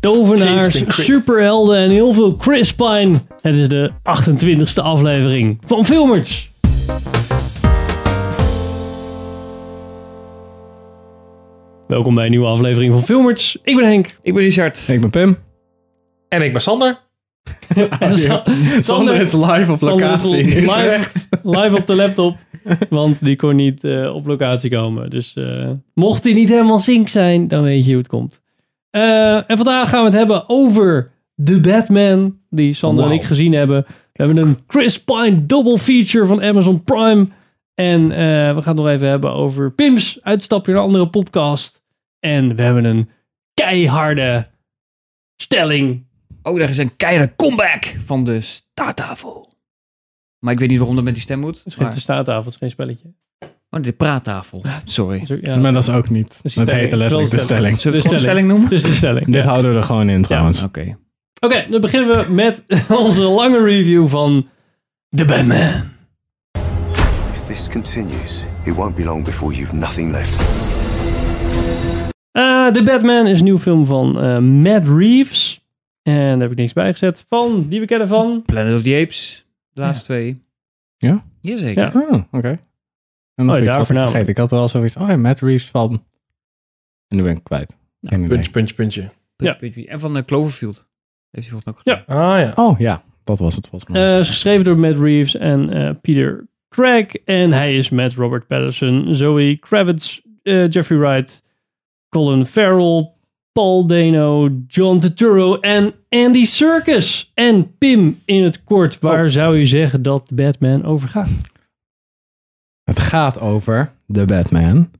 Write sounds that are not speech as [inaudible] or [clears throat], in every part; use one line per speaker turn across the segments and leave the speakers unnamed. tovenaars,
Jezus, Chris.
superhelden en heel veel Chris Pine. Het is de 28e aflevering van Filmers. Welkom bij een nieuwe aflevering van Filmers. Ik ben
[laughs]
Henk.
Ik ben Richard.
Ik ben Pim.
En ik ben Sander.
En Sa-
Sander is live op
Sander is
locatie. in [laughs]
live,
Utrecht.
live op de laptop. Want die kon niet eh, op locatie komen. Dus eh, mocht hij niet helemaal zink zijn, dan weet je hoe het komt. Eh, en vandaag gaan we het hebben over The Batman. Die Sander en
Wauw.
ik gezien hebben. We hebben een Chris Pine double feature van Amazon Prime. En eh, we gaan het nog even hebben over Pim's uitstapje naar een andere podcast. En we hebben een keiharde stelling
Oh, daar is een keiharde comeback van de staattafel. Maar ik weet niet waarom dat met die stem moet.
Het is geen
Maar...
te staattafel, het is geen spelletje.
Oh, de praattafel. Sorry.
Het is ook- ja,
Maar dat is ook niet.
is
Dat
stelling.
heette letterlijk de
Het is wel
stelling.
Zullen we het
De
gewoon
stelling.
een stelling noemen?
het is de stelling.
Dit
ja.
houden we er gewoon in trouwens.
Oké.
Oké, dan beginnen we met [laughs] onze lange review van The Batman.
If this continues, it won't be long before you've nothing left.
Eh, The Batman is een nieuwe film van eh, Matt Reeves. En daar heb ik niks bij gezet. Van, die we kennen van.
Planet of the Apes. De laatste twee.
Ja?
Jazeker.
Ja.
Oh, oké. En nog
Oh,
iets
daar
wat ik
voornamelijk.
vergeten. Ik had wel zoiets. Oh ja, Matt Reeves van... En nu ben ik kwijt. Geen idee.
Puntje, puntje, puntje.
Ja.
En van eh, Cloverfield. Heeft hij volgens mij ook
Ja.
gedaan.
Ah ja.
Oh ja, dat was het volgens mij.
Eh, is geschreven door Matt Reeves en eh, Peter Craig. En hij is met Robert Patterson, Zoe Kravitz, eh, Jeffrey Wright, Colin Farrell, Paul Dano, John Turturro en Andy Serkis. En Pim in het kort. Waar zou je zeggen dat Batman over gaat?
Het gaat over de Batman.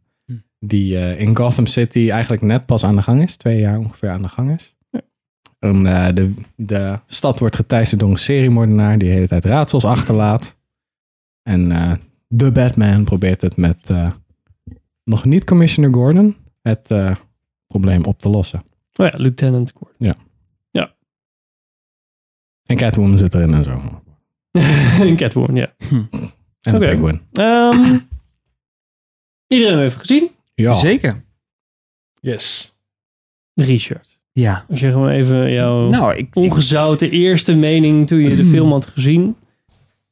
Die eh, in Gotham City eigenlijk net pas aan de gang is. Twee jaar ongeveer aan de gang is. En, eh, de, de stad wordt geteisterd door een seriemoordenaar die de hele tijd raadsels achterlaat. En eh, de Batman probeert het met eh, nog niet Commissioner Gordon het eh, probleem op te lossen.
Oh ja, Lieutenant Gordon.
En Catwoman zit erin en zo.
[laughs] Catwoman, ja.
En de
Oké.
Penguin.
Ehm, iedereen heeft gezien.
Ja.
Zeker.
Yes.
Richard.
Ja.
Zeg maar even jouw
Nou, ik... ik-
ongezouten eerste mening toen je
[clears throat]
de film had gezien.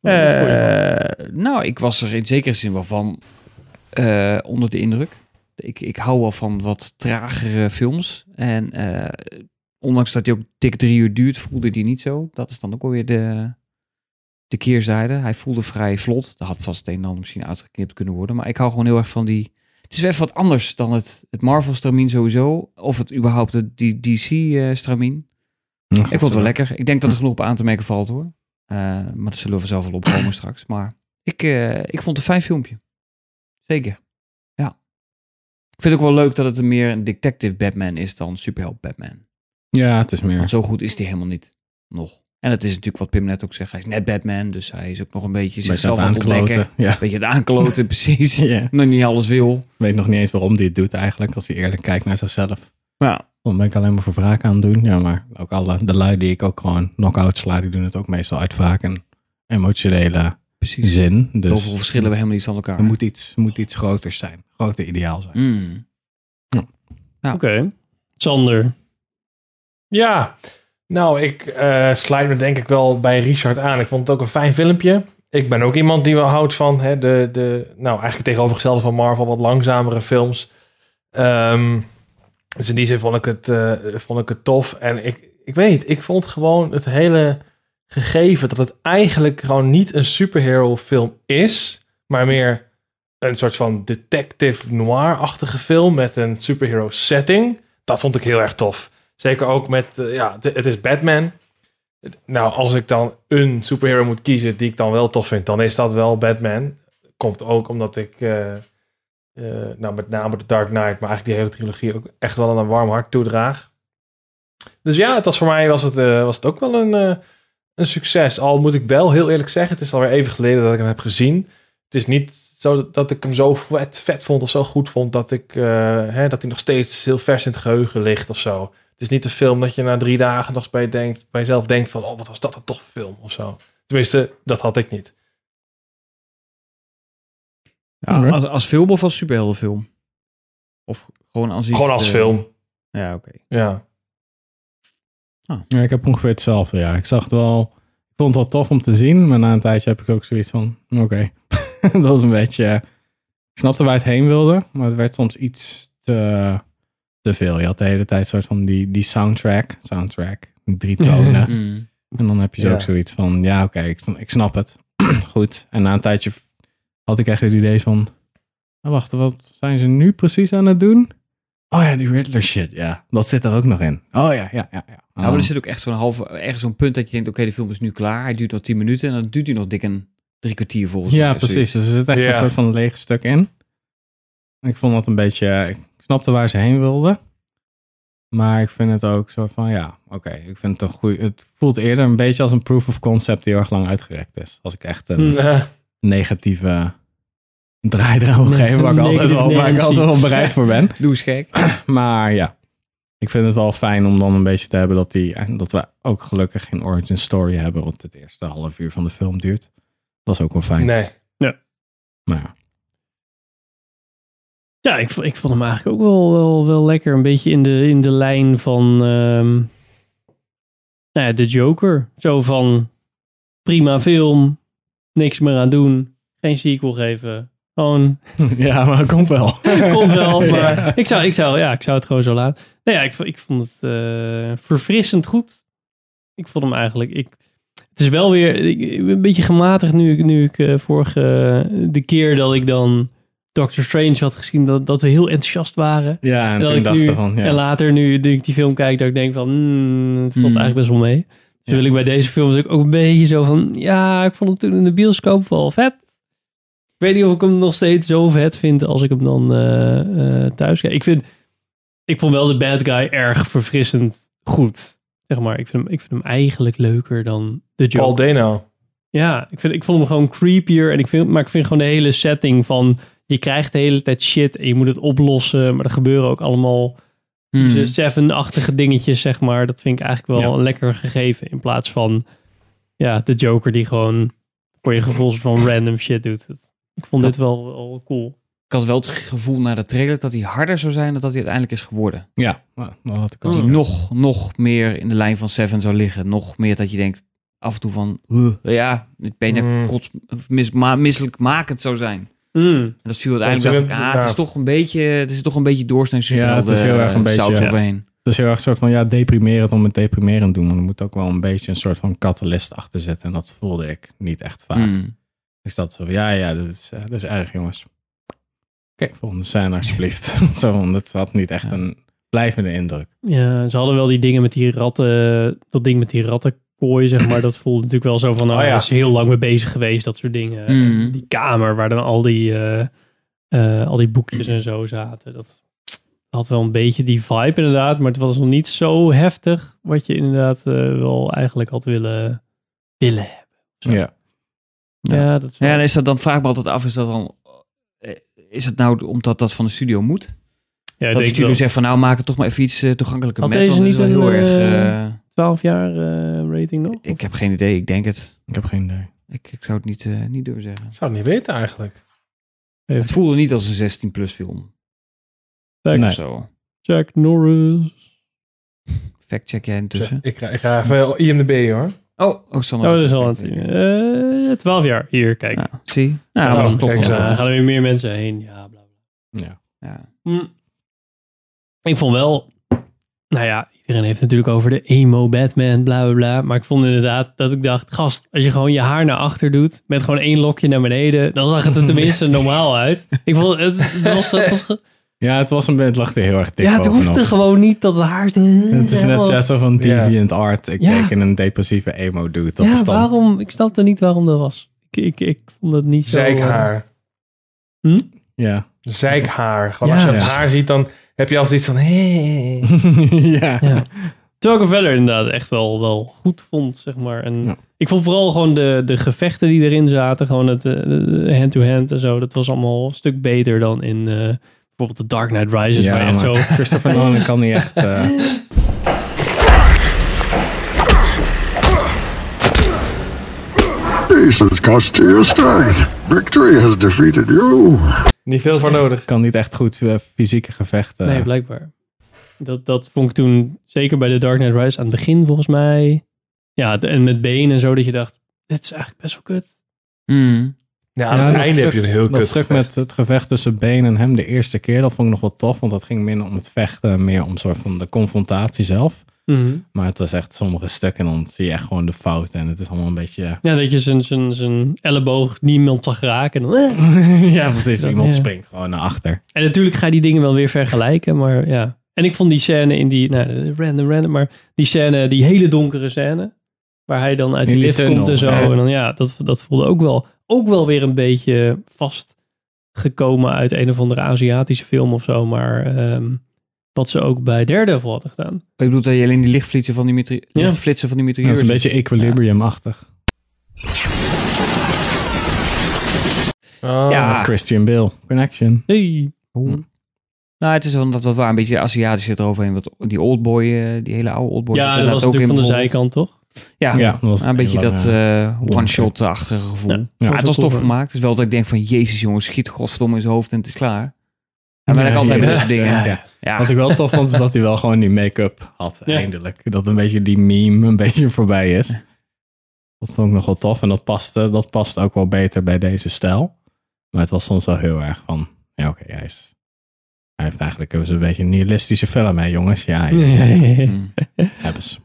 Wat vond je ervan?
eh, nou, ik was er in zekere zin wel van eh, onder de indruk. Ik, ik hou wel van wat tragere films. En eh, ondanks dat hij ook dik drie uur duurt, voelde die niet zo. Dat is dan ook alweer de, de keerzijde. Hij voelde vrij vlot. Dat had vast het een en ander misschien uitgeknipt kunnen worden. Maar ik hou gewoon heel erg van die... Het is weer even wat anders dan het, het Marvel-stramien sowieso. Of het überhaupt het eh, DC-stramien.
Ik
Ik vond het wel lekker. Ik denk dat er genoeg op aan te merken valt hoor. Eh, maar dat zullen we zelf [clears throat] wel opkomen straks. Maar ik, eh, ik vond het een fijn filmpje. Zeker. Ja. Ik vind het ook wel leuk dat het een meer een detective Batman is dan superheld Batman.
Ja, het is meer.
Want zo goed is hij helemaal niet. Nog. En dat is natuurlijk wat Pim net ook zegt. Hij is net Batman, dus hij is ook nog een beetje zichzelf aan het ontdekken. [laughs]
Ja.
Beetje het aankloten, precies.
Ja.
Nog niet alles wil.
Weet nog niet eens waarom die het doet eigenlijk, als hij eerlijk kijkt naar zichzelf.
Nou,
Dan ben ik alleen maar voor wraak aan het doen. Ja, maar ook alle, de lui die ik ook gewoon knock-out sla, die doen het ook meestal uit wraak en emotionele
precies.
zin. Dus
Zoveel verschillen we helemaal niet van elkaar.
Er moet iets, moet iets groters zijn. Groter ideaal zijn.
Mm.
Oké. Sander.
Ja. Nou, ik eh sluit me denk ik wel bij Richard aan. Ik vond het ook een fijn filmpje. Ik ben ook iemand die wel houdt van hè, de, de, nou eigenlijk het tegenovergestelde van Marvel, wat langzamere films. Ehm, dus in die zin vond ik het, eh, vond ik het tof. En ik, ik weet niet, ik vond gewoon het hele gegeven dat het eigenlijk gewoon niet een superhero film is, maar meer een soort van detective noir-achtige film met een superhero setting. Dat vond ik heel erg tof. Zeker ook met, eh, ja, de- het is Batman. Het- Nou, als ik dan een superhero moet kiezen die ik dan wel tof vind, dan is dat wel Batman. Komt ook omdat ik, eh, eh, nou met name de Dark Knight, maar eigenlijk die hele trilogie ook echt wel een warm hart toedraag. Dus ja, het was voor mij was het, eh, was het ook wel een, eh, een succes. Al moet ik wel heel eerlijk zeggen, het is alweer even geleden dat ik hem heb gezien. Het is niet zo dat- dat ik hem zo vet, vet vond of zo goed vond dat, ik, eh, hè, dat hij nog steeds heel vers in het geheugen ligt of zo. Het is niet een film dat je na drie dagen nog eens bij, denkt, bij jezelf denkt van... oh, wat was dat een toffe film of zo. Tenminste, dat had ik niet.
Ja,
Oké.
als, als film of als
eh,
superheldenfilm? Of gewoon als iets,
Gewoon als
eh,
film,
Ja, oké.
ja.
Ja, ik heb ongeveer hetzelfde, ja. Ik zag het wel... Ik vond het wel tof om te zien, maar na een tijdje heb ik ook zoiets van... Oké, [laughs] dat was een beetje... eh, Ik snapte waar het heen wilde, maar het werd soms iets te, te veel. Je had de hele tijd soort van die, die soundtrack, soundtrack,
[laughs]
drie tonen.
Mm.
En dan heb je zo
Ja.
ook zoiets van, ja oké, ik, ik snap het. [clears throat] Goed. En na een tijdje v- had ik echt het idee van, oh, wacht, wat zijn ze nu precies aan het doen? Oh ja, die Riddler shit, ja. Dat zit er ook nog in. Oh ja, ja, ja. ja.
Ja, maar er zit ook echt zo'n half, echt zo'n punt dat je denkt, oké, de film is nu klaar. Hij duurt nog tien minuten en dan duurt hij nog dik een drie kwartier volgens mij.
ja,
of zoiets.
precies. Dus er zit echt
Ja.
een soort van leeg stuk in. Ik vond dat een beetje, ik snapte waar ze heen wilden. Maar ik vind het ook soort van, ja, oké, ik vind het een goeie, het voelt eerder een beetje als een proof of concept die heel erg lang uitgerekt is. Als ik echt een...
Ja.
negatieve draai eraan wil geven, waar ik altijd
Negative
wel, waar ik
Nancy.
altijd wel bereid voor
[laughs]
ben.
eh, Doe eens
[clears throat]
gek.
Maar ja, ik vind het wel fijn om dan een beetje te hebben dat, die, en dat we ook gelukkig geen origin story hebben, wat het eerste half uur van de film duurt. Dat is ook wel fijn.
Nee.
Maar ja.
Ja, ik, vo- ik vond hem eigenlijk ook wel, wel, wel lekker. Een beetje in de, in de lijn van ehm, nou ja, de Joker. Zo van prima film, niks meer aan doen, geen sequel geven. Gewoon,
[laughs] ja, maar het komt wel.
[laughs] komt wel, maar
[laughs] Ja.
ik, zou, ik, zou, ja, ik zou het gewoon zo laten. Nee, ja, ik, vo- ik vond het eh, verfrissend goed. Ik vond hem eigenlijk... Ik, het is wel weer ik- een beetje gematigd nu, ik- nu ik eh, vorige... de keer dat ik dan Doctor Strange had gezien, dat, dat we heel enthousiast waren.
Ja, en
Dat
toen
ik
dacht
nu-
ik van,
En
ja.
later, nu nu ik die film kijk, dat ik denk van, hmm, het valt
Hmm.
eigenlijk best wel mee. Dus wil ik bij deze film natuurlijk ook een beetje zo van, ja, ik vond hem toen in de bioscoop wel vet. Ik weet niet of ik hem nog steeds zo vet vind als ik hem dan eh, eh, thuis kijk. Ik vind, ik vond wel de bad guy erg verfrissend goed. Zeg maar, ik vind hem, ik vind hem eigenlijk leuker dan de Joker.
Paul Dano.
Ja, ik, vind, ik vond hem gewoon creepier. En ik vind, maar ik vind gewoon de hele setting van... Je krijgt de hele tijd shit en je moet het oplossen. Maar er gebeuren ook allemaal
Mm.
deze Seven-achtige dingetjes, zeg maar. Dat vind ik eigenlijk wel
Ja.
een lekker gegeven. In plaats van ja, de Joker die gewoon voor je gevoel soort van random shit doet. Dat- Ik vond
Dat-
dit wel, wel cool.
Ik had wel het gevoel na de trailer dat hij harder zou zijn dan dat hij uiteindelijk is geworden.
Ja, nou, dat had ik al.
Dat hij
gezien.
nog, nog meer in de lijn van Seven zou liggen. Nog meer dat je denkt af en toe van, huh, ja, het bijna
Mm.
kots, mis, ma, misselijkmakend zou zijn.
Mm.
En dat viel uiteindelijk,
Dat
dacht
is
ik,
een-
ah, het is
ja.
toch een beetje, het is toch een beetje doorsnee eh,
Ja, het is heel erg een beetje, ja.
overheen.
Het is heel erg soort van, ja, deprimerend om het deprimerend te doen. Want er moet ook wel een beetje een soort van catalyst achter zitten. En dat voelde ik niet echt
Hmm.
vaak.
Mm.
Is dat zo? Ja, ja, dat is, eh, dat is erg, jongens. Oké, volgende
[laughs]
scène alsjeblieft. zo, want dat had niet echt
Ja.
een blijvende indruk.
Ja, ze hadden wel die dingen met die ratten... Dat ding met die rattenkooi, zeg maar. Dat voelde natuurlijk wel zo van... Nou,
Oh ja.
daar is heel lang mee bezig geweest, dat soort dingen.
Mm.
die kamer waar dan al die, eh, eh, al die boekjes en zo zaten. Dat had wel een beetje die vibe inderdaad, maar het was nog niet zo heftig wat je inderdaad eh, wel eigenlijk had willen, willen hebben. Zo.
Ja.
Ja,
Ja.
dat is wel-
Ja, en is dat dan vraag ik me altijd af, is dat dan, eh, is het nou omdat dat van de studio moet?
ja,
dat de
denk
studio
ik wel.
zegt van, nou maak het toch maar even iets eh, toegankelijker
Had
met,
deze
want het is wel
niet
heel
een,
erg,
eh,
eh,
12 jaar eh, rating nog?
ik heb geen idee, ik denk het.
Ik heb geen idee.
Ik, ik zou het niet, eh, niet durven zeggen.
Ik zou het niet weten eigenlijk.
Heeft
Het voelde niet als een 16-plus film.
Fact
Of
Nee.
zo.
Jack Norris.
Fact check jij
Dus
intussen.
ik, ga- ik ga even IMDB hoor.
Oh, oh, Sander.
Oh, dat is al
Fact
een
check.
eh 12 jaar. Hier, kijk.
Nou, zie. Nou,
Nou,
maar dat
kijk
klopt
eens
wel.
Ja,
aan.
dan gaan er weer meer mensen heen. Ja, bla, bla.
Ja.
Ja.
Mm. Ik vond wel, nou ja, iedereen heeft het natuurlijk over de emo Batman, bla bla bla. Maar ik vond inderdaad dat ik dacht, gast, als je gewoon je haar naar achter doet met gewoon één lokje naar beneden, dan zag het er
[laughs]
tenminste normaal uit. Ik vond het, het was, het-
ja, het was een beetje, het lag er heel erg dik
ja, het
bovenop.
hoefde gewoon niet dat het haar.
Het is net juist zo van deviant art. Ik
Ja.
keek in een depressieve emo dude. Dat
ja,
is dan...
waarom? Ik snapte niet waarom dat was. Ik, ik, ik vond het niet zo.
Zeikhaar.
Ja.
Zeikhaar. Gewoon
Ja.
als je het
Ja.
haar ziet, dan heb je als iets van... Hey.
[laughs] ja.
Ja. [laughs] Terwijl ik hem verder inderdaad echt wel, wel goed vond, zeg maar. En
Ja.
ik vond vooral gewoon de, de gevechten die erin zaten, gewoon het eh, de- de hand-to-hand en zo, dat was allemaal een stuk beter dan in eh, bijvoorbeeld de Dark Knight Rises,
Ja,
waar je echt zo...
maar Christopher Nolan kan niet echt... eh,
Peace has cost you your strength. Victory has defeated you.
Niet veel voor nodig.
kan niet echt goed eh, fysieke gevechten.
Nee, blijkbaar. Dat, dat vond ik toen, zeker bij The Dark Knight Rises, aan het begin volgens mij. Ja, de- en met Bane en zo, dat je dacht, dit is eigenlijk best wel kut.
Mm.
Ja, aan
Ja,
het
dat
einde
stuk-
heb je een heel
Dat
kut
stuk
gevecht.
met het gevecht tussen Bane en hem de eerste keer, dat vond ik nog wel tof. Want dat ging minder om het vechten, meer om soort van de confrontatie zelf. Maar het was echt sommige stukken en dan zie je echt gewoon de fout. En het is allemaal een beetje... [laughs]
Ja, dat je zijn- zijn- zijn elleboog niemand zag raken. En, dan, eh.
[laughs] ja, precies.
Ja.
Iemand
Ja.
springt gewoon naar achter.
en natuurlijk ga je die dingen wel weer vergelijken, maar ja. En ik vond die scène in die, nou, de random, random, maar die scène, die hele donkere scène, waar hij dan uit
In
die
die
lift komt
tunnel,
en zo.
ja.
En dan ja, dat, dat voelde ook wel, ook wel weer een beetje vastgekomen uit een of andere Aziatische film of zo. Maar ehm, wat ze ook bij Daredevil hadden gedaan.
Ik bedoel dat je alleen die lichtflitsen van die, metri-
Ja.
lichtflitsen van die
Ja, dat
meteoren
is een beetje equilibrium-achtig.
Oh,
Ja.
Met Christian Bale. Connection.
Hey.
Nou, het is wel dat wat waar een beetje Aziatisch zit eroverheen. Want die oldboy, eh, die hele oude oldboy. zit
Ja, dat
inderdaad
was natuurlijk van de zijkant,
bijvoorbeeld.
toch?
Ja, Nou,
Ja, dat was
een beetje
hele
dat
lange-
eh, one-shot-achtige gevoel.
Ja,
Ja,
dat
was
het
wel
was
tof,
tof
hè?
gemaakt. Dus wel dat ik denk van, jezus jongens, schiet godverdomme in zijn hoofd en het is klaar. En ben ik
Ja,
altijd
ja.
met deze dingen.
Ja.
Ja.
Wat ik wel tof vond, is dat hij wel gewoon die make-up had,
Ja.
eindelijk. Dat een beetje die meme een beetje voorbij is. Dat vond ik nog wel tof. En dat paste, dat past ook wel beter bij deze stijl. Maar het was soms wel heel erg van... Ja, oké, hij is... Hij heeft eigenlijk een beetje een nihilistische film, hè, jongens? Ja, ja,
[laughs]
Mm.
hebben ze.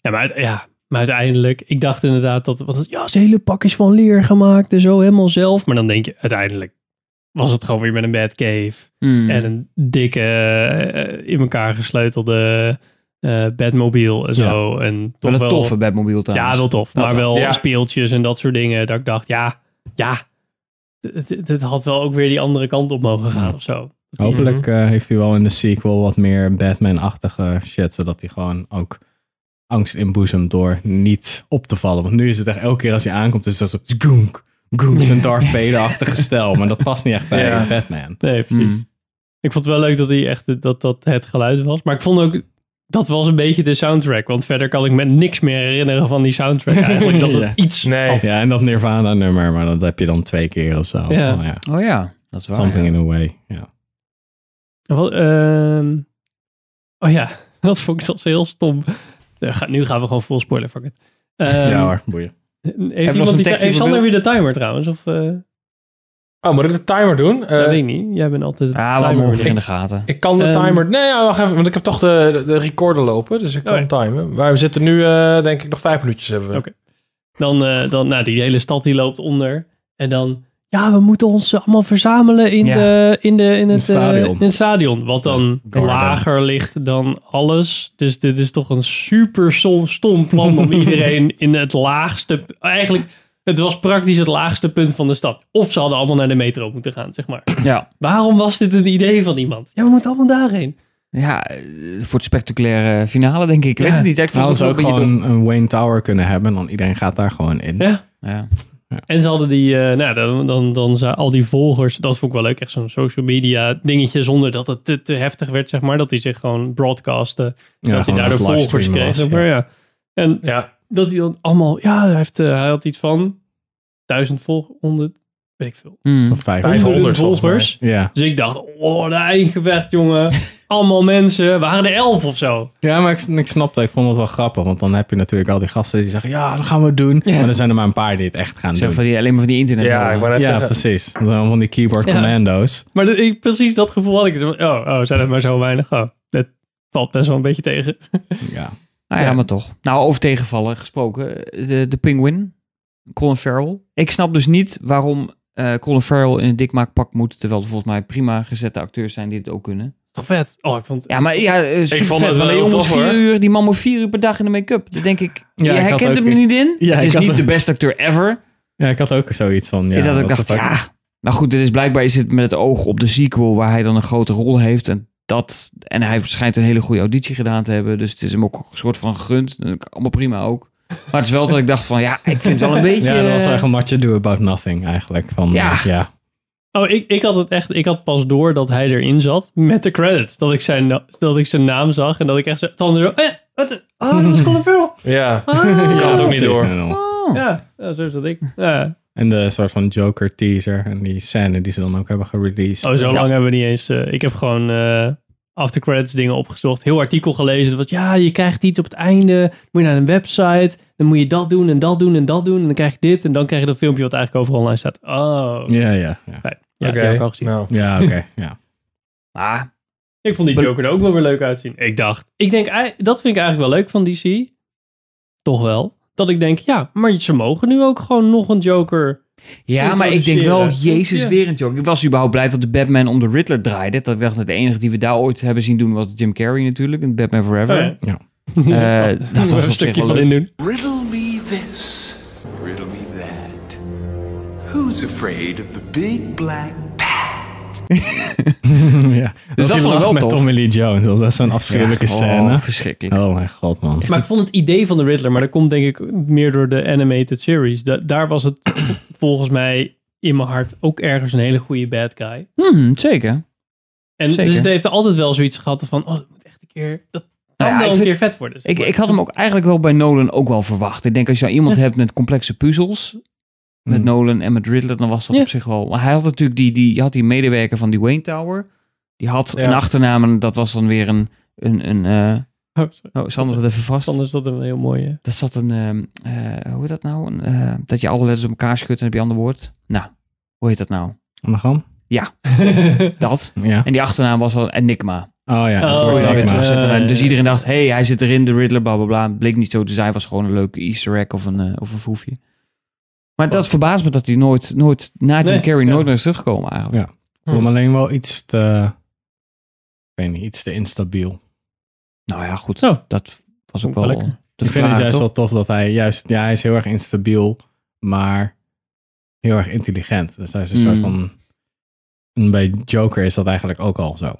Ja, maar, uit- ja, maar uiteindelijk, ik dacht inderdaad dat want het, ja, het is hele pakjes van leer gemaakt en zo helemaal zelf. Maar dan denk je, uiteindelijk was het gewoon weer met een Batcave
Mm.
en een dikke, eh, in elkaar gesleutelde eh Batmobile en zo. En toch
Wel een
wel,
toffe Batmobile trouwens.
Ja, wel tof.
Ja,
Maar
ja.
wel
Ja.
speeltjes en dat soort dingen. Dat ik dacht, ja, ja, dit- dit dit had wel ook weer die andere kant op mogen gaan
Ja.
of zo.
Hopelijk eh, heeft hij wel in de sequel wat meer Batman-achtige shit. Zodat hij gewoon ook angst inboezemt door niet op te vallen. Want nu is het echt elke keer als hij aankomt, is het zo... Goonk, goonk, zijn Darth Vader-achtige stijl. Maar dat past niet echt bij
Ja.
Batman.
Nee, precies.
Mm.
Ik vond het wel leuk dat hij echt dat, dat het geluid was. Maar ik vond ook. Dat was een beetje de soundtrack. Want verder kan ik me niks meer herinneren van die
[laughs]
soundtrack eigenlijk. Dat het
Ja.
iets.
Nee.
Ja, en dat Nirvana-nummer, maar dat heb je dan twee keer of zo.
Ja.
Maar ja,
Oh ja, dat is waar.
something
ja.
in a way. Ja.
Wat, ehm, oh ja, [laughs] dat vond ik zelfs heel stom. Eh, ga- Nu gaan we gewoon vol spoiler. Fuck it. Ehm,
ja hoor, boeien.
Heeft,
nog een
iemand die,
tekstje
heeft Sander weer
verbeeld?
de timer trouwens? Of, eh
Oh, moet ik de timer doen? Eh,
dat weet ik niet. Jij bent altijd de
Ja, ah, we
timer.
houden ongeveer in
meneer.
de gaten.
ik kan de
Ehm,
timer... Nee, ja, wacht even, want ik heb toch de, de- de recorder lopen, dus ik kan
Oh, ja.
timen. Maar we zitten nu, eh, denk ik, nog vijf minuutjes hebben we.
Oké. Dan, eh, dan, nou, die hele stad die loopt onder. En dan, ja, we moeten ons allemaal verzamelen in,
Ja.
de, in, de, in, het, eh,
stadion.
in het stadion. Wat dan
Garden.
lager ligt dan alles. Dus dit is toch een super stom, stom plan om iedereen in het laagste... Eigenlijk, het was praktisch het laagste punt van de stad. Of ze hadden allemaal naar de metro moeten gaan, zeg maar.
Ja.
Waarom was dit een idee van iemand? Ja, we moeten allemaal daarheen.
ja, eh, voor het spectaculaire finale denk ik. Ik
Ja.
weet het niet. Ik vond
Hadden
het
ze
wel
ook
een beetje dom.
gewoon een Wayne Tower kunnen hebben. Dan iedereen gaat daar gewoon in.
Ja.
Ja.
En ze hadden die, eh, nou, dan, dan, dan zijn al die volgers, dat vond ik wel leuk, echt zo'n social media dingetje, zonder dat het te, te heftig werd, zeg maar, dat hij zich gewoon broadcastte,
Ja,
dat hij
gewoon
daardoor
wat
volgers
livestreamen
kreeg,
was,
zeg
ja.
maar, ja. En
Ja.
dat hij dan allemaal, ja, hij, heeft, eh, hij had iets van duizend volgers, honderd, weet ik veel,
Mm.
Zo'n vijf-
500 volgens
volgers.
Ja.
Dus ik dacht, oh, de eindgevecht,
[laughs]
jongen, allemaal mensen, waren er elf of zo.
Ja, maar ik, ik snap dat. Ik vond het wel grappig. Want dan heb je natuurlijk al die gasten die zeggen... Ja, dat gaan we doen.
Ja.
Maar er zijn er maar een paar die het echt gaan
Zo
doen.
van die, alleen maar van die internet.
Ja, ik wou net
ja,
zeggen.
precies. Dat zijn allemaal van die keyboard
Ja.
commando's.
Maar dat- ik, precies dat gevoel had ik, Zo van, oh, oh, zijn er maar zo weinig, oh, dat valt best wel een beetje tegen.
Ja.
Nou ja, maar toch. Nou, over tegenvallen gesproken. De, de Penguin, Colin Farrell. Ik snap dus niet waarom eh, Colin Farrell in een dikmaakpak moet, terwijl er volgens mij prima gezette acteurs zijn die het ook kunnen.
Toch vet. Oh, ik vond
Ja, maar ja, eh, ik
vond het wel heel tof,
vier
hoor.
uur, die man moet vier uur per dag in de make-up. Dan denk ik,
Ja,
je
ik had
herkent
ook-
hem er niet in.
Ja,
het
ik
is
had
niet
ook-
de beste acteur ever.
ja, ik had ook zoiets van... Ja,
dat ik
what the
dacht,
fuck.
ja. Nou goed, dit is blijkbaar is het met het oog op de sequel waar hij dan een grote rol heeft. En, dat, en hij schijnt een hele goede auditie gedaan te hebben. Dus het is hem ook een soort van gegund. En ook Allemaal prima ook. Maar het is wel dat ik dacht van, ja, ik vind
[laughs]
het wel een beetje...
Ja, dat was
eh,
eigenlijk een much ado about nothing eigenlijk. Van,
Ja.
eh, ja.
Oh, ik, ik had het echt. Ik had pas door dat hij erin zat met de credits. Dat ik zijn, na- dat ik zijn naam zag en dat ik echt zo. Tanden zo. Eh, wat? de- Oh,
[laughs]
dat is Colin Farrell.
Ja.
Ah.
Ik kan het ook niet door.
oh.
Ja, ja, zo zat ik. Ja.
En de soort van Joker teaser en die scène die ze dan ook hebben gereleased.
Oh, zo lang hebben we niet eens. eh, ik heb gewoon eh, after credits dingen opgezocht. Heel artikel gelezen. Dat was, ja, je krijgt iets op het einde. Moet je naar een website. Dan moet je dat doen en dat doen en dat doen. En dan krijg je dit. En dan krijg je dat filmpje wat eigenlijk overal online staat. Oh.
Ja, ja, ja.
Fijn. Ja, die heb ik al gezien.
nou.
Ja, oké.
[laughs]
ja.
Ah,
Ik vond die Joker er ook wel weer leuk uitzien. Ik dacht, ik denk, ei- dat vind ik eigenlijk wel leuk van DC. Toch wel. Dat ik denk, ja, maar ze mogen nu ook gewoon nog een Joker.
Ja, maar ik denk
introduceren.
wel, jezus,
Ja.
weer een joke. Ik was überhaupt blij dat de Batman om de Riddler draaide. Dat ik dacht, dat de enige die we daar ooit hebben zien doen was Jim Carrey natuurlijk. In Batman Forever.
Oh
ja.
Eh, dat
Moeten we [laughs]
was
een
een
stukje
stukje
van in doen.
Riddle me this, riddle me that. Who's afraid of the big black
ja. Dus
dat vond ik wel
met
tof.
Tommy Lee Jones. Dat is zo'n afschuwelijke scène.
verschrikkelijk.
Oh mijn god, man.
Maar ik vond het idee van de Riddler, maar dat komt denk ik meer door de animated series. Da- daar was
[clears throat]
het volgens mij in mijn hart ook ergens een hele goede bad guy.
Hmm, zeker.
En
Zeker.
dus het heeft altijd wel zoiets gehad van, oh, dat moet echt een keer, dat kan
Nou ja,
wel
ik
een
vind-
keer vet worden. zeg
Ik,
maar.
ik had hem ook eigenlijk wel bij Nolan ook wel verwacht. Ik denk, als je nou iemand hebt met complexe puzzels... Met
Hmm.
Nolan en met Riddler, dan was dat
Ja.
op zich wel... Maar hij had natuurlijk die, die, had die medewerker van die Wayne Tower. Die had
Ja.
een achternaam en dat was dan weer een... een, een eh,
Oh, sorry.
oh, Sander zat even vast.
Anders is dat een heel
[laughs]
mooie.
Dat zat een, ehm, eh, hoe heet dat nou? Een, eh, dat je alle letters op elkaar schudt en heb je een ander woord. Nou, hoe heet dat nou?
Anagram?
Nou
Dat.
Ja.
En die achternaam was al Enigma.
Oh ja.
Oh,
Dat kon je
ja,
dan weer
Enigma.
terugzetten.
Eh,
En dus iedereen dacht, hey, hij zit erin, de Riddler, bla bla bla. Bleek niet zo te zijn, was gewoon een leuke easter egg of een, eh, of een foefje. Maar dat verbaast me dat hij nooit, nooit na Jim
Oh. Nee,
Carrey,
ja.
nooit meer is teruggekomen eigenlijk.
Ik vond hem alleen wel iets te... Ik weet niet, iets te instabiel.
Nou ja, goed.
Oh.
Dat was ook
Wel
wel
lekker.
te
ik vind
verklaren,
het juist
toch?
wel tof dat hij juist... Ja, hij is heel erg instabiel, maar heel erg intelligent. Dus hij is een soort
Mm.
van... en bij Joker is dat eigenlijk ook al zo.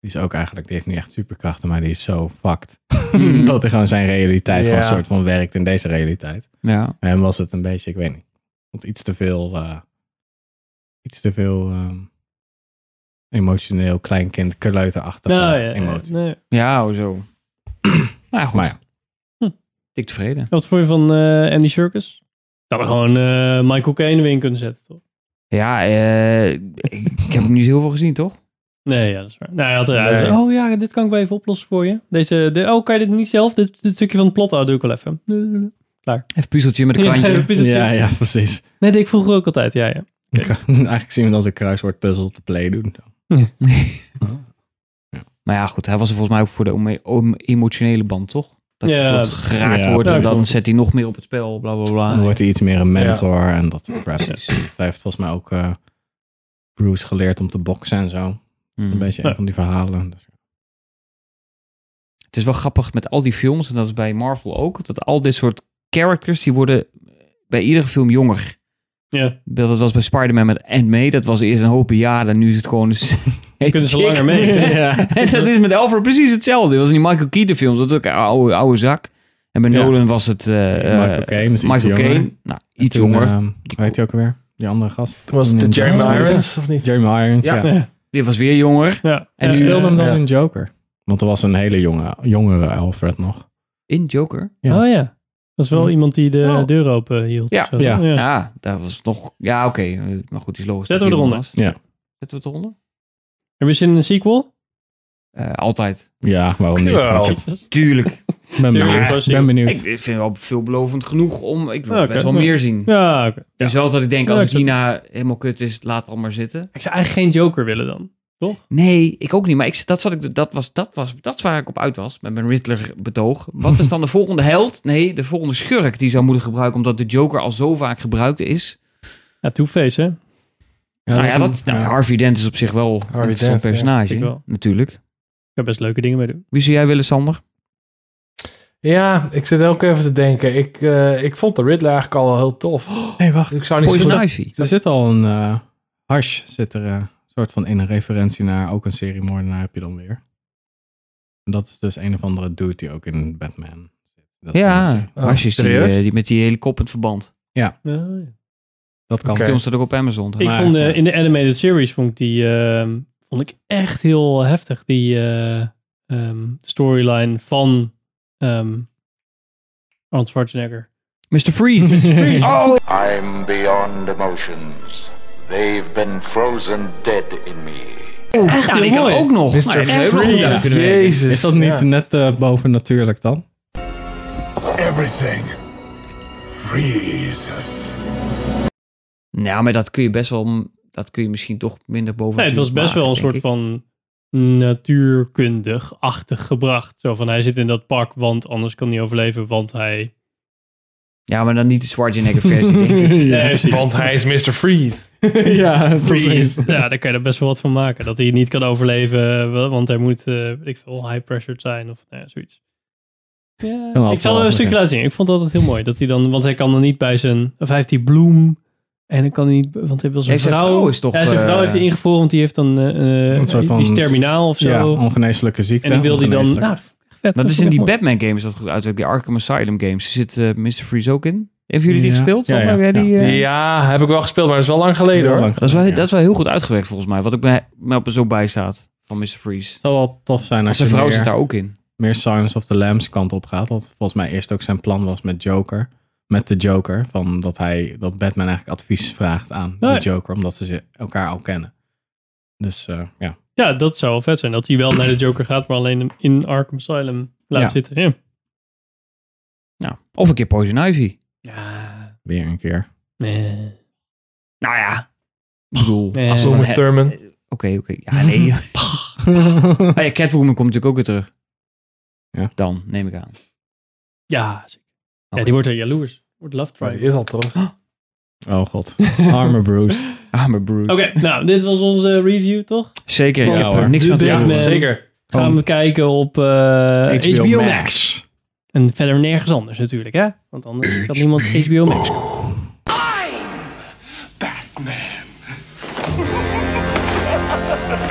Die is ook eigenlijk... Die heeft niet echt superkrachten, maar die is zo fucked.
Mm.
[laughs] dat hij gewoon zijn realiteit gewoon
Ja.
een soort van werkt in deze realiteit.
Ja.
En hem was het een beetje, ik weet niet. Want iets te veel... eh, iets te veel... ehm, emotioneel kleinkind kleuterachtige
Nou ja,
emotie.
nee.
ja,
[clears throat]
oh zo. nou ja, goed.
Maar ja.
Hm.
Ik tevreden.
Wat vond je van eh, Andy Circus? Dat we gewoon eh, Michael Caine weer in kunnen zetten, toch?
Ja, eh, ik, ik heb hem niet zo heel veel gezien, toch?
Nee, ja, dat is waar. Nou, hij had eruit.
Nee.
Oh ja, dit kan ik wel even oplossen voor je. Deze, de, oh, kan je dit niet zelf? Dit, dit stukje van het plot, oh, doe ik wel even.
Even puzzeltje met een
[laughs] Ja,
krantje.
dat is het.
Ja, ja, precies.
Nee, dat ik vroeger ook altijd, ja, ja.
[laughs] Eigenlijk zien we het als een kruiswoordpuzzel op de play doen.
maar ja, goed, hij was er volgens mij ook voor de ome- om- emotionele band, toch? Dat
Ja,
je tot geraakt
ja,
wordt en
dat
dan
klopt.
zet hij nog meer op het spel, bla bla
Ah,
Dan
bla.
wordt hij iets meer een mentor en dat soort crap. Hij heeft volgens mij ook eh, Bruce geleerd om te boksen en zo.
Hmm.
Een beetje een
Ja.
van die verhalen. Dus,
Het is wel grappig met al die films, en dat is bij Marvel ook, dat al dit soort characters, die worden bij iedere film jonger.
Ja,
Dat was bij Spider-Man met Ant-May, dat was eerst een hoop jaren, en nu is het gewoon... Dus,
kunnen ze langer
[laughs]
mee.
En dat is met Alfred precies hetzelfde. Dat was in die Michael Keaton films. Dat is ook een oude, oude zak. En bij
Ja.
Nolan was het... eh,
Michael
eh,
Caine is iets
Michael
jonger. eh,
Caine. Nou, iets jonger.
Weet heet hij ook alweer? Die andere gast?
Toen was het de
In
Jeremy
Justice League.
Irons, of niet?
Jeremy Irons, ja.
Ja. Dit was weer jonger.
ja.
En
Die
Ja,
speelde hem dan
ja.
in Joker. Want er was een hele jonge, jongere Alfred nog.
In Joker.
ja.
Oh ja, dat was wel
Ja.
iemand die de
Oh.
deur open hield.
Ja.
of zo.
Ja.
Ja, dat was nog... Ja, oké. eh, Maar goed, die is logisch.
Zetten
dat
we
die
eronder.
was.
Ja.
Zetten we het eronder?
Heb je zin in een sequel?
Eh, altijd.
Ja, waarom niet?
Jawel.
Oh.
Fuck it.
Tuurlijk.
Ik ben benieuwd. Ik ben
ik
benieuwd.
vind het wel veelbelovend genoeg om... Ik wil
Oké.
best wel meer zien.
[laughs] Ja, oké.
Dus wel dat ik denk,
Ja,
als
ik
het hierna helemaal kut is, laat het allemaal zitten.
Ik zou eigenlijk geen Joker willen dan.
Nee, ik ook niet. Maar ik, dat, zat ik, dat, was, dat, was, dat is waar ik op uit was met mijn Riddler-betoog. Wat is dan de volgende held? Nee, de volgende schurk die zou moeten gebruiken, omdat de Joker al zo vaak gebruikt is.
Ja, Two-Face, hè?
nou ja,
is een-
dat, nou, Harvey Dent is op zich wel een interessant
Dent, ja.
personage,
Ik wel.
natuurlijk.
Ik heb best leuke dingen mee doen.
Wie zou jij willen, Sander?
Ja, ik zit elke keer even te denken. Ik, eh, ik vond de Riddler eigenlijk al wel heel tof.
Nee, wacht.
Ik zou niet zo
Oh, Poison Ivy.
Er zit al een eh hash, zit er eh, soort van in een referentie naar ook een serie moordenaar heb je dan weer. En dat is dus een of andere dude die ook in Batman zit. Dat is dan een
Ja,
serie.
Oh,
Asjes, die,
serieus?
eh, die met die hele kop in het verband.
Ja, ja.
dat kan.
Oké.
De film staat ook op Amazon.
Ik
Maar-
vond de, in de animated series vond ik die ehm, vond ik echt heel heftig die eh, ehm, storyline van ehm Arnold Schwarzenegger.
Mr. Freeze. [laughs]
Oh,
I'm beyond emotions. They've been frozen dead in me.
Echt
Ja, en
heel
ik
mooi.
ook nog.
Mr.
Nou, echt wel goed
Freeze.
gedaan.
Jezus.
Is dat niet
Ja.
net eh, boven natuurlijk dan?
Everything freezes.
Nou, maar dat kun je best wel... Dat kun je misschien toch minder boven...
Nee, het was best wel een
maken,
soort
denk ik.
van natuurkundig-achtig gebracht. Zo van, hij zit in dat pak, want anders kan hij overleven, want hij...
Ja, maar dan niet de Schwarzenegger versie, denk ik.
Nee, precies.
Want hij is Mr. Freeze.
[laughs] ja, precies.
Ja, daar kan je er best wel wat van maken. Dat hij het niet kan overleven, wel, want hij moet, eh, weet ik veel, high-pressured zijn of nou ja, zoiets.
Kan
Ja, ik
altijd
zal
wel,
er een stukje
ja.
laten zien. Ik vond dat altijd heel mooi. Dat hij dan, want hij kan dan niet bij zijn... Of hij heeft die bloem... En dan kan hij niet, want hij wil zijn
Nee, zijn
vrouw.
vrouw is toch,
ja, zijn vrouw
eh,
heeft hij ingevroren, want die heeft dan eh, eh,
Een soort van-
die is terminaal of zo.
Ja, ongeneeslijke ziekte.
en die wil hij dan.
ongeneeslijk.
Nou, vet,
Dat is in
vond [laughs] ik
die
mooi.
Batman games dat goed uit. Die Arkham Asylum games. Zit eh, Mr. Freeze ook in? Hebben jullie die
Ja.
gespeeld?
Ja,
Tom?
ja,
Heb jij die,
ja.
eh,
Ja, heb ik wel gespeeld, maar dat is wel lang geleden
Heel
hoor.
lang
Dat is, wel,
geleden,
dat is wel heel goed uitgewerkt volgens mij. Wat ik me, me op zo bij staat van Mr. Freeze.
Het zal wel tof zijn
Maar
als,
zijn
je
vrouw
meer,
zit daar ook in.
meer Silence of the Lambs kant op gaat. Wat volgens mij eerst ook zijn plan was met Joker. Met de Joker. Van dat, hij, dat Batman eigenlijk advies vraagt aan
Nee.
de Joker. Omdat ze ze elkaar al kennen. Dus eh, ja.
Ja, dat zou wel vet zijn. Dat hij wel naar de Joker gaat, maar alleen hem in Arkham Asylum laat
Ja.
zitten. Ja.
Nou, of een keer Poison Ivy.
ja.
Weer een keer.
Nee.
Nou ja. Ik bedoel.
Nee.
als we dan-
Zomer Thurman.
Oké, oké. Ja, [laughs] nee. Maar ja, Catwoman komt natuurlijk ook weer terug.
Ja.
Dan, neem ik aan.
Ja, zeker. ja,
Oké.
die wordt er jaloers. Wordt love
Maar die
triangle.
is al terug.
Oh [laughs] god. Arme [laughs] Bruce.
Ah, maar Bruce.
Oké, nou, dit was onze review, toch?
Zeker, ik
Ja,
heb
hoor.
er niks
De
van te
Batman.
doen.
Zeker.
Gaan we kijken op eh, HBO, Max.
Max.
En verder nergens anders natuurlijk, hè? Want anders kan niemand HBO Max. kopen. [laughs]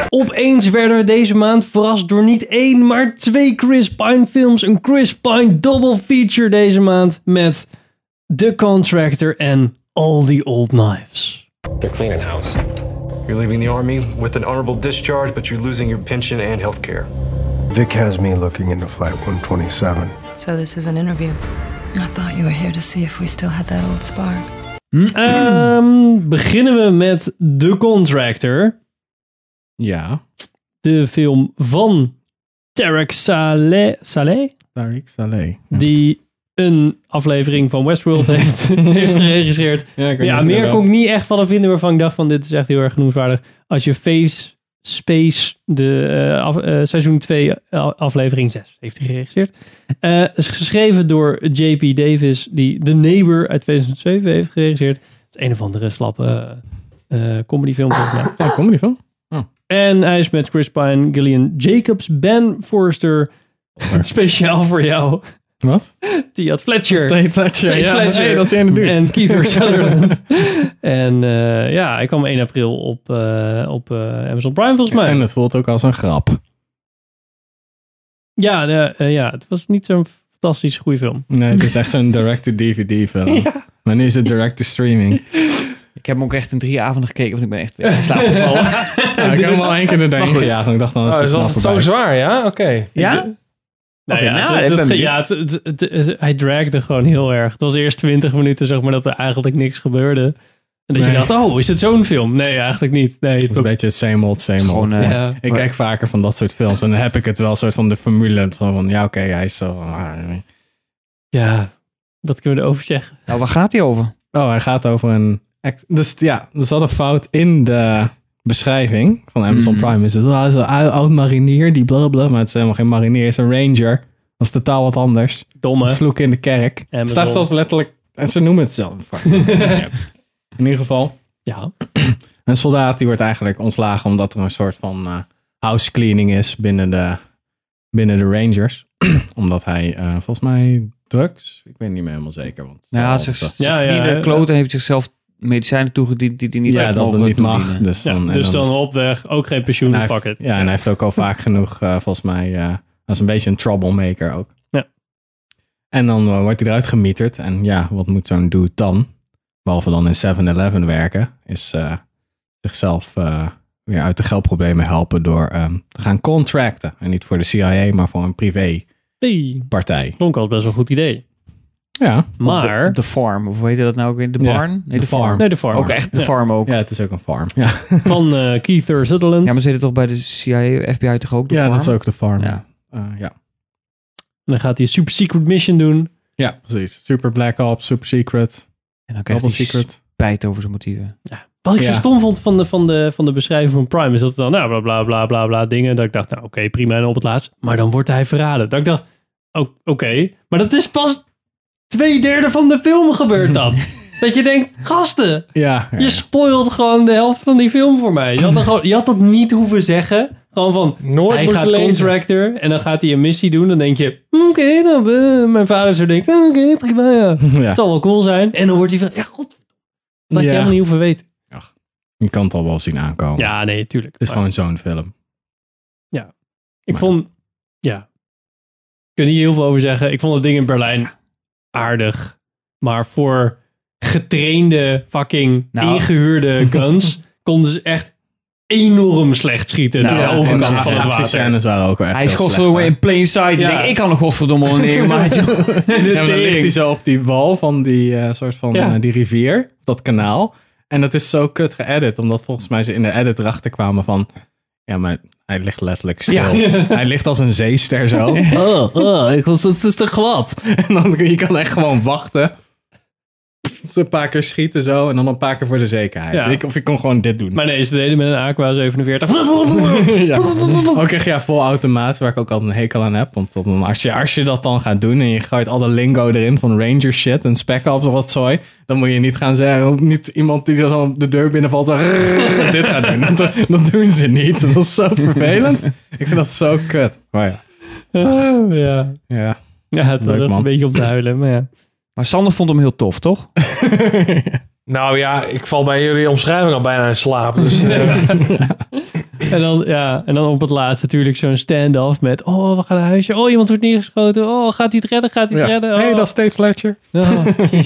Opeens werden we deze maand verrast door niet één, maar twee Chris Pine films. Een Chris Pine double feature deze maand met The Contractor en All the Old Knives.
They're cleaning house. You're leaving the army with an honorable discharge, but you're losing your pension and health care.
Vic has me looking into Flight 127.
So this is an interview. I thought you were here to see if we still had that old spark.
Ehm, beginnen we met The Contractor.
Ja.
de film van Tarek Saleh, Saleh
Tariq Saleh. Ja.
die een aflevering van Westworld heeft, heeft geregisseerd. Ja, meer kon ik niet echt van hem vinden waarvan ik dacht van dit is echt heel erg genoemswaardig. Als je Face Space, de eh, af- eh, seizoen 2, aflevering 6 heeft hij geregisseerd. Eh, is geschreven door JP Davis, die The Neighbor uit 2007 heeft geregisseerd. Het is een of andere slappe eh, comedyfilm volgens [laughs] mij.
Daar kom je van.
En hij is met Chris Pine, Gillian Jacobs, Ben Forrester. [laughs] Speciaal voor jou.
Wat?
Tia Fletcher. Tate
ja.
Fletcher.
Hey, dat is in de buurt.
En Kiefer
[laughs]
Sutherland. en eh, ja, hij kwam 1 april op, eh, op eh, Amazon Prime volgens mij.
En het voelt ook als een grap.
ja, de- eh, ja, het was niet zo'n fantastisch goede film.
Nee, het is echt [laughs] zo'n direct-to-DVD film. Maar nu is het direct-to-streaming.
Ik heb hem ook echt in drie avonden gekeken, want ik ben echt weer in slaap
[laughs]
gevallen.
Nou
Ja, ik heb hem al één keer erdoor
goed.
gejaagd. En ik dacht dan,
Oh,
dat is
dus
het
was het
snel
zo
voorbij.
zwaar, ja? Oké.
ja?
Nou
Oké,
ja,
nou,
het-
ik
het-
ben
ja, het- het- het- het- hij dragde gewoon heel erg. Het was eerst 20 minuten, zeg maar, dat er eigenlijk niks gebeurde. En dat je
Nee.
dacht, oh, is het zo'n film? Nee, eigenlijk niet. Nee,
Het is een beetje same old, same old.
Gewoon, eh,
ja.
ik kijk vaker van dat soort films. En dan heb ik het wel soort van de formule. Zo van, ja oké, hij is zo... ah,
ja, dat kunnen we erover zeggen.
Nou, waar gaat hij over?
Oh, hij gaat over een... ex- Dus ja, er zat een fout in de beschrijving van Amazon
Mhm.
Prime. Is het oh, hij is een ou- oud marinier, die blablabla. Maar het is helemaal geen marinier, het is een ranger. Dat is totaal wat anders.
Domme.
Het vloek in de kerk.
Amazon.
Het staat zelfs letterlijk... en Ze noemen het zelf.
[laughs]
Fuck, maakt niet uit. in ieder geval...
Ja.
Een soldaat die wordt eigenlijk ontslagen omdat er een soort van eh house cleaning is binnen de, binnen de Rangers. [clears throat] omdat hij eh, volgens mij drugs. Ik weet niet meer helemaal zeker. Want
Ja,
Ja,
het is-
dat-
zijn
Ja, ja,
knieën
ja.
kloten heeft zichzelf medicijnen toegediend die hij niet
ja,
had
dat het
mogen
niet mag.
toedienen.
Dus
Ja,
dan, en
dus
dan
dan
is-
op weg, ook geen pensioen,
Nou,
en hij
Nou, fuck
heeft-
it.
Ja, en hij heeft
[laughs]
ook al vaak genoeg, eh, volgens mij, eh, dat is een beetje een troublemaker ook.
Ja.
En dan eh, wordt hij eruit gemieterd. En ja, wat moet zo'n dude dan? Behalve dan in 7-Eleven werken, is eh, zichzelf eh, weer uit de geldproblemen helpen door ehm, te gaan contracten. En niet voor de CIA, maar voor een privépartij.
Hey, klonk als best wel een goed idee.
Ja.
Maar,
Op de, op de farm, of hoe heette dat nou ook weer? De
Ja,
barn? nee,
de
de, farm.
farm.
nee, de farm.
Ook echt de
Ja.
farm ook.
ja, het is ook een farm. Ja,
Van
[laughs]
eh, Keith R. Sutherland.
Ja, maar zit het toch bij de CIA, FBI toch ook de
ja
farm?
dat is ook de farm.
Ja.
Ja. ja.
En dan gaat hij een super secret mission doen.
ja, precies. Super Black Ops, Super Secret,
En dan krijgt
Double
hij
Secret.
spijt over zijn motieven.
Wat ik
Ja.
zo stom vond van de, van, de, van de beschrijving van Prime is dat het dan nou, bla bla bla bla bla dingen. Dat ik dacht, nou oké, prima. En op het laatst. Maar dan wordt hij verraden. Dat ik dacht, o- oké. Maar dat is pas twee derde van de film gebeurt
[laughs]
dat. dat je denkt, gasten,
Ja, ja,
je spoilt gewoon de helft van die film voor mij. Je had, dan gewoon, je had dat niet hoeven zeggen. Gewoon van,
Nooit
hij
moeten
gaat
lezen.
contractor en dan gaat hij een missie doen. Dan denk je, oké, dan, eh, mijn vader zou denken, oké, prima, ja.
ja. [laughs] Ja.
Het zal wel cool zijn. En dan wordt hij van, ja, god. Dat had je
Ja.
helemaal niet hoeven weten.
Je kan het al wel zien aankomen.
Ja, nee, tuurlijk.
Het is
Maar
gewoon zo'n film.
ik vond, ja. Ik kan hier heel veel over zeggen. Ik vond het ding in Berlijn aardig. Maar voor getrainde, fucking
Nou.
ingehuurde
[laughs]
guns konden ze echt enorm slecht schieten.
Nou,
naar de
ja,
En
overkant
ja,
van
ja,
het
de
water.
actiescènes waren ook wel echt
Hij
heel
is
slecht,
godverdomme
hè.
in plain sight.
Ja.
Ik denk, ik kan nog godverdomme wel
[laughs]
een maat. joh.
Ja, maar dan
tering.
ligt hij zo op die wal van die eh, soort van
Ja.
eh, die rivier, dat kanaal. En dat is zo kut geëdit, omdat volgens mij ze in de edit erachter kwamen van, ja, maar hij ligt letterlijk stil.
[laughs]
Hij ligt als een zeester zo. Oh, oh, ik was, het is te glad. [laughs] En dan kun je kan echt gewoon wachten. Zo een paar keer schieten zo en dan een paar keer voor de zekerheid.
Ja.
Ik, of ik kon gewoon dit doen.
Maar nee, ze deden met een Aqua 47.
ja. [laughs] Ook echt [laughs] ja, vol automaat, waar ik ook altijd een hekel aan heb. Want dan, als, je, als je dat dan gaat doen en je gooit al de lingo erin van ranger shit en spec ops of wat zooi, dan moet je niet gaan zeggen, niet iemand die zo op de deur binnenvalt zo, [laughs] "Rrrr", dit gaat doen. Dat, dat doen ze niet. Dat is zo vervelend. Ik vind dat zo kut. Maar ja,
Oh, [laughs] ja. [laughs]
ja.
ja, het was
Leuk,
echt
man.
een beetje om te huilen. Maar
[laughs]
ja.
Maar Sander vond hem heel tof, toch?
Nou ja, ik val bij jullie omschrijving al bijna in slaap. Dus, eh,
[laughs] En dan, ja, en dan op het laatst natuurlijk zo'n stand-off met... Oh, we gaan naar huisje. Oh, iemand wordt neergeschoten. Oh, gaat hij het redden? Gaat hij het redden? Oh.
Hey, dat is Tate Fletcher.
Oh.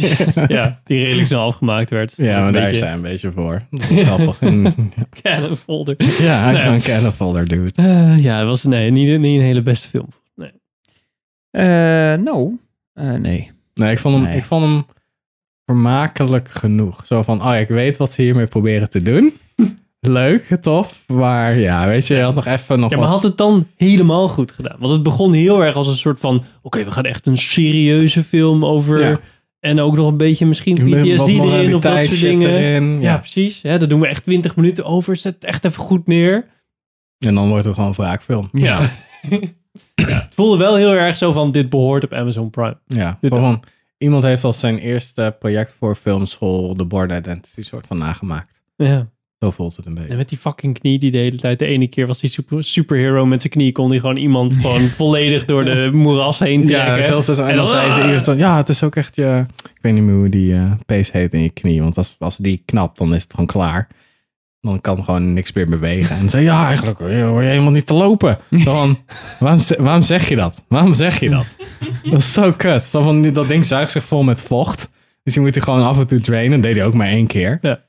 [laughs] ja, die redelijk snel afgemaakt werd.
Ja, maar
Een
daar is
beetje
hij een beetje voor. Dat is Grappig.
[laughs]
En-
cannon folder.
ja, hij is
Nee.
gewoon een cannonballer, dude.
Eh, ja, het was nee, niet, niet een hele beste film. Nee.
Eh, nou, eh, nee.
Nee, ik vond hem,
Nee.
ik vond hem vermakelijk genoeg. Zo van, oh ja, ik weet wat ze hiermee proberen te [laughs] doen. Leuk, tof. Maar ja, weet je, je had nog even nog
Ja, maar
wat...
had het dan helemaal goed gedaan? Want het begon heel erg als een soort van... Oké, we gaan echt een serieuze film over...
Ja.
En ook nog een beetje misschien
Wat
PTSD erin of dat
moraliteit
soort
shit
dingen.
erin.
Ja,
Ja.
precies. Hè, dat doen we echt 20 minuten over. Zet het echt even goed neer.
En dan wordt het gewoon een wraakfilm.
Ja. Het voelde wel heel erg zo van dit behoort op Amazon Prime.
Ja,
Dit
gewoon, iemand heeft als zijn eerste project voor filmschool de Born Identity soort van nagemaakt.
Ja.
Zo voelt het een beetje.
En met die fucking knie die de hele tijd. De ene keer was die super, superhero met zijn knie. Kon hij gewoon
[laughs]
iemand gewoon volledig door de moeras heen
Ja, dus
trekken.
vertel ze zo. En dan zei
ah.
ze eerst van, ja, het is ook echt je... Ik weet niet meer hoe die eh pees heet in je knie. Want als, als die knapt, dan is het gewoon klaar. Dan kan gewoon niks meer bewegen. En zei, ja, eigenlijk hoor je hoor je helemaal niet te lopen. Zo van, [laughs] waarom, ze- waarom zeg je dat? Waarom zeg je dat? [laughs] Dat is zo kut. Zo van, dat ding zuigt zich vol met vocht. Dus je moet hij gewoon af en toe drainen. Dat deed hij ook maar één keer.
Ja.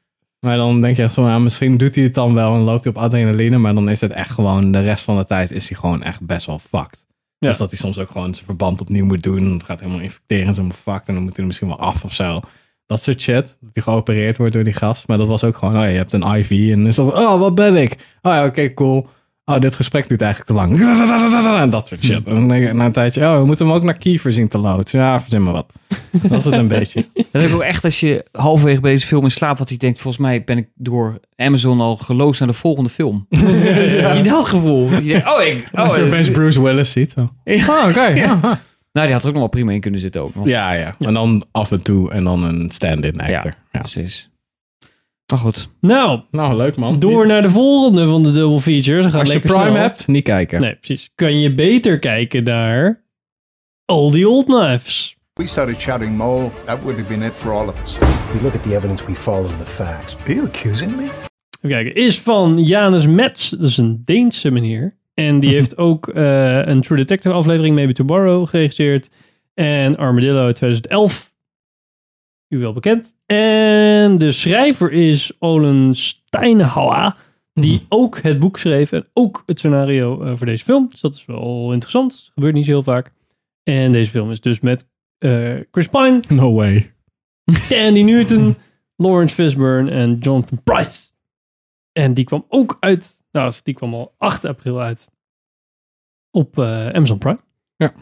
Maar dan denk je echt zo, nou, misschien doet hij het dan wel en loopt hij op adrenaline. Maar dan is het echt gewoon, de rest van de tijd is hij gewoon echt best wel fucked.
Ja.
Dus dat hij soms ook gewoon zijn verband opnieuw moet doen. Het gaat helemaal infecteren, het is helemaal fucked. En dan moet hij er misschien wel af of zo. Dat soort shit. Dat hij geopereerd wordt door die gast. Maar dat was ook gewoon, oh ja, je hebt een IV. En is dat, oh, wat ben ik? Oh ja, oké, cool. Oh, dit gesprek duurt eigenlijk te lang. [laughs] En dat soort shit. En dan denk je na een tijdje, oh, we moeten hem ook naar Kiefer zien te loodsen. Ja, verzin maar wat. Dat is het een [laughs] beetje.
Dat is ook echt als je halverwege bij deze film in slaapt, wat hij denkt, volgens mij ben ik door Amazon al geloosd naar de volgende [laughs] film. Heb je dat gevoel? Dat je denkt, oh, ik... Oh,
Als je opeens Bruce Willis ziet. zo.
Ah, oké. Nou, die had er ook nog wel prima in kunnen zitten ook nog.
Ja, ja. En dan af en toe en dan een stand-in actor. Ja.
Precies. Dus Maar goed.
Nou,
Nou, leuk man.
door naar de volgende van de double features. We gaan
Als je
lekker
Prime
snel.
hebt, niet kijken.
Nee, precies. Kan je beter kijken naar All the Old Knives.
We started shouting mole, Oh, that would have been it for all of us.
We look at the evidence, we follow the facts.
Are you accusing me?
Even kijken. Is van Janus Metz. Dat is een Deense meneer. En die heeft ook eh, een True Detective aflevering, Maybe Tomorrow, geregisseerd. En Armadillo uit 2011. U wel bekend. En de schrijver is Olen Steinhauer. Die ook het boek schreef en ook het scenario eh, voor deze film. Dus dat is wel interessant. Dat gebeurt niet zo heel vaak. En deze film is dus met eh, Chris Pine,
No way.
Danny Newton, Lawrence Fishburne en Jonathan Price. En die kwam ook uit, nou, die kwam al 8 april uit op eh, Amazon Prime.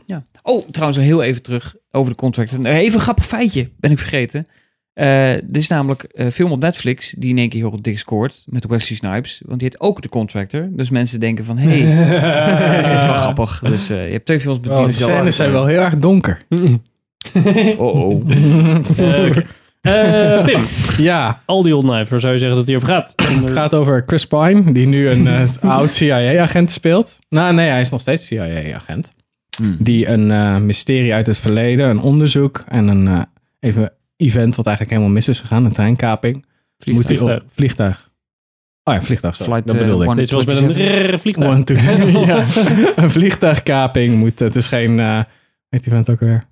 Ja. Oh, trouwens, nog heel even terug over de contract. Een- Even een grappig feitje, ben ik vergeten. Eh er is namelijk een film op Netflix die in één keer heel dik scoort met Wesley Snipes. Want die heet ook de contractor. Dus mensen denken van, hé, hey, dit is wel grappig. Dus eh, je hebt twee films met
Oh,
die
de
dezelfde
Scènes zijn wel heel erg donker.
Oh, oh.
Eh, oké. Eh, Pim,
ja,
al die old knives, waar zou je zeggen dat hij over gaat? En,
het
eh,
gaat over Chris Pine, die nu een eh, oud CIA-agent speelt. Nou nee, hij is nog steeds CIA-agent.
Hmm.
Die een eh, mysterie uit het verleden, een onderzoek en een eh, even event wat eigenlijk helemaal mis is gegaan, een treinkaping.
Vliegtuig.
Moet hij op vliegtuig. Oh ja, vliegtuig. Sorry.
Flight,
dat
eh,
bedoelde ik.
one-
dit was met een rrrr vliegtuig. [laughs]
One, two, [laughs] three.
[laughs]
ja. Een vliegtuigkaping moet. Het is geen. eh weet die vent ook weer?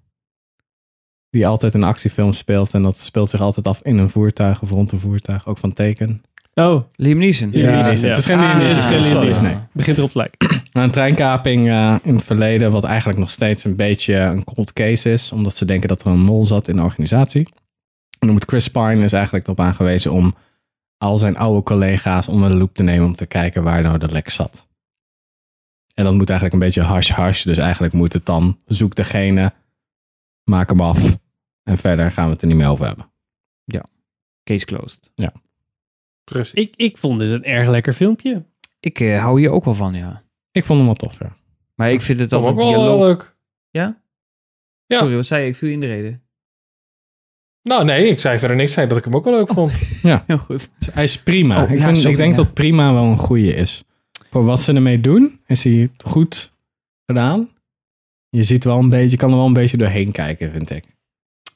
Die altijd een actiefilm speelt. En dat speelt zich altijd af in een voertuig of rond een voertuig. Ook van teken.
Oh,
Liam Neeson.
Ja.
Die is het. Het is geen
Ah,
Liam Neeson.
het is geen
Ah,
Liam
sorry.
Neeson.
Nee.
begint erop te lijken.
Maar Nou, Een treinkaping eh, in het verleden. Wat eigenlijk nog steeds een beetje een cold case is. Omdat ze denken dat er een mol zat in de organisatie. En dan moet Chris Pine is eigenlijk op aangewezen om al zijn oude collega's onder de loep te nemen om te kijken waar nou de lek zat. En dat moet eigenlijk een beetje hash-hash. Dus eigenlijk moet het dan zoek degene, maak hem af. En verder gaan we het er niet meer over hebben.
Case closed.
Precies.
Ik, ik vond dit een erg lekker filmpje.
Ik eh, hou hier ook wel van, ja.
Ik vond hem wel tof, ja.
Maar ik vind het
Dat
altijd
ook wel eh,
dialoog...
leuk. Ja.
Sorry, wat zei je? Ik viel je in de reden.
Nou nee, ik zei verder niks. Ik zei dat ik hem ook wel leuk vond.
Heel goed.
Dus hij is prima.
Oh,
ik,
ja,
vind-
sorry,
ik denk
ja.
dat prima wel een goede is. Voor wat ze ermee doen, is hij het goed gedaan. Je ziet wel een beetje, je kan er wel een beetje doorheen kijken, vind ik.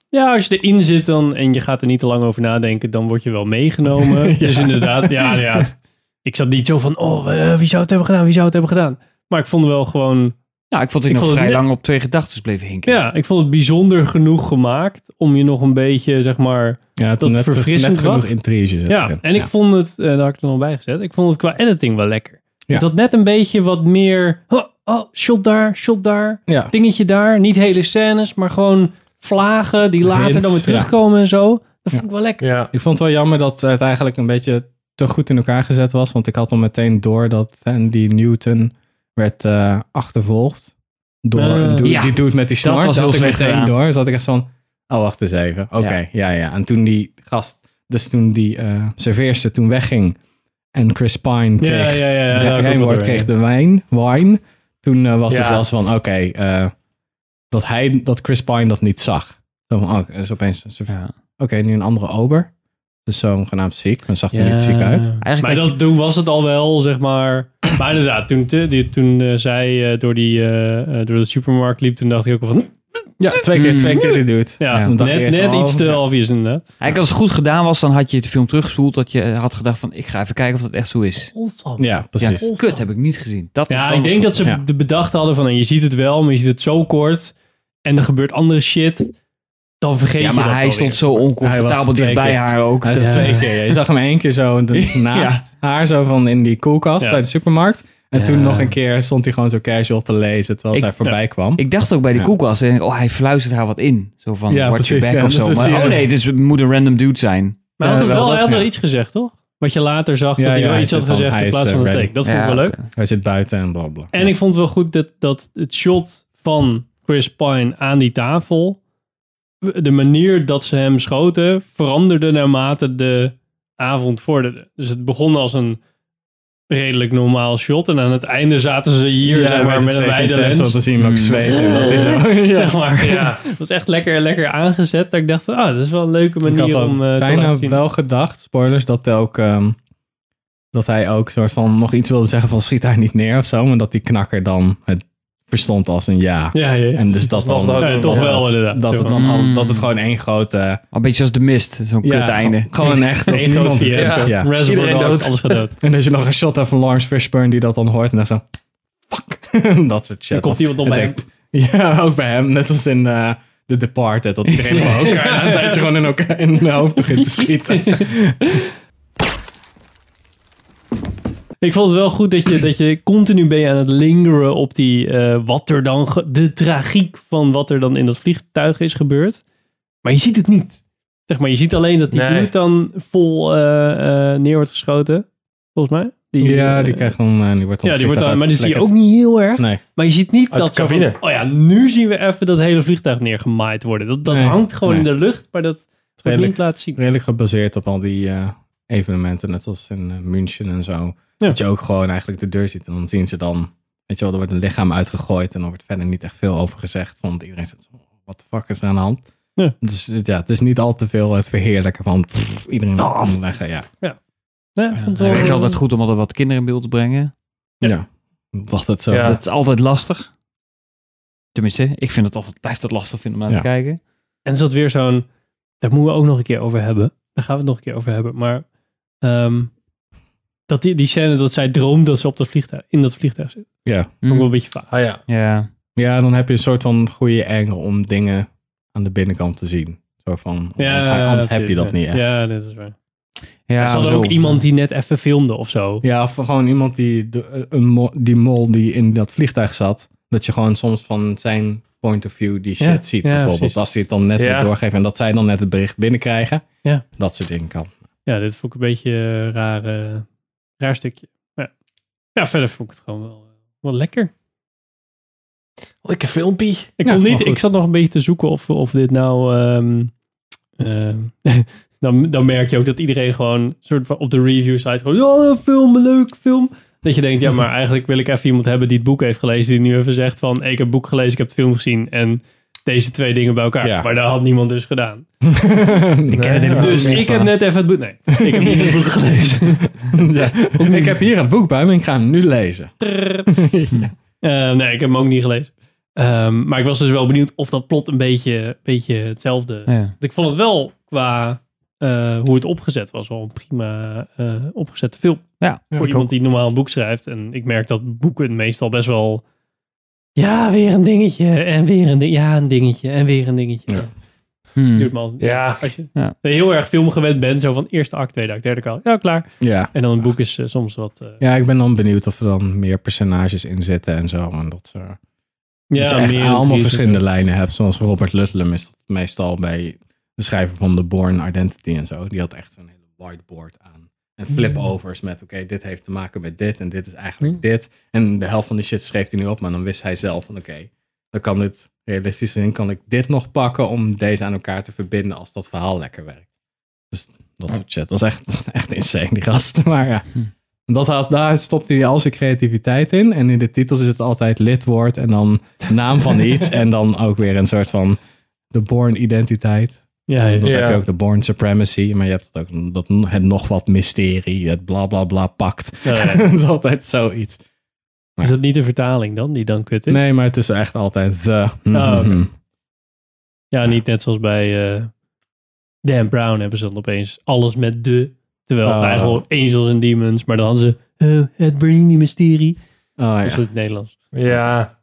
Ja, als je erin zit dan, en je gaat er niet te lang over nadenken, dan word je wel meegenomen. Dus inderdaad, ja, ja. het- Ik zat niet zo van, oh, eh, wie zou het hebben gedaan, wie zou het hebben gedaan. Maar ik vond wel gewoon,
Nou, ik vond
Ik
ik nog
vond het
vrij
net-
lang op twee gedachten bleef hinken.
ja, ik vond het bijzonder genoeg gemaakt om je nog een beetje, zeg maar...
Ja, het
Dat
net,
verfrissend
net genoeg
wat.
intrige zit
Ja,
erin.
en ik vond het, eh, daar had ik er nog bij gezet, ik vond het qua editing wel lekker.
Ja.
Het had net een beetje wat meer, oh, oh, shot daar, shot daar,
Ja.
dingetje daar. Niet hele scènes, maar gewoon vlagen die later
Hints,
dan weer
ja.
terugkomen en zo. Dat vond ik wel lekker.
[laughs] Ja.
Ik vond het wel jammer dat het eigenlijk een beetje te goed in elkaar gezet was. Want ik had al meteen door dat Andy Newton werd eh, achtervolgd. Door
Eh,
een dude-
ja.
die doet met die snor.
was heel
had ik
slecht
meteen
gedaan.
door. Dus had ik echt van, oh wacht eens even. Oké,
Ja.
ja. ja, En toen die gast, dus toen die eh serveerster toen wegging. En Chris Pine kreeg,
Ja, ja, ja, ja, daar
Re-
komt
Rijnwoord
het door,
kreeg
ja.
de wijn. wine. Toen eh, was
Ja.
het wel eens van, oké, eh, dat hij, dat Chris Pine dat niet zag. Zo van, oh, is opeens een serve-
Ja.
oké, nu een andere ober. Dus zo'n genaamd ziek. Dan zag hij niet ziek uit.
Eigenlijk
maar
had
dat, toen was het al wel, zeg maar. [clears throat] Maar inderdaad, toen, te- die, toen eh, zij eh, door, die, eh, eh, door de supermarkt liep, toen dacht ik ook al van... hm,
Ja, twee keer,
Mm.
twee keer dit doet.
Hmm. Ja,
Ja,
dan dacht je
net,
eerst
net
al,
iets te
ja.
obvious inderdaad.
Eigenlijk als het goed gedaan was, dan had je de film teruggespoeld dat je had gedacht van ik ga even kijken of dat echt zo is.
Ja, precies.
Ja, kut heb ik niet gezien. Dat
Ja,
dat
ik denk
was-
dat ze
Ja.
de bedacht hadden van... en je ziet het wel, maar je ziet het zo kort... en er gebeurt andere shit... dan vergeet
Ja,
je dat
maar hij
wel
stond
weer.
zo
Hij
oncomfortabel
was twee
dichtbij
keer.
haar ook.
Hij is
Dat-
twee keer. Je zag hem één keer
[laughs]
zo de- naast haar, zo van in die koelkast
Ja.
bij de supermarkt. En
Ja.
toen nog een keer stond hij gewoon zo casual te lezen terwijl
Ik-
zij voorbij kwam.
Ik dacht ook bij die
Ja.
koelkast, en oh hij fluistert haar wat in. Zo van
Ja,
watch
precies,
your back
ja.
of
Dus
zo.
dat
Maar,
zie je
oh
ook.
nee, het, is, het moet een random dude zijn.
Maar hij had,
Ja,
het wel,
wel
hij
dat,
had wel
ja.
iets gezegd, toch? Wat je later zag, dat
Ja,
hij
ja,
wel
hij
iets had
zegt dan,
gezegd... in
hij is,
plaats
eh,
van een
ready.
take. Dat vond ik
Ja,
wel leuk.
oké.
Hij zit buiten en blablabla.
En ik vond het wel goed dat, dat het shot van Chris Pine aan die tafel, de manier dat ze hem schoten, veranderde naarmate de avond vorderde. Dus het begon als een redelijk normaal shot en aan het einde zaten ze hier zeg maar, met een wijde
te
lens. Hmm.
zien hem ook
Mm.
zweten. en
[laughs]
Dat is ook.
Zeg maar.
Ja.
Het was echt lekker, lekker aangezet. Dat ik dacht, van, ah, dat is wel een leuke
Ik had
manier
ook
om eh, te laten
bijna
zien.
wel gedacht, spoilers, dat, hij ook, ehm, dat hij ook soort van nog iets wilde zeggen van schiet hij niet neer of zo. Maar dat die knakker dan het verstond als een ja.
Ja, ja, ja.
En dus dat,
nog
dan,
dat-
Ja, toch
ja.
wel inderdaad.
dat, het dan
Mm.
al, dat het gewoon één grote...
Een beetje als de mist, zo'n kut einde.
Gewoon echt.
[laughs]
dat
Eén groot
niemand-
fiasco.
Ja.
Reservoir Dogs,
Iedereen dood.
alles gaat
[laughs]
dood.
En als je nog een shot hebt van Lawrence Fishburne die dat dan hoort en dan zo... Fuck. [laughs] dat soort shit.
Dan komt iemand om
En
bij
denkt- [laughs] Ja, ook bij hem. Net als in eh The Departed. Dat iedereen
[laughs]
bij elkaar na een tijdje gewoon in elkaar
[laughs]
in de hoofd begint te schieten.
Ik vond het wel goed dat je, dat je continu ben je aan het lingeren op die, eh, wat er dan, ge- de tragiek van wat er dan in dat vliegtuig is gebeurd. Maar je ziet het niet. Zeg maar, je ziet alleen dat die
Nee.
dude dan vol eh, eh, neer wordt geschoten, volgens mij.
ja,
eh,
die krijgt dan, eh, die wordt dan
ja, die wordt dan,
vliegtuig
maar die zie je ook
uitgeflikkerd.
niet heel erg.
Nee.
Maar je ziet niet
Uit
dat
de
zo van,
cabine.
oh ja, nu zien we even dat hele vliegtuig neergemaaid worden. Dat, dat
Nee,
hangt gewoon
nee.
in de lucht, maar dat wordt
Redelijk.
niet laten zien.
redelijk gebaseerd op al die eh, evenementen, net als in eh, München en zo. Dat je ook gewoon eigenlijk de deur ziet en dan zien ze dan, weet je wel, er wordt een lichaam uitgegooid en dan wordt verder niet echt veel over gezegd, want iedereen zegt, wat de fuck is er aan de hand?
Ja.
Dus eh, ja, het is niet al te veel het verheerlijken van pff, iedereen moet leggen, ja.
Nee, ik vond het
Het
wel-
is altijd goed om altijd wat kinderen in beeld te brengen.
Ja. Ik dacht het zo.
Ja.
Dat is altijd lastig. Tenminste, ik vind het altijd, blijf dat lastig vinden om naar
Ja.
te kijken.
En is dat weer zo'n. Daar moeten we ook nog een keer over hebben. Daar gaan we het nog een keer over hebben. Maar. ehm, dat die, die scène dat zij droomt dat ze op dat vliegtuig, in dat vliegtuig zit.
Ja.
Vond ik wel een beetje vaag.
Ah ja.
Ja.
Ja, dan heb je een soort van goede engel om dingen aan de binnenkant te zien. Zo van,
Ja,
anders, anders heb je
precies, ja.
dat niet echt.
Ja, dat is waar.
ja
er zat
zo.
ook iemand die net even filmde of zo.
Ja, of gewoon iemand die, de, eh, een mo- die mol die in dat vliegtuig zat. Dat je gewoon soms van zijn point of view die shit
Ja,
ziet.
ja,
bijvoorbeeld
precies.
als hij het dan net
Ja.
weer doorgeeft en dat zij dan net het bericht binnenkrijgen.
Ja.
Dat soort dingen kan.
Ja, dit vond [laughs] ik een beetje een raar, eh, raar stukje. Maar ja. ja, verder vond ik het gewoon wel, wel lekker.
Lekker filmpie.
Ik,
Ja,
kon
maar
niet,
goed.
ik zat nog een beetje te zoeken of, of dit nou. ehm, ehm, [laughs] dan, dan merk je ook dat iedereen gewoon soort van op de review site gewoon. Ja, een film, een leuk film. Dat je denkt, ja,
Mhm.
maar eigenlijk wil ik even iemand hebben die het boek heeft gelezen. Die nu even zegt van: ik heb het boek gelezen, ik heb de film gezien. En deze twee dingen bij elkaar.
Ja.
Maar dat had niemand dus gedaan.
ik ken
het helemaal
Dus ik heb net even het boek. Nee, ik heb niet het
[laughs]
boek gelezen.
Ik heb hier een boek bij me en ik ga hem nu lezen.
Eh, nee, ik heb hem ook niet gelezen. Ehm, maar ik was dus wel benieuwd of dat plot een beetje, beetje hetzelfde
Ja.
Want ik vond het wel qua eh, hoe het opgezet was, wel een prima eh, opgezette film.
Ja,
Voor
ik
iemand
ook.
die normaal een boek schrijft. En ik merk dat boeken meestal best wel. Ja, weer een dingetje. En weer een dingetje. Ja, een dingetje. En weer een dingetje.
Ja.
Hmm.
Duurt me al-
Ja.
Als je
Ja.
heel erg film gewend bent, zo van eerste act, tweede act, derde act. Ja, klaar.
Ja.
En dan een boek is eh, soms wat. eh,
ja, ik ben dan benieuwd of er dan meer personages in zitten en zo. En dat, eh, soort- dat je echt
meer dan
allemaal
drie-
verschillende lijnen hebt. Zoals Robert Ludlum is dat meestal bij de schrijver van The Born Identity en zo. Die had echt zo'n hele whiteboard aan. En flipovers met, oké, dit heeft te maken met dit en dit is eigenlijk dit. En de helft van de shit schreef hij nu op, maar dan wist hij zelf van, oké, dan kan dit realistisch zijn. Kan ik dit nog pakken om deze aan elkaar te verbinden als dat verhaal lekker werkt. Dus dat soort shit. Dat is echt, [laughs] echt insane, die gast. [laughs] Maar ja.
Hm.
Dat had, daar stopt hij al zijn creativiteit in. En in de titels is het altijd lidwoord en dan naam
[laughs]
van iets. en dan ook weer een soort van de born identiteit.
Ja,
Dan
ja.
Ja.
heb je ook de born supremacy. Maar je hebt het ook dat, het nog wat mysterie, het bla bla bla pakt.
Ja, ja.
[laughs] dat is altijd zoiets.
Is dat niet de vertaling dan, die dan kut is?
Nee, maar het is echt altijd the.
Oh, oké.
Mhm.
Ja, niet net zoals bij eh, Dan Brown hebben ze dan opeens alles met de. Terwijl het
Ah.
eigenlijk al Angels and Demons, maar dan hadden ze eh, het Bernini mysterie.
Oh,
Dat is
ja.
het Nederlands.
Ja.
[laughs]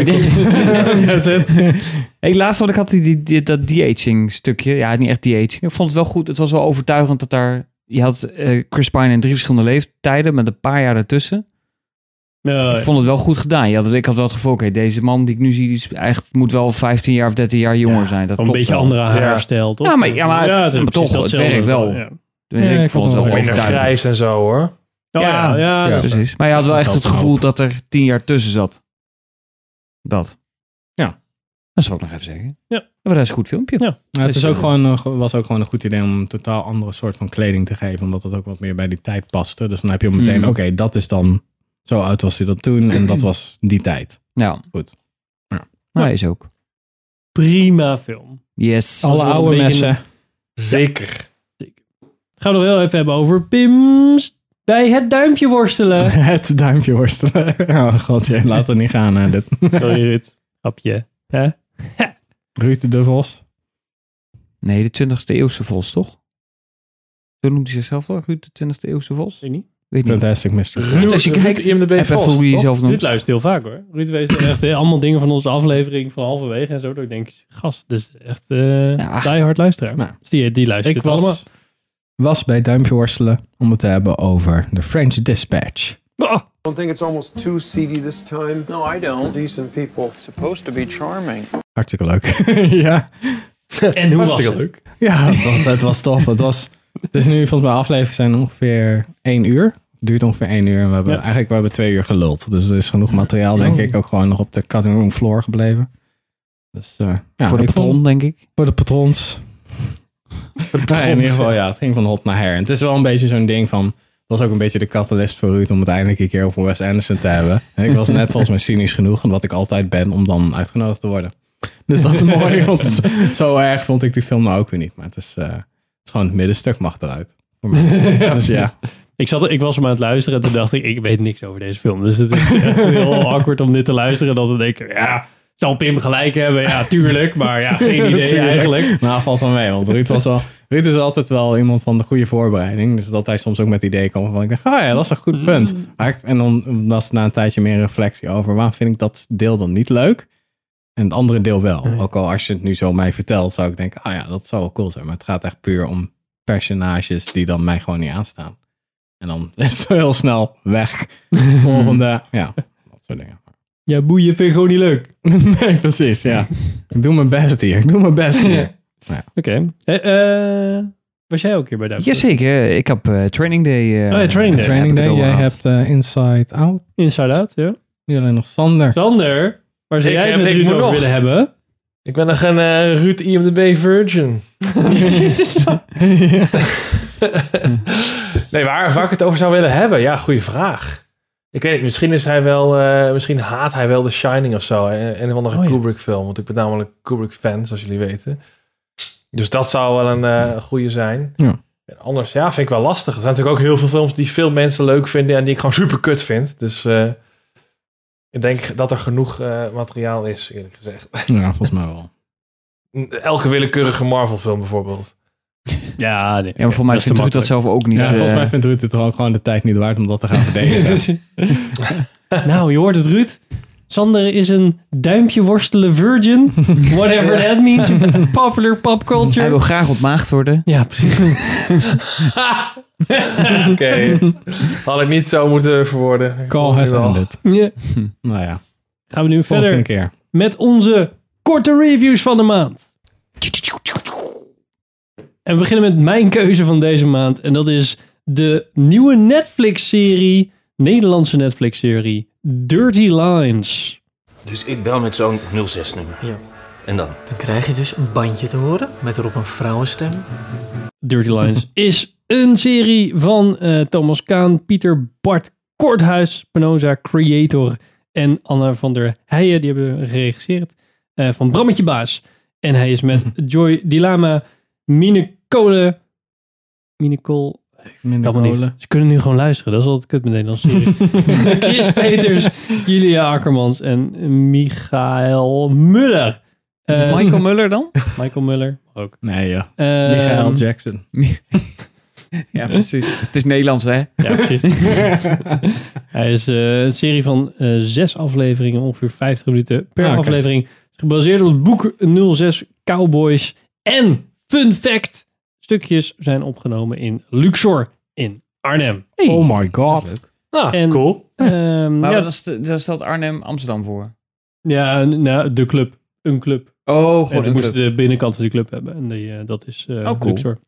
[laughs]
ik [laughs] denk-
Dat is het.
Hey, laatst wat [laughs] ik had die, die, die- dat de-aging stukje. Ja, niet echt de-aging. Ik vond het wel goed. Het was wel overtuigend dat daar... Je had eh, Chris Pine in drie verschillende leeftijden met een paar jaar ertussen.
Nou,
Ik vond het wel goed gedaan. Je had, het- ik had wel het gevoel, oké, deze man die ik nu zie, die is echt, moet wel 15 jaar of 13 jaar jonger zijn. Dat
een
klopt
beetje
wel.
andere
Ja.
haarstijl, toch?
Ja, maar- ja, maar-
is
maar
precies
toch, het
datzelfde.
werkt wel.
Ja,
Tenminste,
Ja,
ik
ik
vond het
vond
wel
het wel
Minder
overtuigend.
grijs en zo hoor.
Oh, ja,
Ja.
ja,
Ja.
dat is-
Precies. Maar je had wel
Dat
echt het
helpt een
gevoel
hoop.
dat er 10 jaar tussen zat. Dat.
Ja.
Dat zou ik nog even zeggen.
Ja.
En voor de rest een goed filmpje.
Ja.
Ja, het
Dus,
is ook
eh,
gewoon, een go- was ook gewoon een goed idee om een totaal andere soort van kleding te geven. Omdat het ook wat meer bij die tijd paste. Dus dan heb je al meteen,
Mm.
oké, dat is dan... Zo oud was hij dat toen en [clears throat] dat was die tijd.
Ja.
Goed. Ja.
Nou, is ook.
Prima film.
Yes.
Alle wel een oude beetje messen.
Zeker.
Gaan we nog wel even hebben over Pim's bij het duimpje
[laughs] Eh.
worstelen.
Het duimpje worstelen. [laughs] Oh god, jij laat het niet gaan. hè, dit.
Sorry, Ruud. Grapje. Hè?
Ruud de Vos.
Nee, de 20e eeuwse vos, toch? Zo noemt hij zichzelf toch, Ruud, de 20e eeuwse vos?
Weet niet.
Weet niet.
Fantastic Mr.
Ruud,
Vos.
als je
Ruud
kijkt,
IMDb Oh,
Even
Vos,
hoe hij
toch?
jezelf
Ruud
noemt.
luistert heel vaak hoor. Ruud weet echt hè, allemaal dingen van onze aflevering van halverwege en zo. Dat ik denk, gast, dus echt eh
Ja.
die hard luisteraar.
Nou.
Dus die, die luistert
Ik
het allemaal.
was was bij Duimpje Worstelen om het te hebben over The French Dispatch.
Ah,
Don't think it's almost too seedy this time? No, I don't. For decent people. It's supposed to be charming.
Hartstikke leuk. ja.
En hoe was
Hartstikke
het?
leuk. Ja, het was, het was tof. Het was, het is nu volgens mij afleveringen zijn ongeveer één uur. Het duurt ongeveer één uur en we hebben
Ja.
eigenlijk we hebben twee uur geluld. Dus er is genoeg materiaal, denk
Oh.
Ja.
ik, ook gewoon nog op de cutting room floor gebleven. Dus, eh, ja,
voor de
ik vond-
patron, denk
[laughs]
ik.
Voor de patrons. Nou,
[laughs]
in ieder geval, ja, het ging van hot naar her. En het is wel een beetje zo'n ding van. Het was ook een beetje de catalyst voor Ruud om het eindelijk een keer over Wes Anderson te hebben. En ik was net volgens mij cynisch genoeg, en wat ik altijd ben, om dan uitgenodigd te worden. Dus dat is mooi, want zo erg vond ik die film nou ook weer niet. Maar het is, eh, het is gewoon het middenstuk mag eruit. Voor mij. dus ja,
Ik, zat, ik was hem aan het luisteren en toen dacht ik, ik weet niks over deze film. Dus het is echt heel awkward om dit te luisteren. Dat dan denk ik, ja, zal Pim gelijk hebben? Ja, tuurlijk. Maar ja,
[laughs]
geen idee
Tuurlijk.
eigenlijk.
Maar Nou, valt van mee, want Ruud, was wel, Ruud is altijd wel iemand van de goede voorbereiding. Dus dat hij soms ook met ideeën komt van, ik dacht, oh ja, dat is een goed punt. Maar ik- En dan was het na een tijdje meer reflectie over, waarom vind ik dat deel dan niet leuk? En het andere deel wel. Ook al als je het nu zo mij vertelt, zou ik denken, ah ja, dat zou wel cool zijn. Maar het gaat echt puur om personages die dan mij gewoon niet aanstaan. En dan [laughs] is het heel snel weg. Volgende, Mm, ja, dat soort dingen.
Ja, boeien vind ik gewoon niet leuk.
[laughs] Nee, precies, ja. Ik doe mijn best hier, ik doe mijn best hier.
Oké. Eh, eh, was jij ook hier bij Duimpje?
Jazeker, ik heb eh, Training Day. eh,
Oh ja, Training Day.
heb ik het over
jij
gehad.
hebt eh, Inside Out.
Inside Out, ja.
Nu alleen nog Sander.
Sander, waar zou
Ik
jij het
heb-
met
ik
Ruud
moet
over
nog.
willen hebben?
Ik ben nog een eh, Ruud IMDB virgin. [laughs] nee, waar, waar ik het over zou willen hebben? Ja, goede vraag. Ik weet niet, misschien is hij wel, eh, misschien haat hij wel The Shining of zo. eh, Een of andere
Oh ja.
Kubrick film, want ik ben namelijk Kubrick fan, zoals jullie weten. Dus dat zou wel een eh goede zijn.
Ja.
En anders, ja, vind ik wel lastig. Er zijn natuurlijk ook heel veel films die veel mensen leuk vinden en die ik gewoon super kut vind. Dus eh, ik denk dat er genoeg eh, materiaal is, eerlijk gezegd.
Ja, volgens mij wel.
Elke willekeurige Marvel film bijvoorbeeld.
Ja, nee.
Ja, maar voor mij vindt Ruud dat zelf ook niet.
Ja, volgens
eh,
mij vindt Ruud het er ook gewoon de tijd niet waard om dat te gaan [laughs] verdedigen.
[laughs] nou, je hoort het, Ruud. Sander is een duimpje worstelen virgin. Whatever that means. Popular pop
Hij wil
culture.
graag ontmaagd worden.
Ja,
[laughs]
precies.
[laughs] Oké. Had ik niet zo moeten verwoorden.
Call has
Nu al.
ended.
Ja.
Nou ja,
Gaan we nu
volgende
verder
keer.
met onze korte reviews van de maand. En we beginnen met mijn keuze van deze maand. En dat is de nieuwe Netflix-serie, Nederlandse Netflix-serie, Dirty Lines.
Dus ik bel met zo'n 06-nummer.
Ja.
En dan?
Dan krijg je dus een bandje te horen met erop een vrouwenstem.
Dirty Lines is een serie van eh, Thomas Kaan, Pieter Bart Korthuis, Penosa Creator en Anna van der Heijen. Die hebben geregisseerd eh, van Brammetje Baas. En hij is met Joy Dilama, Mine Kolen, Mine Kool-
Minder
Helemaal niet.
kolen.
Ze kunnen nu gewoon luisteren. Dat is altijd kut met Nederlands. serie. Chris Peters, Julia Akkermans en Michael Muller. Eh,
Michael Muller dan?
Michael Muller ook.
Nee, ja.
Eh,
Michael Jackson.
[laughs] Ja, precies. Het is Nederlands, hè?
Ja, precies. Hij is eh, een serie van eh, zes afleveringen, ongeveer 50 minuten per
Ah, oké.
aflevering. Is gebaseerd op het boek 06 Cowboys. En, fun fact, stukjes zijn opgenomen in Luxor in Arnhem.
Oh my god.
Ah,
En-
cool.
Ehm,
Maar
ja,
dat, stelt Arnhem Amsterdam voor.
ja, nou, de club. Een club.
Oh,
En
god.
ik
ik
moest
moet-
de binnenkant van die club hebben. En die, eh, dat is eh
Oh, cool.
Luxor.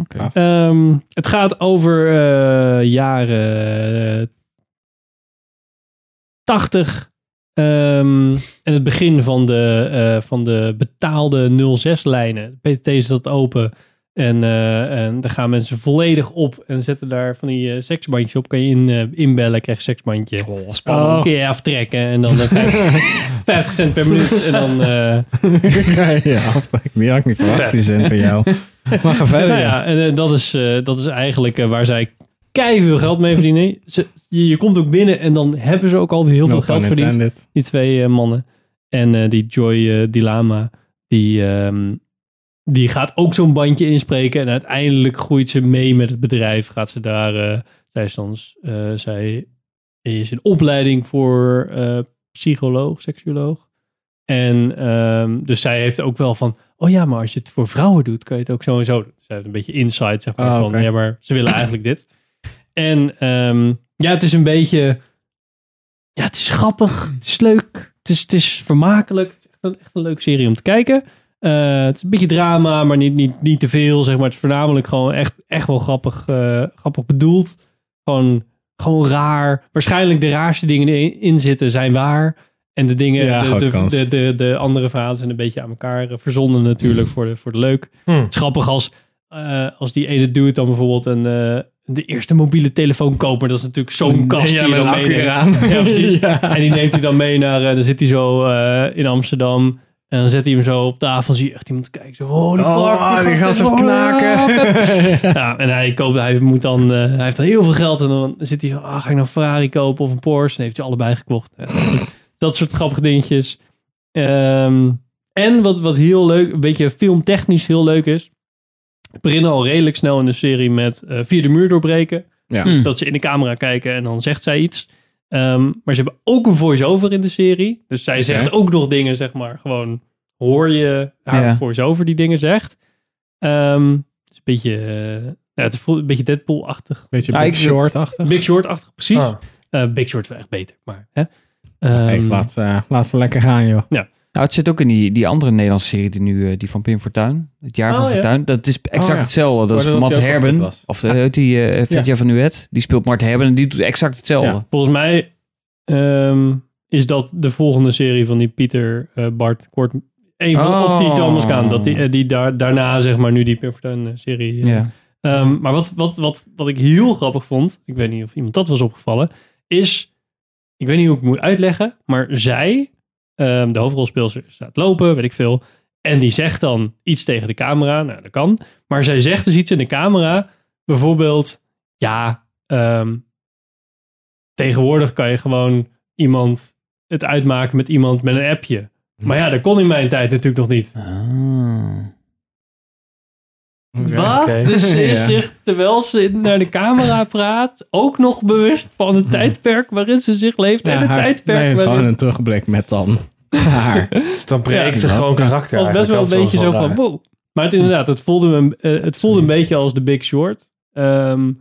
Oké.
Ah.
Ehm, het gaat over eh, jaren eh, 80. ehm, en het begin van de, eh, van de betaalde 06-lijnen. De PTT is dat open. En, eh, en daar gaan mensen volledig op en zetten daar van die eh, seksbandjes op. Kan je in, eh, inbellen, krijg je seksbandje.
Oh,
Oh. Een
spannend.
keer aftrekken en dan eh,
[laughs]
[laughs]
50, 50 cent per minuut. En dan, eh,
[laughs] ja, die had ik niet verwacht, die zin van jou. [laughs] Maar ga verder.
Nou ja, en eh, dat, is, eh, dat is eigenlijk eh, waar zij keiveel geld mee verdienen. Ze, je, je komt ook binnen en dan hebben ze ook al heel
No
veel
pun
geld verdiend.
intended.
Die twee eh, mannen. En eh, die Joy eh, Dilama, die, ehm, die gaat ook zo'n bandje inspreken. En uiteindelijk groeit ze mee met het bedrijf. Gaat ze daar, eh, zij, is dan, eh, zij is in opleiding voor eh, psycholoog, seksuoloog. En ehm, dus zij heeft ook wel van, oh ja, maar als je het voor vrouwen doet, kan je het ook zo en zo doen. Ze hebben een beetje insight, zeg maar,
Oh,
van
oké.
ja, maar ze willen eigenlijk dit. En ehm, ja, het is een beetje, ja, het is grappig, het is leuk, het is, het is vermakelijk. Het is echt een, echt een leuke serie om te kijken. Eh, het is een beetje drama, maar niet, niet, niet te veel, zeg maar. Het is voornamelijk gewoon echt, echt wel grappig, eh, grappig bedoeld. Gewoon, gewoon raar. Waarschijnlijk de raarste dingen die erin zitten zijn waar. En de dingen,
Ja,
de,
grote
de,
kans.
de, de, de andere verhalen zijn een beetje aan elkaar eh, verzonnen natuurlijk voor de, voor de leuk.
Hmm.
Het is grappig als, eh, als die ene dude dan bijvoorbeeld een, eh, de eerste mobiele telefoon koopt. Maar dat is natuurlijk zo'n
Oh, Ja,
kast die je
met
dan
een accu
meeneemt.
eraan.
[laughs] Ja, precies.
[laughs] Ja.
En die neemt hij dan mee naar, eh, dan zit hij zo eh, in Amsterdam. En dan zet hij hem zo op tafel en zie je echt iemand kijken. Zo, holy
Oh,
fuck,
die
gast
gast
heeft
heeft
gewoon-
[laughs]
ja, en hij, koopt, hij, moet dan, eh, hij heeft dan heel veel geld. En dan zit hij van, ah, ga ik nou een Ferrari kopen of een Porsche? En heeft hij allebei gekocht. Ja, [laughs] dat soort grappige dingetjes. Ehm, en wat, wat heel leuk, een beetje filmtechnisch heel leuk is. We beginnen al redelijk snel in de serie met eh via de muur doorbreken.
Ja.
Dus [clears throat]
Mm.
dat ze in de camera kijken en dan zegt zij iets. Ehm, maar ze hebben ook een voice-over in de serie. Dus zij zegt ook nog dingen, zeg maar. Gewoon hoor je haar
Ja.
voice-over die dingen zegt. Ehm, het is een beetje, eh, ja, het voelt een beetje Deadpool-achtig.
Beetje
Ja,
Big
ik-
Short-achtig.
Big Short-achtig, precies.
Ah.
Eh, Big Short wel echt beter, maar... Hè?
Hey,
Ehm,
laat, eh, laat ze lekker gaan, joh.
Ja.
Nou, het zit ook in die, die andere Nederlandse serie die nu, eh, die van Pim Fortuyn. Het jaar van
Oh, ja.
Fortuyn. Dat is exact
Oh, ja.
hetzelfde. Dat
Hoorde
is
dat
Matt
die ook wel goed
Herben.
was.
Of eh, die eh Vetja van Nuet. Die speelt Matt Herben en die doet exact hetzelfde.
Ja, volgens mij ehm, is dat de volgende serie van die Pieter eh, Bart Kort. Een van, Of die
Oh.
Thomas Kaan. Dat die, eh, die daar, daarna, zeg maar, nu die Pim Fortuyn eh, serie. eh.
Ja.
Ehm, maar wat, wat, wat, wat ik heel grappig vond. Ik weet niet of iemand dat was opgevallen. Is, ik weet niet hoe ik het moet uitleggen. Maar zij, ehm, de hoofdrolspeelster, staat lopen, weet ik veel. En die zegt dan iets tegen de camera. Nou, dat kan. Maar zij zegt dus iets in de camera. Bijvoorbeeld, ja, ehm, tegenwoordig kan je gewoon iemand het uitmaken met iemand met een appje. Maar ja, dat kon in mijn tijd natuurlijk nog niet. Wat?
oké. [laughs]
Dus ze is
Ja.
zich, terwijl ze naar de camera praat, ook nog bewust van het tijdperk waarin ze zich leeft en
Hmm. Ja,
het
haar-
tijdperk
nee, is gewoon
waarin...
een terugblik
[laughs]
met dan [laughs] haar.
Dus dan breekt ze
Ja.
gewoon karakter
was best wel
eigenlijk.
een beetje
Dat is
zo
wel
van,
raar.
wow. Maar het, inderdaad, het voelde, me, eh, het voelde een beetje als de Big Short. Ehm,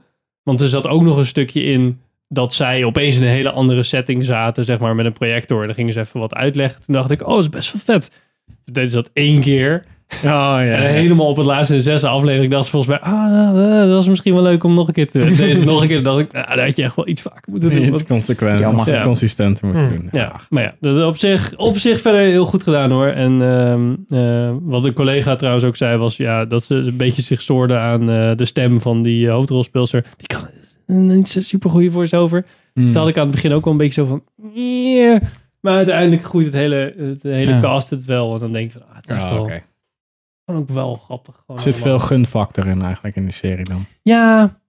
want er zat ook nog een stukje in dat zij opeens in een hele andere setting zaten, zeg maar, met een projector. En dan gingen ze even wat uitleggen. Toen dacht ik, oh, dat is best wel vet. Toen deden ze dat één keer.
Oh,
en
ja.
helemaal op het laatste, de zesde aflevering, dacht ze volgens mij, ah, dat- dat was misschien wel leuk om nog een keer te doen. Deze nog een keer, dacht ik, nou, dat had je echt wel iets vaker moeten doen.
Nee, het
want-
is consequent.
Jammer. Hmm.
Ja. Consistenter moeten doen.
ja, maar ja, dat op zich, op zich verder heel goed gedaan hoor. En ehm, eh, wat een collega trouwens ook zei was ja, dat ze een beetje zich stoorden aan eh, de stem van die eh, hoofdrolspeelster. Die kan niet zo super goede voice-over.
Hmm.
Dus daar had ik aan het begin ook wel een beetje zo van... "Eh." Maar uiteindelijk groeit het hele, het hele
Ja.
cast het wel. En dan denk je van, ah, het is echt
Ah,
wel,
oké.
gewoon ook wel grappig. Gewoon
Er zit
allemaal.
veel gunfactor in eigenlijk in die serie dan.
Ja,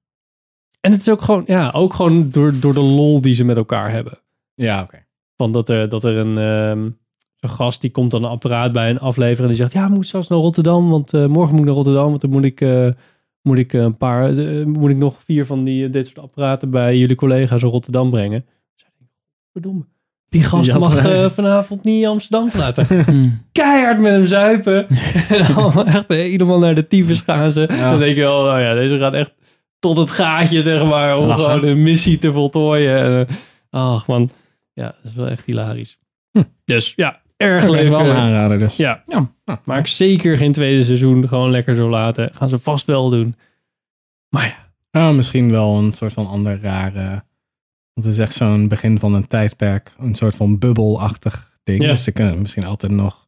en het is ook gewoon, ja, ook gewoon door, door de lol die ze met elkaar hebben.
Ja, oké.
Van dat er, dat er een ehm, zo'n gast die komt dan een apparaat bij een aflevering en die zegt: Ja, ik moet zelfs naar Rotterdam, want eh, morgen moet ik naar Rotterdam, want dan moet ik, eh, moet ik eh, een paar, eh, moet ik nog vier van die, eh, dit soort apparaten bij jullie collega's in Rotterdam brengen. Verdomme. Die gast
Je had
mag
er-
eh, vanavond niet Amsterdam verlaten. Keihard met hem zuipen. [laughs] en dan echt helemaal naar de tyfus gaan ze. Dan denk je wel, nou ja, deze gaat echt tot het gaatje, zeg maar, om
Lachen.
gewoon de missie te voltooien. En, eh, ach man, ja, dat is wel echt hilarisch.
Hm.
Dus ja, erg
Oké,
leuk.
wel een
eh,
aanrader dus.
Ja. Ah, maak zeker geen tweede seizoen. Gewoon lekker zo laten. Gaan ze vast wel doen.
Ah, misschien wel een soort van ander rare... Want het is echt zo'n begin van een tijdperk. Een soort van bubbelachtig ding.
Ja.
Dus ze kunnen misschien altijd nog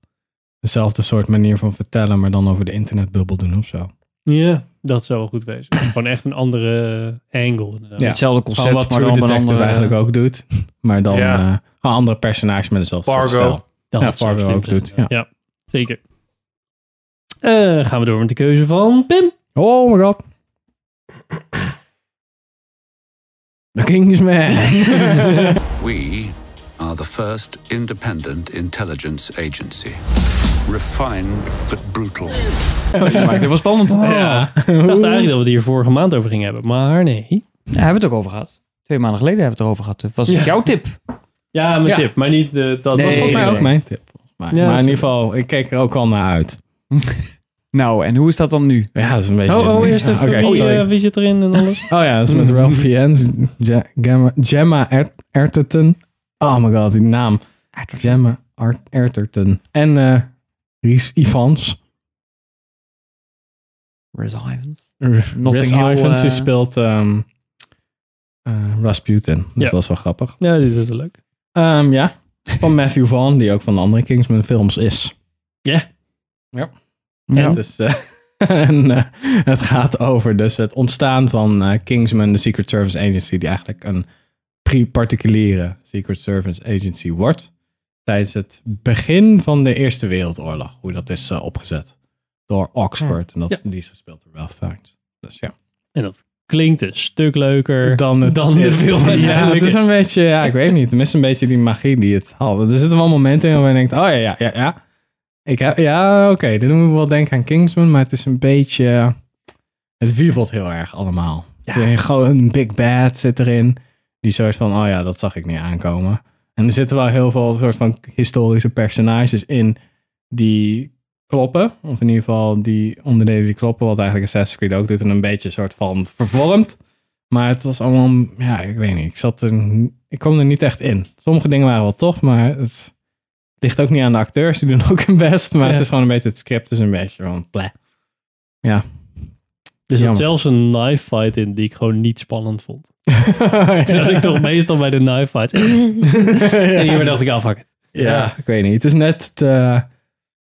dezelfde soort manier van vertellen... maar dan over de internetbubbel doen of zo.
Ja, dat zou wel goed wezen. [clears throat] Gewoon echt een andere eh, angle. inderdaad.
Hetzelfde concept,
Gewoon wat
maar
True
dan op een
Detective
andere-
eigenlijk ook doet. [laughs] Maar dan
Ja.
eh, gewoon andere personages met dezelfde soort
Fargo.
stijl.
Dat
ja,
het zou
Fargo
slim
ook
zijn,
doet. Ja.
Ja, zeker. Eh, gaan we door met de keuze van Pim.
Oh my god. The
[laughs]
Kingsman.
We are the first independent intelligence agency. Refined but brutal.
maakt het wel spannend. Ja. Ik dacht eigenlijk dat we het hier vorige maand over gingen hebben, maar nee.
Daar hebben we het ook over gehad. Twee maanden geleden hebben we het erover gehad. Dat was
Ja.
jouw tip.
Ja, mijn
Ja.
tip, maar niet de... Dat
Nee,
was volgens mij
nee,
ook
nee.
mijn
tip.
Ja,
maar
dat
in
is-
ieder geval, ik keek er ook al naar uit.
nou, en hoe is dat dan nu?
Ja, dat is een beetje...
Oh, oh, eerst
[laughs]
even wie, eh, wie zit erin en alles.
Oh ja, dat is met [laughs] Ralph Fiennes, Ja- Gemma, Gemma Er- Erterton. Oh my god, die naam. Gemma Ar- Erterton. En eh Ries Ivans.
Res Ivans.
Ries
Notting Hill,
Ivans, die
eh,
speelt ehm, eh, Rasputin. Dus
Ja.
dat is wel grappig.
[laughs] Ja, die is wel leuk.
Ehm, ja, van Matthew Vaughn, die ook van de andere Kingsman films is.
Ja.
Ja.
Ja.
En, dus, eh, [laughs] en eh, het gaat over dus het ontstaan van eh, Kingsman, de Secret Service Agency, die eigenlijk een pri- particuliere Secret Service Agency wordt. Tijdens het begin van de Eerste Wereldoorlog, hoe dat is eh, opgezet door Oxford. En dat,
Ja.
die is gespeeld door Ralph Fiennes. Dus ja.
En dat klinkt een stuk leuker
dan, het-
de film
Ja,
uiteindelijk
het is een beetje, ja, ik weet niet. Het mist een beetje die magie die het had. Er zitten wel momenten in waarbij je denkt, oh ja, ja, ja, ja. Ik heb, ja, oké, dit doen we wel denken aan Kingsman, maar het is een beetje, het wiebelt heel erg allemaal. Een, gro- een big bad zit erin, die soort van, oh ja, dat zag ik niet aankomen. En er zitten wel heel veel soort van historische personages in die kloppen. Of in ieder geval die onderdelen die kloppen, wat eigenlijk Assassin's Creed ook doet. En een beetje soort van vervormd. Maar het was allemaal, ja, ik weet niet. Ik, zat er, n- ik kwam er niet echt in. Sommige dingen waren wel tof, maar het ligt ook niet aan de acteurs. Die doen ook hun best. Maar
Ja.
het is gewoon een beetje, het script is een beetje van bleh. Ja.
Er zat
Jammer.
zelfs een knife fight in die ik gewoon niet spannend vond. [laughs] [laughs] Terwijl ik toch
[laughs]
meestal bij de knife fights... En hier dacht ik, aanvakken.
Ja, ik weet niet. Het is net te,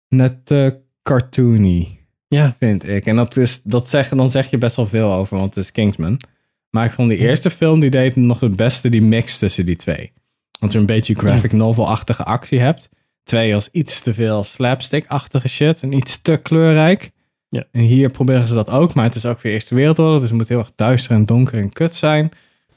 net te cartoony,
ja.
vind ik. En dat is, dat zeg, dan zeg je best wel veel over, want het is Kingsman. Maar ik vond die eerste film, die deed nog het beste die mix tussen die twee. Want je een beetje graphic novel-achtige actie hebt. Twee als iets te veel slapstick-achtige shit en iets te kleurrijk.
Ja.
En hier proberen ze dat ook, maar het is ook weer Eerste Wereldoorlog. Dus het moet heel erg duister en donker en kut zijn.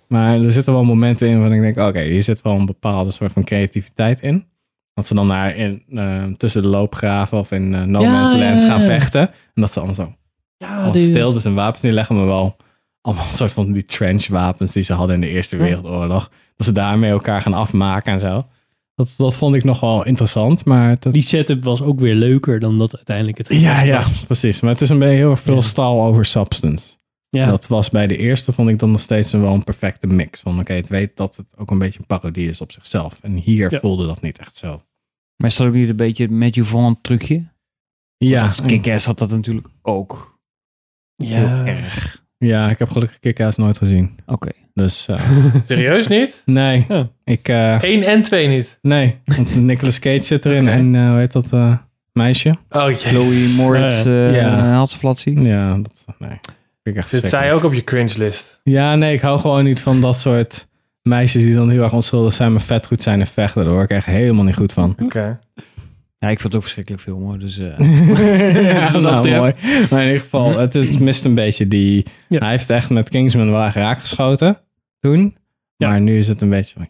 Maar er zitten wel momenten in waarin ik denk, oké, hier zit wel een bepaalde soort van creativiteit in. Dat ze dan daar in, eh, tussen de loopgraven of in eh, No
Ja,
Man's
ja,
Land
ja,
gaan
ja.
vechten. En dat ze allemaal zo
Ja,
allemaal
die-
stiltes en wapens neerleggen. Maar wel allemaal [laughs] een soort van die trenchwapens die ze hadden in de Eerste
Ja.
Wereldoorlog. Dat ze daarmee elkaar gaan afmaken en zo. Dat, dat vond ik nogal interessant, maar... Dat...
Die setup was ook weer leuker dan dat uiteindelijk het
Ja,
gevecht
ja,
was.
precies. Maar het is een beetje heel erg veel stal over substance.
Ja.
Dat was bij de eerste, vond ik dan nog steeds een wel een perfecte mix. Van oké, het weet dat het ook een beetje een parodie is op zichzelf. En hier
Ja.
voelde dat niet echt zo.
Maar is dat ook niet een beetje met je van een trucje?
Ja.
Want Als kick-ass had dat natuurlijk ook.
Ja.
Heel erg.
Ja, ik heb gelukkig Kick-Ass nooit gezien.
Oké.
Dus... eh, [laughs]
Serieus niet?
nee. Ik... eh,
1 en 2 niet.
nee, want [laughs] Nicolas Cage zit erin en eh, hoe heet dat eh, meisje?
Oh, jezus.
[laughs]
Chloe
Moritz, eh,
Hatsflatsie. Ja, dat... Nee. Vind ik echt
Zit
verschrikkelijk.
zij ook op je cringe list?
Ja, nee, ik hou gewoon niet van dat soort meisjes die dan heel erg onschuldig zijn, maar vet goed zijn en vechten. Daar hoor ik echt helemaal niet goed van. [laughs]
Oké.
Ja, ik vond het ook verschrikkelijk veel hoor. Dus, eh
ja,
Dus wat dat
nou,
betreft-
mooi. Maar in ieder geval, het, is, het mist een beetje die... Hij heeft echt met Kingsman wel echt raak geschoten toen. Maar nu is het een beetje van...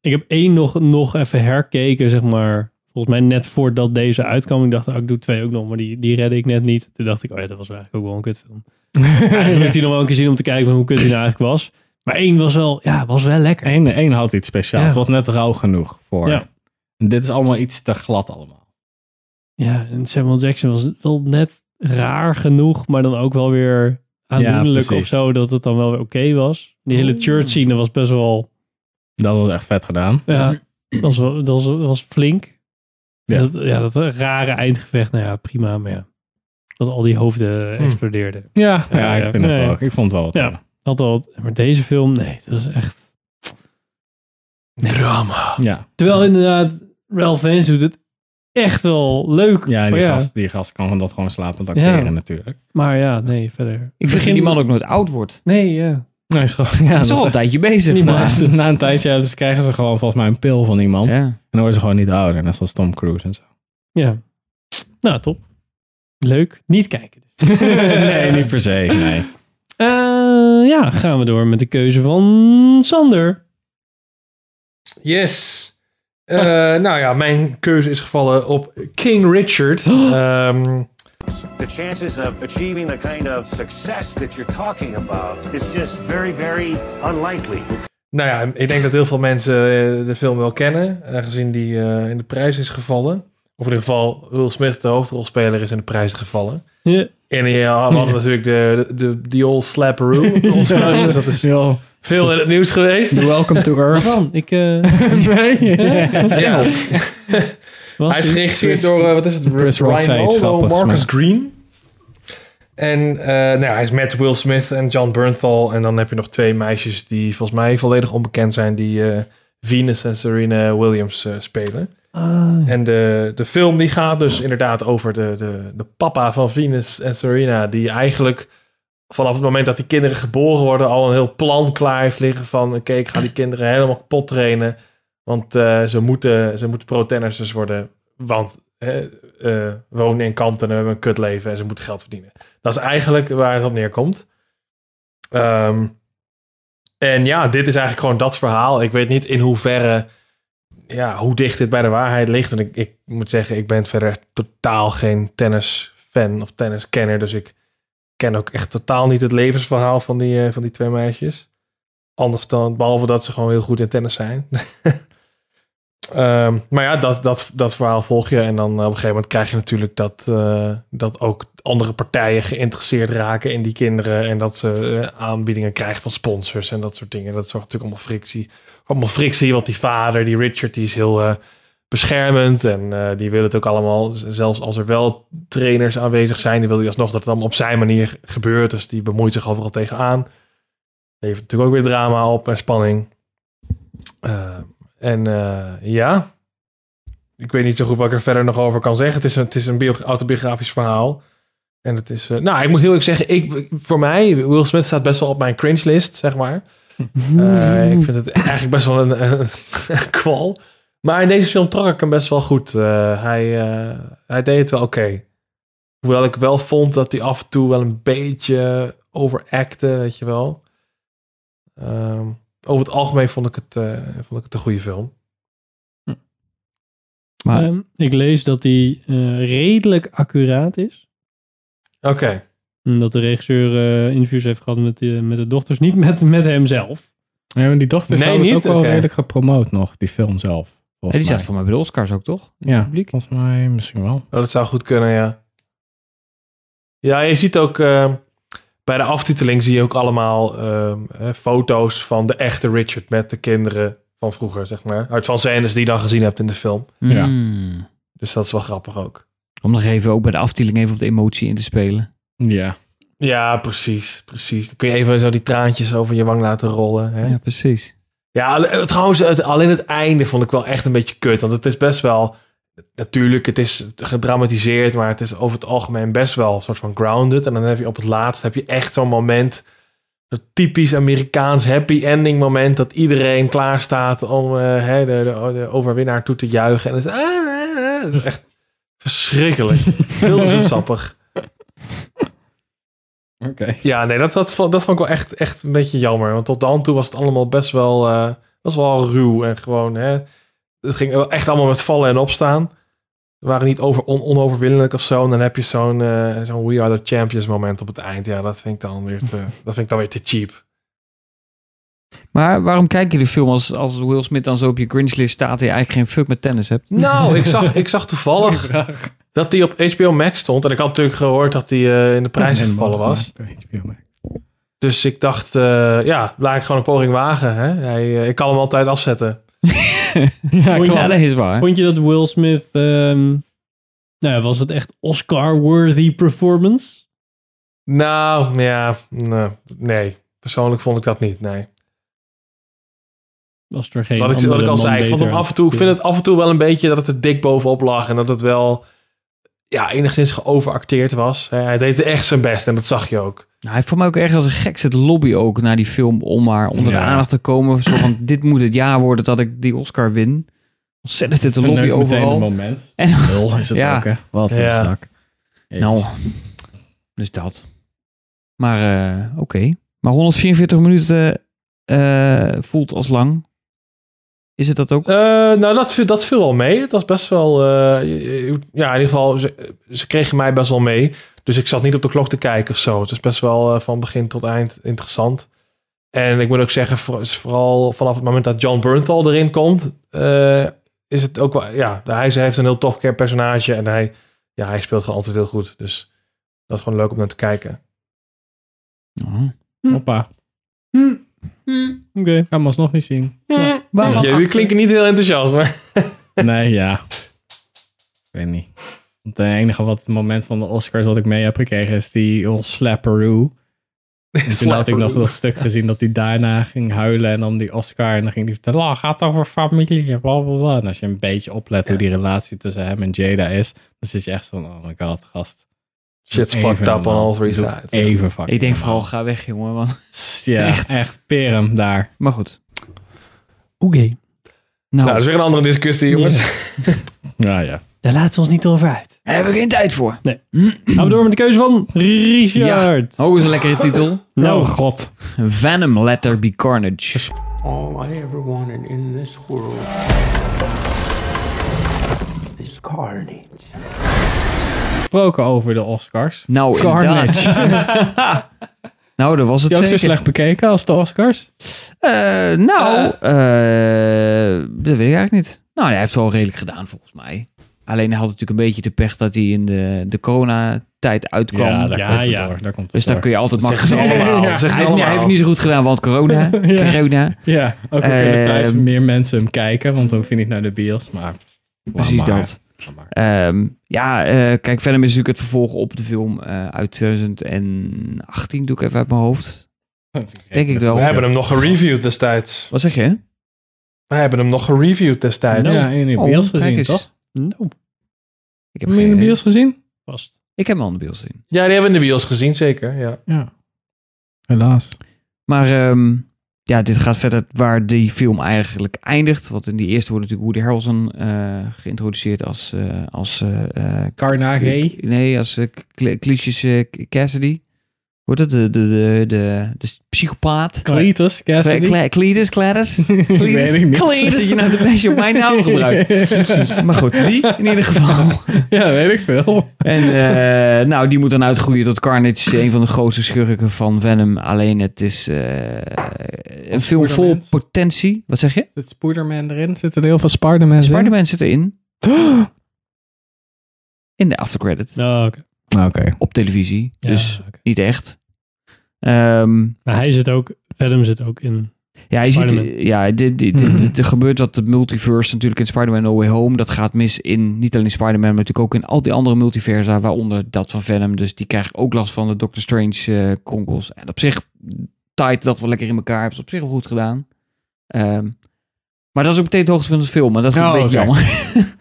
Ik heb één nog, nog even herkeken, zeg maar. Volgens mij net voordat deze uitkwam. Ik dacht, oh, ik doe twee ook nog, maar die, die redde ik net niet. Toen dacht ik, oh ja, dat was eigenlijk ook wel een [laughs] kutfilm. eigenlijk moet ik die nog wel een keer zien om te kijken van hoe kut die nou eigenlijk was. Maar één was wel, ja, was wel lekker.
Eén, één had iets speciaals.
Ja.
Het was net rauw genoeg voor...
Ja.
En Dit is allemaal iets te glad allemaal.
Ja, en Samuel Jackson was wel net raar genoeg, maar dan ook wel weer aandoenlijk
precies.
of zo, dat het dan wel weer oké was. Die hele church scene was best wel,
Dat was echt vet gedaan.
ja, dat was, wel- dat was, was flink.
Ja.
Ja. Dat, ja, dat rare eindgevecht, nou ja, prima, maar ja. Dat al die hoofden explodeerden.
Ja, ja, ik vind het
nee.
wel. Ik vond het wel wat.
Ja, had al, wat- maar deze film, nee, dat is echt...
Drama.
Ja.
Terwijl inderdaad, Ralph Fiennes doet het echt wel leuk.
Ja, die,
maar
Gast, die gast kan dat gewoon slapend
Ja.
acteren natuurlijk.
Maar ja, nee, verder.
ik vind dat die man ook nooit oud wordt.
Nee, ja.
Nee, is gewoon,
Hij
ja,
is al
dat-
een tijdje bezig.
Na,
maar-
[laughs] na een tijdje hebben ze- krijgen ze gewoon volgens mij een pil van iemand.
Ja.
En dan worden ze gewoon niet ouder. Net zoals Tom Cruise en zo.
Ja. Nou, top. Leuk. Niet kijken. dus.
nee, niet per se. Nee.
Eh, ja, gaan we door met de keuze van Sander.
Yes. Eh,
Ah.
Nou ja, mijn keuze is gevallen op King
[gasps]
Richard. Ehm,
The chances of achieving the kind of success that you're talking about is just very, very unlikely.
nou ja, ik denk dat heel veel mensen eh, de film wel kennen, aangezien die eh, in de prijs is gevallen. Of in ieder geval Will Smith de hoofdrolspeler is in de prijs gevallen.
Ja.
En ja, we hadden natuurlijk de, de, de, the old
[laughs]
slapperoo. op ons huis, dus dat is
Ja.
veel in het nieuws geweest.
Welcome to [laughs] Earth.
Van, ik... eh,
[laughs]
[laughs]
nee.
Hè?
Ja.
Was
Hij is
die?
geregisseerd
Chris-
door, eh, wat is het?
Chris Rock zei
Ryan
iets
Olo,
grappigs,
Marcus
maar-
Green. En eh, nou ja, hij is met Will Smith en John Bernthal. En dan heb je nog twee meisjes die volgens mij volledig onbekend zijn. Die eh, Venus en Serena Williams eh, spelen.
Ah,
En de, de film die gaat dus inderdaad over de, de, de papa van Venus en Serena. Die eigenlijk vanaf het moment dat die kinderen geboren worden al een heel plan klaar heeft liggen van... Oké, ik ga die kinderen helemaal kapot trainen. Want eh, ze moeten, ze moeten pro-tennissers worden. Want eh, eh, wonen in Kampen en hebben een kutleven en ze moeten geld verdienen. Dat is eigenlijk waar het op neerkomt. Ehm, en ja, dit is eigenlijk gewoon dat verhaal. Ik weet niet in hoeverre ja, hoe dicht dit bij de waarheid ligt. En ik, ik moet zeggen, ik ben verder totaal geen tennisfan of tenniskenner. Dus ik ken ook echt totaal niet het levensverhaal van die, eh, van die twee meisjes. Anders dan, behalve dat ze gewoon heel goed in tennis zijn. [laughs] Ehm, maar ja, dat, dat, dat verhaal volg je. En dan eh, op een gegeven moment krijg je natuurlijk dat, eh, dat ook andere partijen geïnteresseerd raken in die kinderen. En dat ze eh, aanbiedingen krijgen van sponsors en dat soort dingen. Dat zorgt natuurlijk allemaal frictie. Allemaal frictie, want die vader, die Richard, die is heel eh, beschermend. En eh, die wil het ook allemaal, z- zelfs als er wel trainers aanwezig zijn, die wil hij alsnog dat het allemaal op zijn manier gebeurt. Dus die bemoeit zich overal tegenaan. Levert natuurlijk ook weer drama op en spanning. Eh, en eh, ja, ik weet niet zo goed wat ik er verder nog over kan zeggen. Het is een, het is een bio- autobiografisch verhaal. En het is, eh, nou, ik moet heel eerlijk zeggen, ik, voor mij, Will Smith staat best wel op mijn cringe list, zeg maar. Eh,
Mm.
ik vind het eigenlijk best wel een, een, kwal. Maar in deze film trok ik hem best wel goed. Eh, hij, eh, hij deed het wel oké. Hoewel ik wel vond dat hij af en toe wel een beetje overacte, weet je wel. Ehm, over het algemeen vond ik het, eh, vond ik het een goede film.
Maar-
Ehm, ik lees dat die eh, redelijk accuraat is.
Oké.
En Dat de regisseur eh, interviews heeft gehad met, die- met de dochters, niet met, met hemzelf.
Nee, want die dochters
Nee,
nee, niet?
niet?
ook wel
Oké.
redelijk gepromoot nog, die film zelf.
Ja,
volgens
die staat
mij.
voor mij bij de Oscars ook, toch?
Ja, volgens mij misschien wel.
Oh, dat zou goed kunnen, ja. Ja, je ziet ook eh, bij de aftiteling zie je ook allemaal ehm, eh, foto's van de echte Richard met de kinderen van vroeger, zeg maar. Uit van scènes die je dan gezien hebt in de film.
Ja.
Dus dat is wel grappig ook.
Hmm. Om nog even ook bij de afdeling even op de emotie in te spelen.
Ja.
Ja, precies, precies. Dan kun je even zo die traantjes over je wang laten rollen. Hè?
Ja, precies.
Ja, alle- trouwens, het- alleen het einde vond ik wel echt een beetje kut. Want het is best wel. Natuurlijk, het is gedramatiseerd, maar het is over het algemeen best wel een soort van grounded. En dan heb je op het laatst heb je echt zo'n moment. Een typisch Amerikaans happy ending moment. Dat iedereen klaar staat om eh, hè, de, de, de overwinnaar toe te juichen. En dan is, ah, ah, ah. Het is echt verschrikkelijk.
[laughs]
Heel zoetsappig.
Oké.
Ja, nee, dat, dat, vond- dat vond ik wel echt, echt een beetje jammer. Want tot dan toe was het allemaal best wel, eh, was wel ruw en gewoon. Hè, het ging wel echt allemaal met vallen en opstaan. We waren niet over, on- onoverwinnelijk of zo. En dan heb je zo'n eh, zo'n We Are the Champions moment op het eind. Ja, dat vind ik dan weer te, dat vind ik dan weer te cheap.
Maar waarom kijk je de film als, als Will Smith dan zo op je cringe list staat... en je eigenlijk geen fuck met tennis
[laughs]
hebt?
Nou, ik zag, ik
[laughs]
zag toevallig dat die op HBO Max stond. En ik had natuurlijk gehoord dat die eh, in de prijs gevallen was. Dus ik dacht, eh, ja, laat ik gewoon een poging wagen. Hè? Hij, eh, ik kan hem altijd afzetten.
Ja,
Vond je-
dat is waar.
Vond je dat Will Smith, ehm, nou ja, was het echt Oscar-worthy performance?
Nou, ja, nee, nee. Persoonlijk vond ik dat niet, nee.
Was er geen
Wat ik, wat
andere
ik al
man
zei, ik vond
beter
hem
aan
af en toe, ik
het
vind het af en toe wel een beetje dat het er dik bovenop lag. En dat het wel, ja, enigszins geoveracteerd was. Hè, Hij deed echt zijn best en dat zag je ook.
Nou, hij vond mij ook erg als een gek zit lobby ook naar die film... om maar onder
Ja.
de aandacht te komen. Zo van, [laughs] dit moet het jaar worden dat ik die Oscar win. Ontzettend zit de
En
lobby
ook meteen
overal.
een moment.
En,
Lul is het
Ja.
ook, hè? Wat een
Ja.
zak.
Nou,
Jezus.
dus dat. Maar eh, oké. Maar 144 minuten eh, voelt als lang. Is het dat ook?
Eh, nou, dat, viel- dat viel wel mee. Het was best wel. eh, je- je- ja, in ieder geval, ze, ze kregen mij best wel mee. Dus ik zat niet op de klok te kijken of zo. Het is best wel eh, van begin tot eind interessant. En ik moet ook zeggen, voor- is vooral vanaf het moment dat John Bernthal erin komt, eh, is het ook wel... Ja, hij ze heeft een heel tof personage. En hij, ja, hij speelt gewoon altijd heel goed. Dus dat is gewoon leuk om naar te kijken. Hm.
Hoppa. Oké. Kan hem alsnog niet
[laughs]
zien.
Ja. Jullie klinken niet heel enthousiast, maar...
Nee, ja. Ik weet niet. eh, Het enige wat het moment van de Oscars wat ik mee heb gekregen is die old slapperoo. En Toen had ik nog
Slapperoo.
dat stuk gezien dat hij daarna ging huilen en dan die Oscar. En dan ging hij vertellen, oh, gaat over familie en bla bla bla. En als je een beetje oplet hoe die relatie tussen hem en Jada is, dan zit je echt van, oh my god, gast.
Shit's
Doe even
fucked up on
normaal.
all three
Doe
sides.
Even fucked
Ik denk vooral, ga weg, jongen. Want
Ja, echt, peer hem daar.
Maar goed.
Oké.
Nou, dat is weer een andere discussie, jongens.
Ja, ja.
Daar laten we ons niet over uit.
Daar hebben we geen tijd voor.
Nee. Gaan we door met de keuze van Richard.
Ja. Oh, is een lekkere titel.
Nou,
Oh, god. Venom Let There Be Carnage.
All I ever wanted in this world is carnage.
Gesproken over de Oscars.
Nou,
Carnage.
inderdaad. [laughs] nou, dat was het
Die ook zo
zeker.
slecht bekeken als de Oscars?
nou, eh, dat weet ik eigenlijk niet. Nou, hij heeft het wel redelijk gedaan volgens mij. Alleen hij had natuurlijk een beetje de pech dat hij in de, de corona-tijd uitkwam.
Ja, daar Ja, komt het ja, door, daar komt het
dus
door.
daar kun je altijd
Dat
makkelijk
zeggen ze
zeggen, [laughs] "Ja,
allemaal, dat
Hij,
zeggen ze
heeft niet- hij
allemaal."
heeft niet zo goed gedaan, want corona.
[laughs] Ja.
corona.
Ja, ook al kunnen
Eh,
thuis meer mensen hem kijken, want dan vind ik naar de bios, maar...
Precies
Laat maar.
dat. [laughs] Ehm, ja, eh, kijk, Venom is natuurlijk het vervolg op de film eh, uit 2018. Doe ik even uit mijn hoofd. Denk ik wel.
Oh.
We hebben hem nog gereviewd destijds.
Wat zeg je?
We hebben hem nog gereviewd destijds.
Ja, in
Oh,
de bios gezien, toch?
Ik
heb hem in de bios gezien?
Vast.
Ik heb hem al in de bios gezien.
Ja, die hebben we in de bios gezien, zeker. Ja.
Helaas.
Maar ehm, ja, dit gaat verder waar die film eigenlijk eindigt. Want in die eerste wordt natuurlijk Woody Harrelson eh, geïntroduceerd als... eh als eh, eh,
Carnage.
Nee, als uh, Clicius eh, Cassidy. Wordt het de, de, de, de, de psychopaat?
Cletus Cassidy.
Cla- Cla- Cletus, Gladys?
Weet ik niet.
Cletus, zit je nou de beetje op mijn naam
[laughs]
gebruikt? maar goed, die in ieder geval.
Ja, weet ik veel.
En eh, nou, die moet dan uitgroeien tot Carnage, een van de grootste schurken van Venom. Alleen het is eh, een film vol
Spider-Mans.
potentie. Wat zeg je?
Zit Spider-Man erin? Zitten er heel veel Spider-Man in?
Spider-Man zit erin. In de aftercredit.
Oké.
Op televisie.
Oh, Ja,
dus niet echt. Ehm,
Maar hij zit ook, Venom zit ook in.
Ja, je ziet, eh,
Spider-Man. Mhm.
ja dit, dit, dit- dit- er gebeurt wat de multiverse natuurlijk in Spider-Man No Way Home. Dat gaat mis in, niet alleen in Spider-Man, maar natuurlijk ook in al die andere multiversa, waaronder dat van Venom. Dus die krijgen ook last van de Doctor Strange eh, kronkels. En op zich tight dat wel lekker in elkaar. Hebben ze op zich wel goed gedaan. Ehm, maar dat is ook meteen het hoogtepunt van de film. En dat is
Oh,
een beetje
oké.
jammer. [laughs]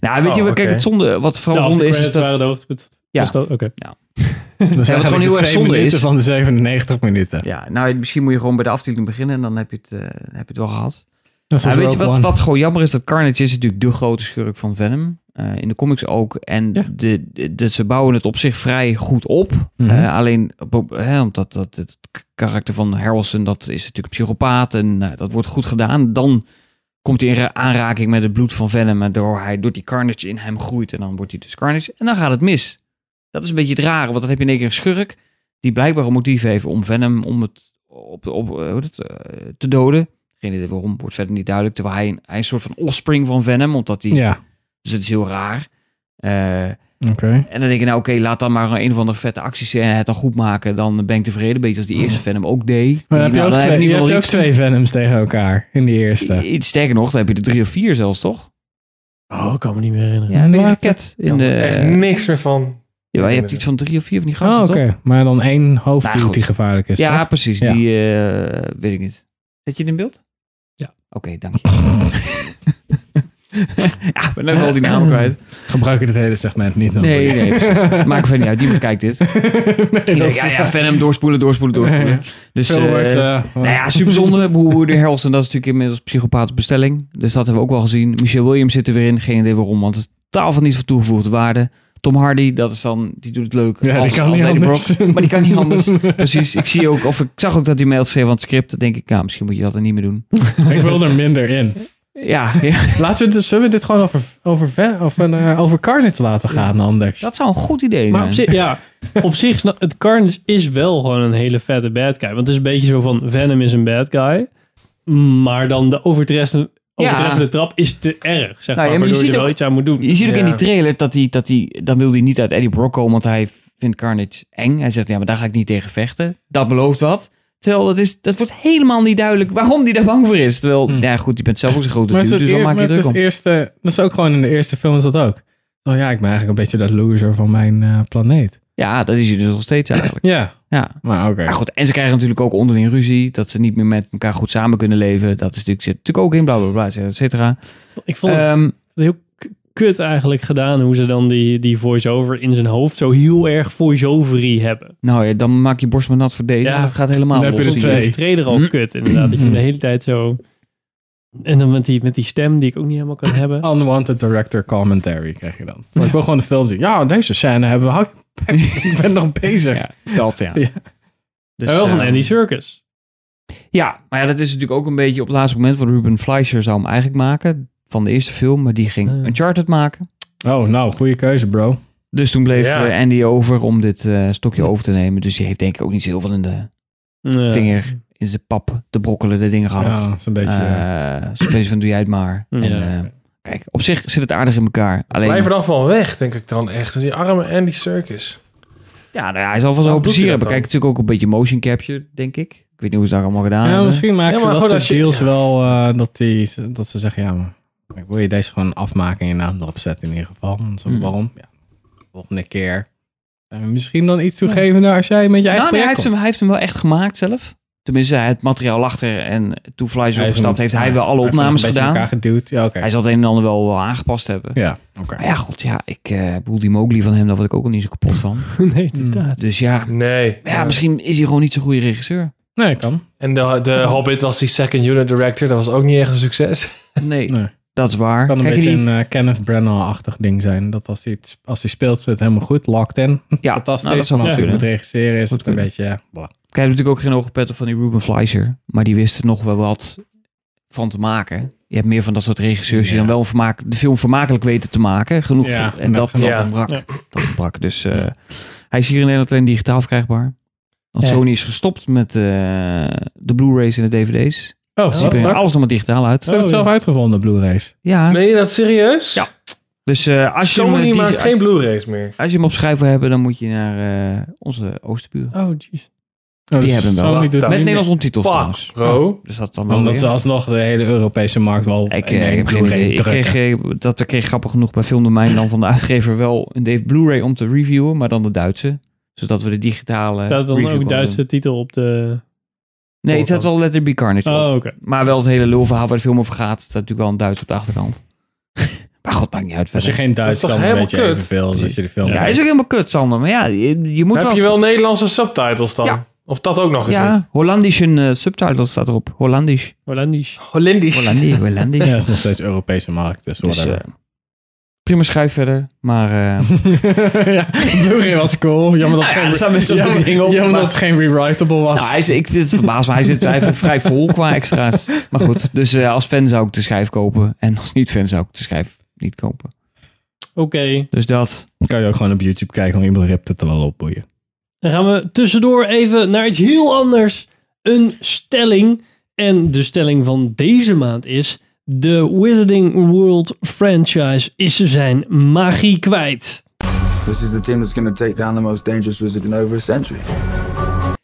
nou, weet
Oh,
je wat, kijk,
oké.
het zonde, wat
De
vooral zonde is, is
aftercredits waren
dat...
de hoogtepunt.
Ja.
Was dat- Oké.
Dat is
Ja, wat
eigenlijk
gewoon heel
de
erg
twee
zonde
minuten
is.
van de 97 minuten.
Ja, nou, misschien moet je gewoon bij de afdeling beginnen en dan heb je het, eh, heb je het wel gehad.
Dat is
Ja, Nou,
als
weet je
Rogue
wat,
One.
wat gewoon jammer is? Dat Carnage is natuurlijk de grote schurk van Venom. eh, in de comics ook. En de, de, de- ze bouwen het op zich vrij goed op.
Mhm.
Eh, alleen op- op- hè, omdat dat, het k- karakter van Harrelson, dat is natuurlijk een psychopaat. En nou, dat wordt goed gedaan. Dan komt hij in ra- aanraking met het bloed van Venom. En door, hij, door die Carnage in hem groeit. En dan wordt hij dus Carnage. En dan gaat het mis. Dat is een beetje het rare. Want dan heb je in één keer een schurk. Die blijkbaar een motief heeft om Venom om het op, op, eh, hoe heet het, eh, te doden. Geen idee waarom, wordt verder niet duidelijk. Terwijl hij, een- hij is een soort van offspring van Venom, omdat hij...
Ja.
Dus het is heel raar. Eh,
Oké.
En dan denk ik, nou oké, laat dan maar een van de vette acties en het dan goed maken. Dan ben ik tevreden, beetje als die eerste Venom ook deed.
Oh. Maar dan heb
Die-
je
nou,
ook
dan heb
twee-
ik in
je
ieder
hebt
geval
ook
iets-
twee Venoms tegen elkaar in die eerste.
iets- Sterker nog, dan heb je er drie of vier zelfs, toch?
Oh, ik kan me niet meer herinneren.
Ja, een beetje
Laat
raket
het.
in de...
Echt niks meer van.
Ja, je hebt iets van drie of vier van die gasten,
Oh, oké.
toch?
Maar dan één hoofddoel
Nou, goed.
die gevaarlijk is,
Ja, [laughs]
toch? [laughs]
precies.
Ja.
Die eh, weet ik niet. Zet je het in beeld?
Ja.
Oké, dank je. [laughs] ja, ik ben even al die namen
[laughs]
kwijt.
Gebruik je dit hele segment niet nodig.
Nee, nee,
[laughs]
precies. Maakt verder niet uit. Niemand kijkt dit.
dat is
ja,
waar.
ja, Venom, doorspoelen, doorspoelen, doorspoelen.
[laughs] Ja.
Dus,
Veel
eh,
worse, eh,
nou
[laughs]
ja, super zonde. Hoe hoe de Harrelson, dat is natuurlijk inmiddels psychopaat bestelling. Dus dat hebben we ook wel gezien. Michelle Williams zit er weer in. Geen idee waarom, want het is totaal van niet van toegevoegde waarde. Tom Hardy, dat is dan, die doet het leuk.
Ja, die kan niet
Eddie
anders.
maar die kan niet
[laughs]
anders. [laughs] Precies. Ik zie ook, of ik zag ook dat hij mail schreef aan het script. Dan denk ik, nou, misschien moet je dat er niet meer doen.
Ik wil er minder in.
Ja, ja.
Laten we, dit- zullen we dit gewoon over, over, Ven- of, eh, over Carnage laten gaan anders?
Dat zou een goed idee
Maar op zich, ja, op zich, sna- het Carnage is wel gewoon een hele vette bad guy. Want het is een beetje zo van, Venom is een bad guy. Maar dan de overtreffende, Overtreffende trap is te erg, zeg maar.
Nou ja, maar je
waardoor
ziet
je er wel
ook-
iets aan moet doen.
Je ziet ook in die
Ja.
trailer dat hij, dat hij, dan wil hij niet uit Eddie Brock komen, want hij vindt Carnage eng. Hij zegt, ja, maar daar ga ik niet tegen vechten. Dat belooft wat. Terwijl dat, is, dat wordt helemaal niet duidelijk waarom hij daar bang voor is. Terwijl, ja goed, je bent zelf ook zo'n grote
Maar
dude,
het is,
dus
het
dan
eer-
maak je
maar
je
het
druk
is
om.
eerste, dat is ook gewoon in de eerste film is dat ook. Oh ja, ik ben eigenlijk een beetje dat loser van mijn eh, planeet.
Ja, dat is hij dus nog steeds eigenlijk.
Ja.
ja.
Maar oké.
Maar goed, en ze krijgen natuurlijk ook onderling ruzie. Dat ze niet meer met elkaar goed samen kunnen leven. Dat is natuurlijk, zit natuurlijk ook in, bla bla bla, et cetera.
Ik vond het
Ehm,
heel k- kut eigenlijk gedaan hoe ze dan die, die voice-over in zijn hoofd zo heel erg voice-overy hebben.
nou ja, dan maak je borst maar nat voor deze. dat gaat helemaal
Dan heb je
los.
de tweede trailer al
Mm.
kut inderdaad. Dat je hem de hele tijd zo... En dan met die, met die stem die ik ook niet helemaal
[coughs]
kan
Oh,
hebben.
Unwanted director commentary krijg je dan. Maar ik wil gewoon de film zien. Ja, deze scène hebben we. [laughs] Hou-
[laughs]
ik ben nog bezig.
dat ja. Dus,
Maar wel van
ehm,
Andy Circus.
Ja, maar ja, dat is natuurlijk ook een beetje op het laatste moment. Want Ruben Fleischer zou hem eigenlijk maken van de eerste film. Maar die ging Uncharted maken.
Oh, nou, goede keuze, bro.
Dus toen bleef
Ja.
eh, Andy over om dit eh, stokje over te nemen. Dus die heeft denk ik ook niet zo heel veel in de
Nee.
vinger, in zijn pap te brokkelen, de dingen gehad.
Ja, zo'n beetje,
Eh,
ja.
zo'n beetje van doe jij het maar.
Ja.
En, eh, kijk, op zich zit het aardig in elkaar. Alleen,
Blijf er dan van weg, denk ik dan echt. Want Die arme Andy Circus.
Ja, nou ja, hij zal wel
Waarom
zo'n
doet
plezier
hij
hebben.
dat
Kijk, natuurlijk ook een beetje motion capture, denk ik. Ik weet niet hoe ze dat allemaal gedaan
ja,
hebben.
misschien maken
maar
ze
goed,
dat
als
ze
je-
deals wel eh, dat, die, dat ze zeggen, ja, maar ik wil je deze gewoon afmaken en je naam erop zetten in ieder geval. Zo,
Hmm.
Waarom? Ja, volgende keer. zijn we misschien dan iets toegevender als jij met je eigen
Nou, nee, hij,
project
heeft hem,
komt.
hij heeft hem wel echt gemaakt zelf. Tenminste, het materiaal lag er en toen Fly zo
Hij
opgestapt
hem-
heeft hij wel alle
heeft hem
opnames
een beetje
gedaan.
in elkaar geduwd. Ja, oké.
Hij zal het een en ander wel, wel aangepast hebben.
Ja, oké.
Maar ja, god, ja, ik eh, bedoel die Mowgli van hem, daar word ik ook al niet zo kapot van.
[laughs] nee, inderdaad.
Dus ja,
Nee.
ja, misschien is hij gewoon niet zo'n goede regisseur.
Nee, kan.
En de, de Hobbit was die second unit director. Dat was ook niet echt een succes.
Nee,
Nee.
dat is waar.
kan een
Kijk,
beetje
die-
een eh, Kenneth Branagh-achtig ding zijn. Dat als hij, het- als hij speelt, zit het helemaal goed. Locked in.
Ja,
Fantastisch.
nou, dat zou goed
maar als hij
kunnen.
moet regisseren, is het een beetje... ja, blah.
Kijk, hij heeft natuurlijk ook geen hoge pet op van die Ruben Fleischer. Maar die wist er nog wel wat van te maken. Je hebt meer van dat soort regisseurs die dan wel een vermaak, de film vermakelijk weten te maken. Genoeg
Ja,
van- en
met
dat, dat
genoeg. Ja.
ontbrak.
Ja.
Dat ontbrak. Dus eh, hij is hier in Nederland alleen digitaal verkrijgbaar. Want
Ja.
Sony is gestopt met eh, de Blu-rays en de DVD's.
Oh,
Dus die
wat
brengen
leuk.
alles nog maar digitaal uit.
Ze hebben het zelf uitgevonden, Blu-rays.
Ja.
Meen je dat serieus?
Ja. Dus eh, als je hem,
Sony
eh, digi-
maakt
als-
geen Blu-rays meer.
Als je hem op schijf wil hebben, dan moet je naar eh, onze Oosterburen.
Oh, jeez.
Oh,
die
dus
hebben hem wel.
Sony
Met
doet niet
Nederlands
meer.
ondertitels
Fuck,
trouwens.
bro.
Ja, Dus dat dan wel
Omdat
weer.
ze alsnog de hele Europese markt wel...
Ik, eh, ik heb geen idee. Ik kreeg, eh, dat kreeg grappig genoeg bij Filmdomein dan van de uitgever wel een Dave Blu-ray om te reviewen, maar dan de Duitse. Zodat we de digitale
Staat dan
review konden
ook Duitse titel op de...
doen. Nee, het staat wel Let There Be Carnage
Oh,
op.
oké.
Maar wel het hele lulverhaal waar de film over gaat, staat natuurlijk wel een Duits op de achterkant. [laughs] maar god, maakt niet uit.
Als je
verder.
geen Duits
Dat is
kan,
toch
dan weet
helemaal
je
kut?
evenveel als je de film
Ja,
kijkt.
is ook helemaal kut, Sander. Maar ja, je, je moet
Heb
wat.
je wel Nederlandse subtitles dan?
Ja.
Of dat ook nog eens niet?
Ja, Hollandische eh, subtitles staat erop. Hollandisch.
Hollandisch.
Hollandisch.
Hollandisch. Hollandisch.
Ja, het is nog steeds Europese markt, dus
Dus,
whatever.
eh, prima schijf verder, maar... eh,
ja, Blu-ray was cool. Jammer dat,
Nou ja,
geen,
er staan best wel
jammer-
leuke dingen op,
jammer
maar-
dat het geen rewritable was.
Nou, hij, zit- ik, dit verbaast me. Hij zit [laughs] vrij, vrij vol qua extra's. Maar goed, dus eh, als fan zou ik de schijf kopen. En als niet-fan zou ik de schijf niet kopen.
Oké.
Dus dat.
Dan kan je ook gewoon op YouTube kijken, want iemand ript het er wel op, boeien.
Dan gaan we tussendoor even naar iets heel anders. Een stelling. En de stelling van deze maand is... De Wizarding World franchise is zijn magie kwijt.
This is the team that's going to take down the most dangerous wizard in over a century.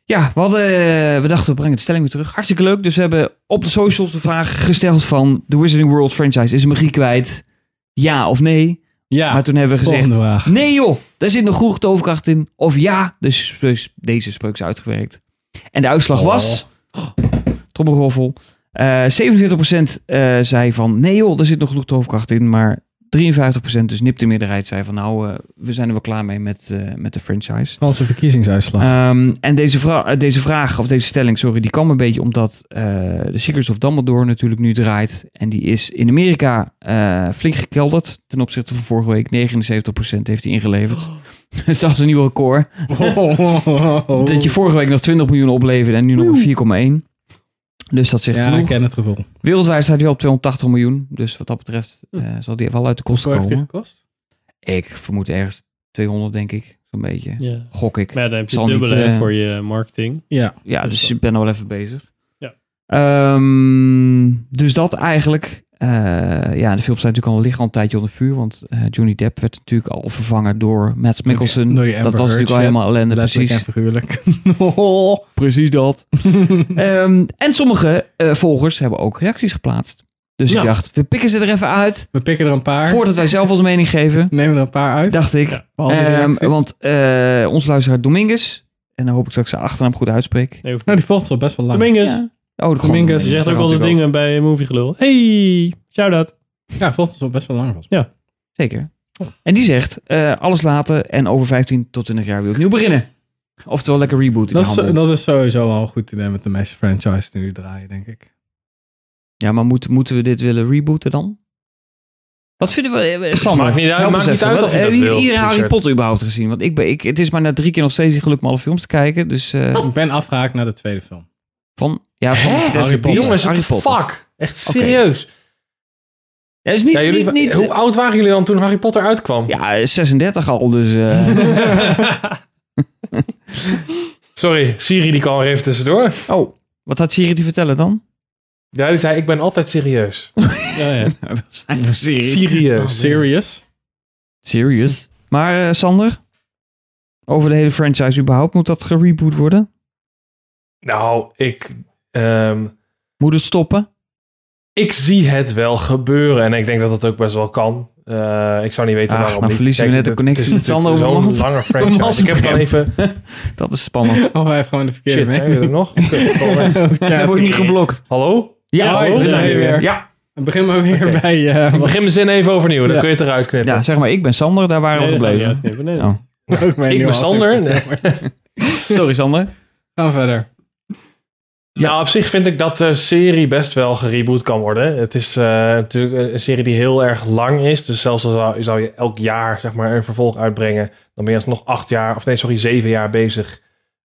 Ja, we, hadden, eh, we dachten we brengen de stelling weer terug. Hartstikke leuk. Dus we hebben op de socials de vraag gesteld van... The Wizarding World franchise is magie kwijt. Ja of nee?
Ja,
maar toen hebben we gezegd...
volgende vraag.
Nee joh, daar zit nog genoeg toverkracht in. Of ja, dus, dus deze spreuk is uitgewerkt. En de uitslag was... Trommelroffel. Eh 47% eh, zei van nee joh, daar zit nog genoeg toverkracht in. Maar 53% dus nipte meerderheid zei van nou, eh, we zijn er wel klaar mee met, eh, met de franchise.
Franse verkiezingsuitslag. [laughs]
Ehm, en deze, vra- eh, deze vraag, of deze stelling, sorry, die kwam een beetje omdat eh The Secrets of Dumbledore natuurlijk nu draait. En die is in Amerika eh, flink gekelderd ten opzichte van vorige week. 79% heeft hij ingeleverd. Dus [laughs] dat is een nieuw record.
Oh,
Dat je vorige week nog 20 miljoen opleverde en nu nog maar 4,1. Dus dat zegt
ja,
genoeg.
ik ken het gevoel.
Wereldwijd staat hij wel op 280 miljoen. Dus wat dat betreft eh, zal die wel uit de kosten
Hoeveel heeft die
komen.
gekost?
Ik vermoed ergens 200, denk ik. Zo'n beetje.
Ja.
Gok ik.
Maar ja, dan heb je
Zal niet,
dubbele hè,
eh,
voor je marketing.
Ja.
Ja, dus ik ben al wel even bezig.
Ja.
Ehm, dus dat eigenlijk. Eh, Eh, ja, en de film staat natuurlijk al een lichaam een tijdje onder vuur. Want eh, Johnny Depp werd natuurlijk al vervangen door Mads Mikkelsen.
door die
dat was
Amber
natuurlijk al
Heard
helemaal
shit.
ellende.
Letterlijk
Precies.
en [laughs] figuurlijk.
Precies dat. Ehm, en sommige eh, volgers hebben ook reacties geplaatst. Dus
Ja.
ik dacht, we pikken ze er even uit.
[laughs] We pikken er een paar.
Voordat wij zelf onze mening geven.
Nemen er een paar uit.
Dacht ik.
al die
Ehm,
reacties.
want eh ons luisteraar Dominguez. En dan hoop ik dat ik zijn achternaam goed uitspreek.
Nee,
Nou, die volgt wel best wel lang.
Dominguez.
Ja. Oh, de
Dominguez. Je zegt ook altijd dingen bij Movie Gelul. Hey, shout-out.
Ja, volgt ons al best wel lang volgens
Ja.
Zeker. En die zegt, eh, alles laten en over 15 tot 20 jaar weer opnieuw beginnen. Oftewel lekker reboot in
Dat
de
is, eh,
handel.
dat is sowieso al een goed idee met de meeste franchises die nu draaien, denk ik.
Ja, maar moet, moeten we dit willen rebooten dan? Wat vinden we... eh, eh, Sam,
Maakt niet uit-
help
maakt
ons
niet
even.
uit of je
Wat-
dat
eh,
wil,
Iedereen Harry
Richard.
Potter überhaupt gezien. Want ik ben, ik, het is maar na drie keer nog steeds niet gelukt om alle films te kijken. Dus,
Ik ben afgehaakt naar de tweede film.
Van, ja, van
Hè?
Bethesda
Harry Potter.
Beast,
Jongens,
Harry
what the
Potter.
fuck? Echt
Oké.
serieus.
Ja, is niet,
Ja, jullie-
niet, niet,
hoe oud waren jullie dan toen Harry Potter uitkwam?
Ja, eh, 36 al, dus... eh,
[laughs] Sorry, Siri die kwam er even tussendoor.
Oh, wat had Siri die vertellen dan?
Ja, die zei, ik ben
[laughs]
altijd serieus.
ja, ja.
dat is fijn voor Siri.
Serieus.
Oh,
Serious?
Serious. Maar eh, Sander, over de hele franchise überhaupt, moet dat gereboot worden?
Nou, ik... ehm,
Moet het stoppen?
ik zie het wel gebeuren. En ik denk dat dat ook best wel kan. Eh, ik zou niet weten
Ach,
waarom
nou
niet.
verliezen we
Kijk,
net de
het-
connectie
het is
met Sander
natuurlijk
over
Zo'n
[laughs] Mas-
lange
over
franchise. Ik heb dan even...
Dat is [laughs] spannend.
Of hij heeft gewoon de verkeerde
Shit, zijn we
mening.
er nog? Oké, ik kom weg.
Hij wordt niet geblokt.
Hallo?
Ja,
Hoi,
hallo,
daar
zijn
ben
we
je weer.
weer. Ja.
Dan [laughs] Begin maar weer
Oké.
bij... eh,
Ik
wat-
begin mijn zin even overnieuw. Dan
Ja.
kun je het eruit knippen.
Ja, zeg maar, ik ben Sander, daar waren we
Nee, dat gaan we
gebleven.
niet uitknippen, nee.
Oh.
ook mijn
ik
nieuwe
ben Sander.
aflevering.
[laughs] Sorry Sander.
Gaan we verder.
Nou, op zich vind ik dat de serie best wel gereboot kan worden. Het is eh, natuurlijk een serie die heel erg lang is. Dus zelfs al zou, zou je elk jaar zeg maar, een vervolg uitbrengen... dan ben je nog acht jaar, of nee, sorry, zeven jaar bezig...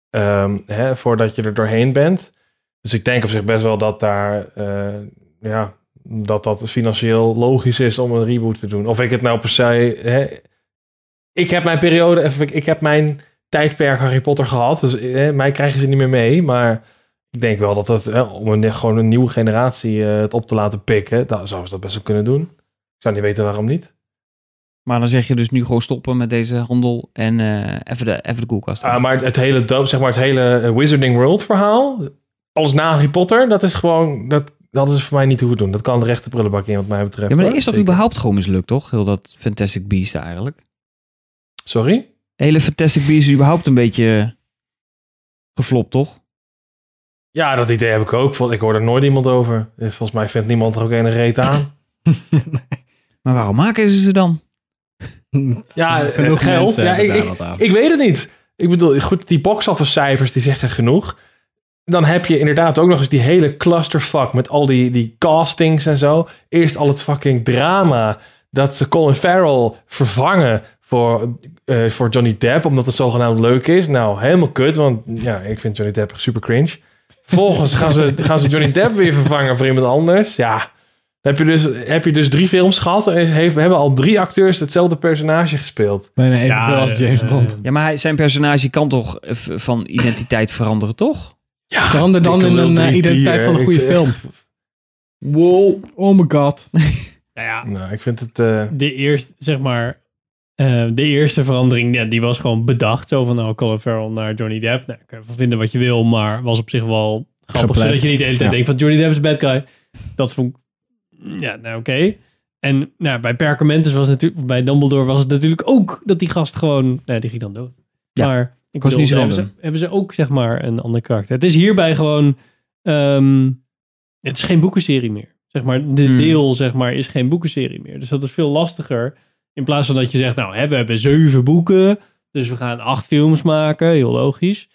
ehm, hè, voordat je er doorheen bent. Dus ik denk op zich best wel dat daar... eh, ja, dat dat financieel logisch is om een reboot te doen. Of ik het nou per se... Hè, ik heb mijn periode... of Ik, ik heb mijn tijdperk Harry Potter gehad. Dus hè, mij krijgen ze niet meer mee, maar... Ik denk wel dat het, hè, om een, gewoon een nieuwe generatie eh, het op te laten pikken, dan zouden ze dat best wel kunnen doen. Ik zou niet weten waarom niet.
Maar dan zeg je dus nu gewoon stoppen met deze handel en eh, even, de, even de koelkast.
Ah, maar het, het hele, do- zeg maar, het hele eh, Wizarding World verhaal, alles na Harry Potter, dat is gewoon, dat, dat is voor mij niet hoe we het doen. Dat kan de rechte prullenbak in wat mij betreft.
ja, maar dat
hoor.
is toch
Zeker.
überhaupt gewoon mislukt, toch? Heel dat Fantastic Beast eigenlijk.
Sorry?
De hele Fantastic Beast is überhaupt een beetje eh, geflopt, toch?
Ja, dat idee heb ik ook. Vol- Ik hoor er nooit iemand over. Eh, Volgens mij vindt niemand er ook een reet aan.
Maar waarom maken ze ze dan?
Ja, eh,
Genoeg
geld.
mensen
Ja,
hebben
ik,
daar
ik,
wat aan.
ik weet het niet. Ik bedoel, goed, die box-office cijfers die zeggen genoeg. Dan heb je inderdaad ook nog eens die hele clusterfuck met al die, die castings en zo. Eerst al het fucking drama dat ze Colin Farrell vervangen voor, eh, voor Johnny Depp, omdat het zogenaamd leuk is. Nou, helemaal kut, want ja, ik vind Johnny Depp super cringe. Vervolgens gaan ze, gaan ze Johnny Depp weer vervangen voor iemand anders. Ja, dan heb je dus, heb je dus drie films gehad en heeft, hebben al drie acteurs hetzelfde personage gespeeld.
Bijna evenveel als
eh,
James Bond.
Ja, maar hij, zijn personage kan toch eh, v- van identiteit veranderen, toch?
Verander dan
dikke
in
lul
een eh,
drie
identiteit
bier,
van een
ik
goede
vind
film.
echt-
Wow.
Oh my god.
Nou ja,
Nou, ik vind het... eh,
de eerste, zeg maar, eh, de eerste verandering, ja, die was gewoon bedacht. Zo van, nou, Colin Farrell naar Johnny Depp. Nou, kan je van vinden wat je wil, maar was op zich wel grappig.
Gepland.
Zodat je niet de hele tijd
Ja.
denkt van, Johnny Depp is een bad guy. Dat vond ik, ja, nou, oké. En nou, bij Perkamentus was het natuurlijk, bij Dumbledore was het natuurlijk ook dat die gast gewoon, nou, die ging dan dood.
Ja.
Maar ik
was
bedoel,
niet zo
hebben ze,
random.
hebben ze ook, zeg maar, een ander karakter. Het is hierbij gewoon, ehm, het is geen boekenserie meer. Zeg maar, de
Hmm.
deel zeg maar, is geen boekenserie meer. Dus dat is veel lastiger. In plaats van dat je zegt, nou, hè, we hebben zeven boeken. Dus we gaan acht films maken. Heel logisch.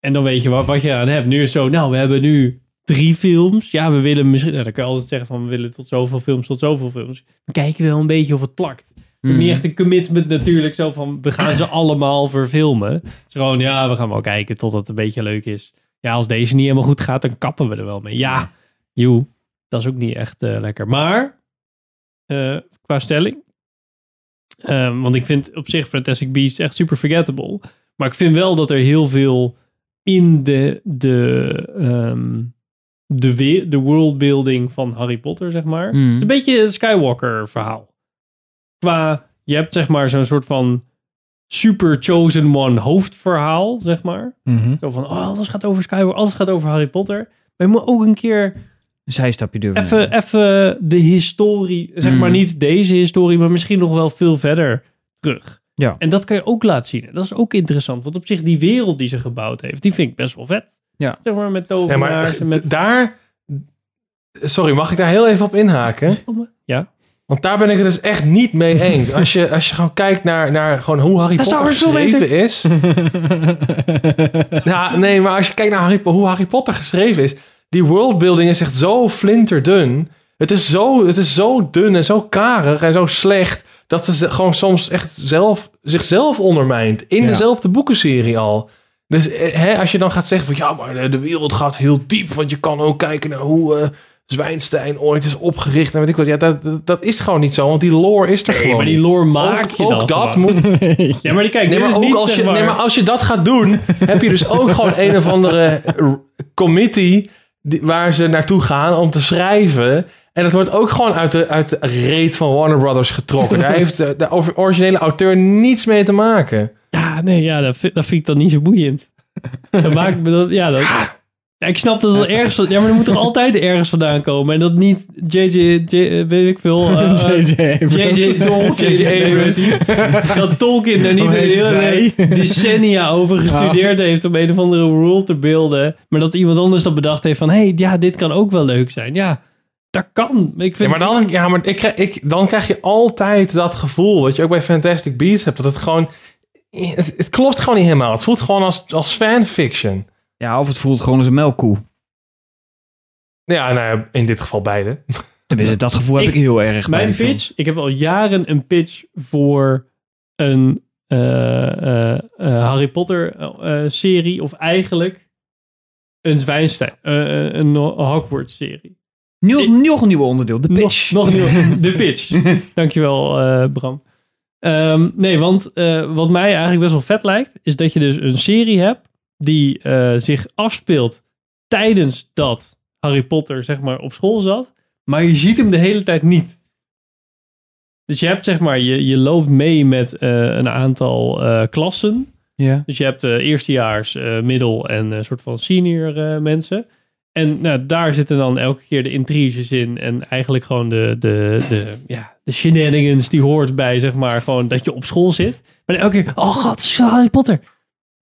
En dan weet je wat, wat je aan hebt. Nu is het zo, nou, we hebben nu drie films. Ja, we willen misschien... Nou, dan kan je altijd zeggen van, we willen tot zoveel films, tot zoveel films. Dan kijk je wel een beetje of het plakt. Je hebt
Hmm.
Niet echt een commitment natuurlijk. Zo van, we gaan ze allemaal verfilmen. Het is gewoon, ja, we gaan wel kijken tot het een beetje leuk is. Ja, als deze niet helemaal goed gaat, dan kappen we er wel mee. Ja, joe, dat is ook niet echt eh, lekker. Maar, eh, qua stelling... ehm, want ik vind op zich Fantastic Beasts echt super forgettable. Maar ik vind wel dat er heel veel in de, de, ehm, de, we- de worldbuilding van Harry Potter, zeg maar.
Mhm.
Het is een
Hm?
beetje een Skywalker verhaal. Qua, je hebt zeg maar zo'n soort van super chosen one hoofdverhaal, zeg maar.
Mhm.
Zo van, oh, alles gaat over Skywalker, alles gaat over Harry Potter. Maar je moet ook een keer
Een zijstapje durven.
even, eh, even de historie, zeg
Mhm.
maar
Hm.
niet deze historie, maar misschien nog wel veel verder terug.
Ja.
En dat kan je ook laten zien. En dat is ook interessant, want op zich die wereld die ze gebouwd heeft, die vind ik best wel vet.
Ja.
Zeg maar met
Ja,
tovenaars
maar eh,
en met...
daar... Sorry, mag ik daar heel even op inhaken?
Ja.
Want daar ben ik het dus echt niet mee
[laughs]
eens. Als je, als je gewoon kijkt naar, naar gewoon hoe Harry
Dat is
Potter
Star Wars veel
geschreven is... ja, nee, maar als je kijkt naar Harry, Po- hoe Harry Potter geschreven is... Die worldbuilding is echt zo flinterdun. Het is zo, het is zo dun en zo karig en zo slecht... dat ze ze gewoon soms echt zelf, zichzelf ondermijnt. In
Ja.
dezelfde boekenserie al. Dus eh, hè, als je dan gaat zeggen van... ja, maar de, de wereld gaat heel diep... want je kan ook kijken naar hoe... eh, Zwijnstein ooit is opgericht en weet ik wat. Ja, dat, dat, dat is gewoon niet zo, want die lore is er
Nee,
gewoon.
maar die lore maak
ook,
je dan
Ook dat
gewoon.
moet...
Ja, maar die- kijk,
nee,
dit
maar
is
ook
dus niet,
als
zeg
je, nee,
maar-
maar als je dat gaat doen, [laughs] heb je dus ook gewoon een of andere eh, committee die- waar ze naartoe gaan om te schrijven. En dat wordt ook gewoon uit de, uit de reet van Warner Brothers getrokken. Daar heeft de, de or- originele auteur niets mee te maken.
Ja, nee, ja, dat, vind, dat vind ik dan niet zo
[laughs]
boeiend. Dat maakt me dat, ja, dat, ja, ik snap dat dat ergens van, ja, maar er moet toch altijd ergens vandaan komen en dat niet JJ, J- weet ik
[laughs]
veel, eh, eh,
J.J. Abrams.
JJ Tol-
J.J. Abrams.
[laughs] dat Tolkien daar niet
Hoe
een
heet
hele
zij?
decennia over gestudeerd heeft om een of andere rule te beelden, maar dat iemand anders dat bedacht heeft van, hé, hey, ja, dit kan ook wel leuk zijn, ja. Dat kan. Ik vind
Ja, maar dan, ja, maar ik, krijg- ik, dan krijg je altijd dat gevoel, wat je ook bij Fantastic Beasts hebt, dat het gewoon... Het, het klopt gewoon niet helemaal. Het voelt gewoon als, als fanfiction.
Ja, of het voelt gewoon als een melkkoe.
Ja, nou ja, in dit geval beide.
Tenminste, dat gevoel heb ik, heel erg bij
Mijn
die film.
pitch, ik heb al jaren een pitch voor een eh, eh, eh, Harry Potter eh, eh, serie, of eigenlijk een Zwijnstein, eh, eh, een Hogwarts serie.
Nieuw, nog een nieuw onderdeel, de pitch.
Nog, nog
[laughs]
nieuw, de pitch. Dankjewel, eh Bram. Ehm, nee, want eh, wat mij eigenlijk best wel vet lijkt, is dat je dus een serie hebt die eh, zich afspeelt tijdens dat Harry Potter zeg maar op school zat, maar je ziet hem de hele tijd niet. Dus je hebt zeg maar, je, je loopt mee met eh, een aantal eh, klassen.
Ja.
Dus je hebt eh, eerstejaars, eh, middel en een soort van senior eh, mensen. En nou, daar zitten dan elke keer de intriges in. En eigenlijk gewoon de, de, de, ja, de shenanigans die hoort bij, zeg maar, gewoon dat je op school zit. Maar elke keer, oh god, het is Harry Potter.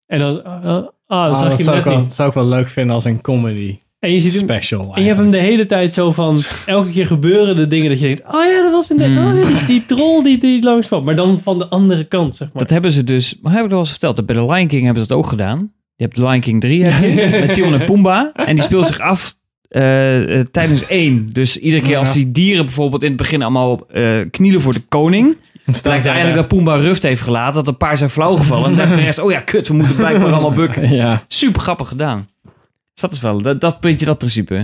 En dan, ah, ah, ah,
Ah,
dat zag
dat
je
zou
hem
ik,
net
wel,
niet.
zou ik wel leuk vinden als een comedy
En je ziet hem-
special.
En je hebt hem de hele tijd zo van, elke keer gebeuren de dingen dat je denkt, oh ja, dat was in de, oh
Hmm.
ja, die, die troll die, die langs kwam. Maar dan van de andere kant, zeg maar.
Dat hebben ze dus, maar heb ik al eens verteld, dat bij de Lion King hebben ze dat ook gedaan. Je hebt Lion King 3 heb
[laughs]
je, met Timon en Pumbaa. En die speelt zich af eh, eh, tijdens één. Dus iedere keer als die dieren bijvoorbeeld in het begin allemaal eh, knielen voor de koning. Dan
ze
lijkt eigenlijk dat Pumbaa rust heeft gelaten. Dat een paar zijn flauwgevallen. En dan dacht de [laughs] rest, oh ja, kut, we moeten blijkbaar allemaal bukken.
[laughs] Ja.
Super grappig gedaan. Dus dat is wel, dat, dat beetje dat principe. hè.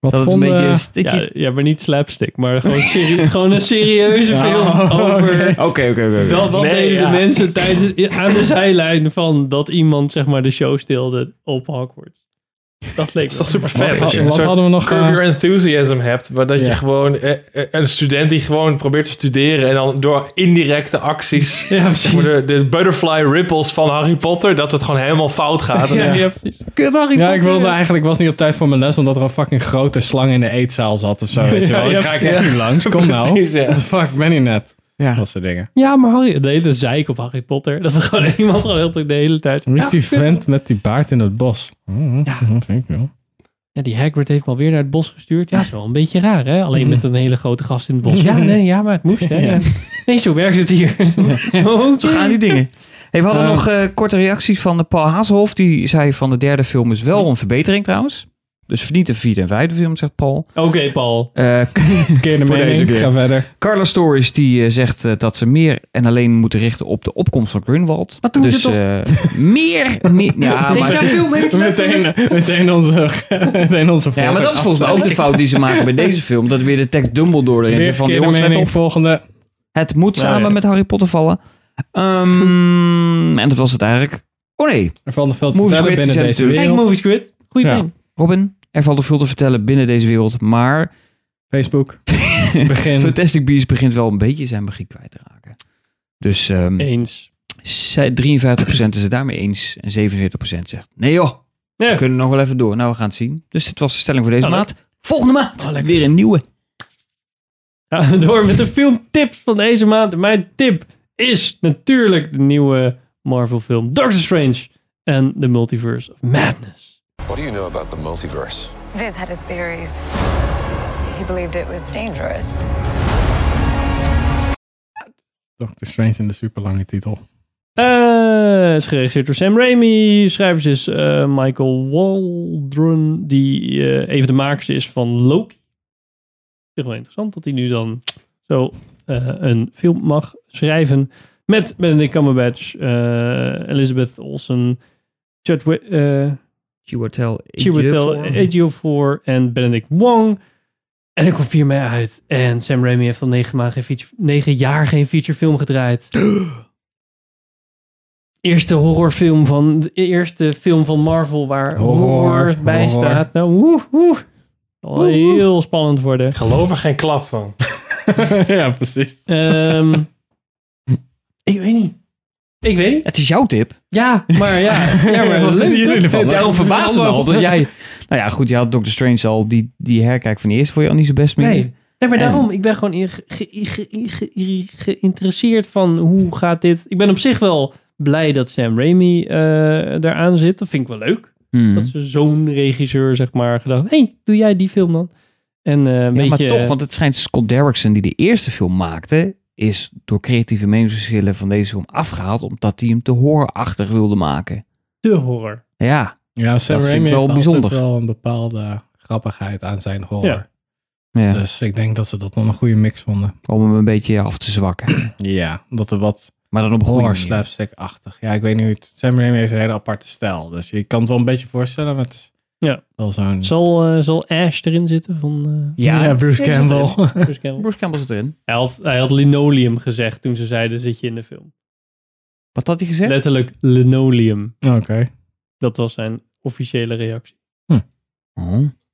dat het
vonden-
een beetje... dat
ja,
je-
ja, maar niet slapstick, maar gewoon, serie- gewoon een serieuze
Ja.
film over...
Oké, oké, oké.
Wel, wat
Nee,
deden
ja.
de mensen tijdens, aan de zijlijn van dat iemand zeg maar de show stilde op Hogwarts? Dat leek
Dat is toch super vet.
Wat,
als je een soort
hadden we nog,
Curb
eh,
Your Enthusiasm hebt. Waar dat
Ja.
je gewoon eh, eh, een student die gewoon probeert te studeren. En dan door indirecte
[laughs]
acties. zeg maar, de, de butterfly ripples van Harry Potter. Dat het gewoon helemaal fout gaat. [laughs] En dan-
Kut Harry
Ja,
Potter.
ik wilde eigenlijk, was niet op tijd voor mijn les, omdat er een fucking grote slang in de eetzaal zat of zo. Weet je
Ja,
wel.
ja,
Dan ga ik
ja.
echt niet langs, kom nou.
Precies, ja.
[laughs] What the fuck, ben je net? Dat soort dingen.
Ja, maar Harry, de hele zeik op Harry Potter. Dat er gewoon [laughs] iemand gewoon heel de hele tijd...
Hoe is
Ja,
die
ik vind-
vent met die baard in het bos? Ja, dat vind ik wel.
Ja, die Hagrid heeft me alweer naar het bos gestuurd. Ja, is wel een beetje raar, hè? Alleen met een hele grote gast in het bos. Ja, nee, ja, maar het moest, hè?
Ja.
Nee, zo werkt het hier. [laughs]
Zo gaan die dingen. Hey, we hadden
Ehm.
nog eh, korte reacties van eh, Paul Hazelhoff. Die zei van de derde film is wel een verbetering trouwens. Dus verdient een vierde en vijfde film, zegt Paul.
Oké, Paul.
Eh [laughs]
Keer de
voor
mening,
deze keer.
ga verder.
Carla Stories die eh, zegt eh, dat ze meer en alleen moeten richten op de opkomst van Grunwald.
Wat doen ze
dus
toch?
eh, meer, meer. Ja, maar, het is-
meteen, meteen onze, meteen onze
ja, maar dat is volgens mij ook de fout die ze maken bij deze film. Dat weer de tekst Dumbledore erin
Weer
zit. Van,
verkeerde
jongens, let
mening,
op.
volgende.
Het moet
Nou,
samen
ja.
met Harry Potter vallen. Ehm, en dat was het eigenlijk. Oh nee.
Er valt nog veel te
Movies
vertellen
Squid
binnen
zijn
deze
natuurlijk-
wereld.
Kijk, Movies Squid. Goeie
Ja.
ding.
Robin, Er valt er veel te vertellen binnen deze wereld, maar... [laughs]
Facebook.
Begin. Fantastic Beasts begint wel een beetje zijn begin kwijt te raken. Dus... ehm,
Eens.
zij- 53% is het daarmee eens en 47% zegt... Nee joh, we kunnen nog wel even door. Nou, we gaan het zien. Dus dit was de stelling voor deze
Nou,
maand. Volgende maand weer een nieuwe.
Gaan we [laughs] door met de filmtip van deze maand. En Mijn tip is natuurlijk de nieuwe Marvel film Doctor Strange en The Multiverse of Madness.
What do you know about the multiverse?
Viz had his theories. He believed it was dangerous.
Doctor Strange in de superlange titel.
Eh, is geregisseerd door Sam Raimi. Schrijvers is eh, Michael Waldron, die eh, een van de makers is van Loki. Vind ik wel interessant dat hij nu dan zo eh, een film mag schrijven. Met Benedict Cumberbatch, eh, Elizabeth Olsen, Chadwick... eh,
Chiwetel
Chiwetel Ejiofor en Benedict Wong. En ik kwam vier mei uit. En Sam Raimi heeft al negen, maanden geen feature, negen jaar geen featurefilm gedraaid. eerste horrorfilm van... De eerste film van Marvel waar horror,
Horror,
bij
horror.
staat. Nou, woe, woe. Zal
Woe, woe.
heel spannend worden.
Geloof er geen klap
[laughs]
van.
ja, precies. Ehm, ik weet niet. Ik weet niet.
Het is jouw tip.
Ja, maar ja. ja maar
Wat
leuk,
vinden jullie
toch?
ervan? Daarom
Het is
verbaasde me
allemaal-
al dat jij... Nou ja, goed, je had Doctor Strange al die, die herkijk van die eerste voor je al niet zo best mee.
Nee. Nee, maar
En-
daarom, ik ben gewoon in- ge- ge- ge- ge- geïnteresseerd van hoe gaat dit. Ik ben op zich wel blij dat Sam Raimi eh daaraan zit. Dat vind ik wel leuk.
Mhm.
Dat ze zo'n regisseur, zeg maar, gedacht: hé, hey, doe jij die film dan? En eh een
Ja,
beetje.
maar toch, want het schijnt Scott Derrickson die de eerste film maakte, is door creatieve meningsverschillen van deze film afgehaald, omdat hij hem te horrorachtig wilde maken.
te horror.
Ja,
Ja, Sam
dat
Raimi
vind ik wel
heeft
bijzonder.
altijd wel een bepaalde grappigheid aan zijn horror.
Ja. Ja.
Dus ik denk dat ze dat dan een goede mix vonden.
Om hem een beetje af te zwakken.
Ja, dat er wat
maar dan op een goede
horror
manier.
slapstick-achtig. Ja, ik weet niet hoe het... Sam Raimi heeft een hele aparte stijl. Dus je kan het wel een beetje voorstellen met
Ja.
wel zo'n...
Zal, eh, zal Ash erin zitten? Van, eh,
Ja, Ja, Bruce
die zit erin.
Campbell.
Bruce Campbell.
Bruce Campbell zit erin.
Hij had, hij had linoleum gezegd toen ze zeiden: zit je in de film?
Wat had hij gezegd?
Letterlijk linoleum.
Oké.
Dat was zijn officiële reactie.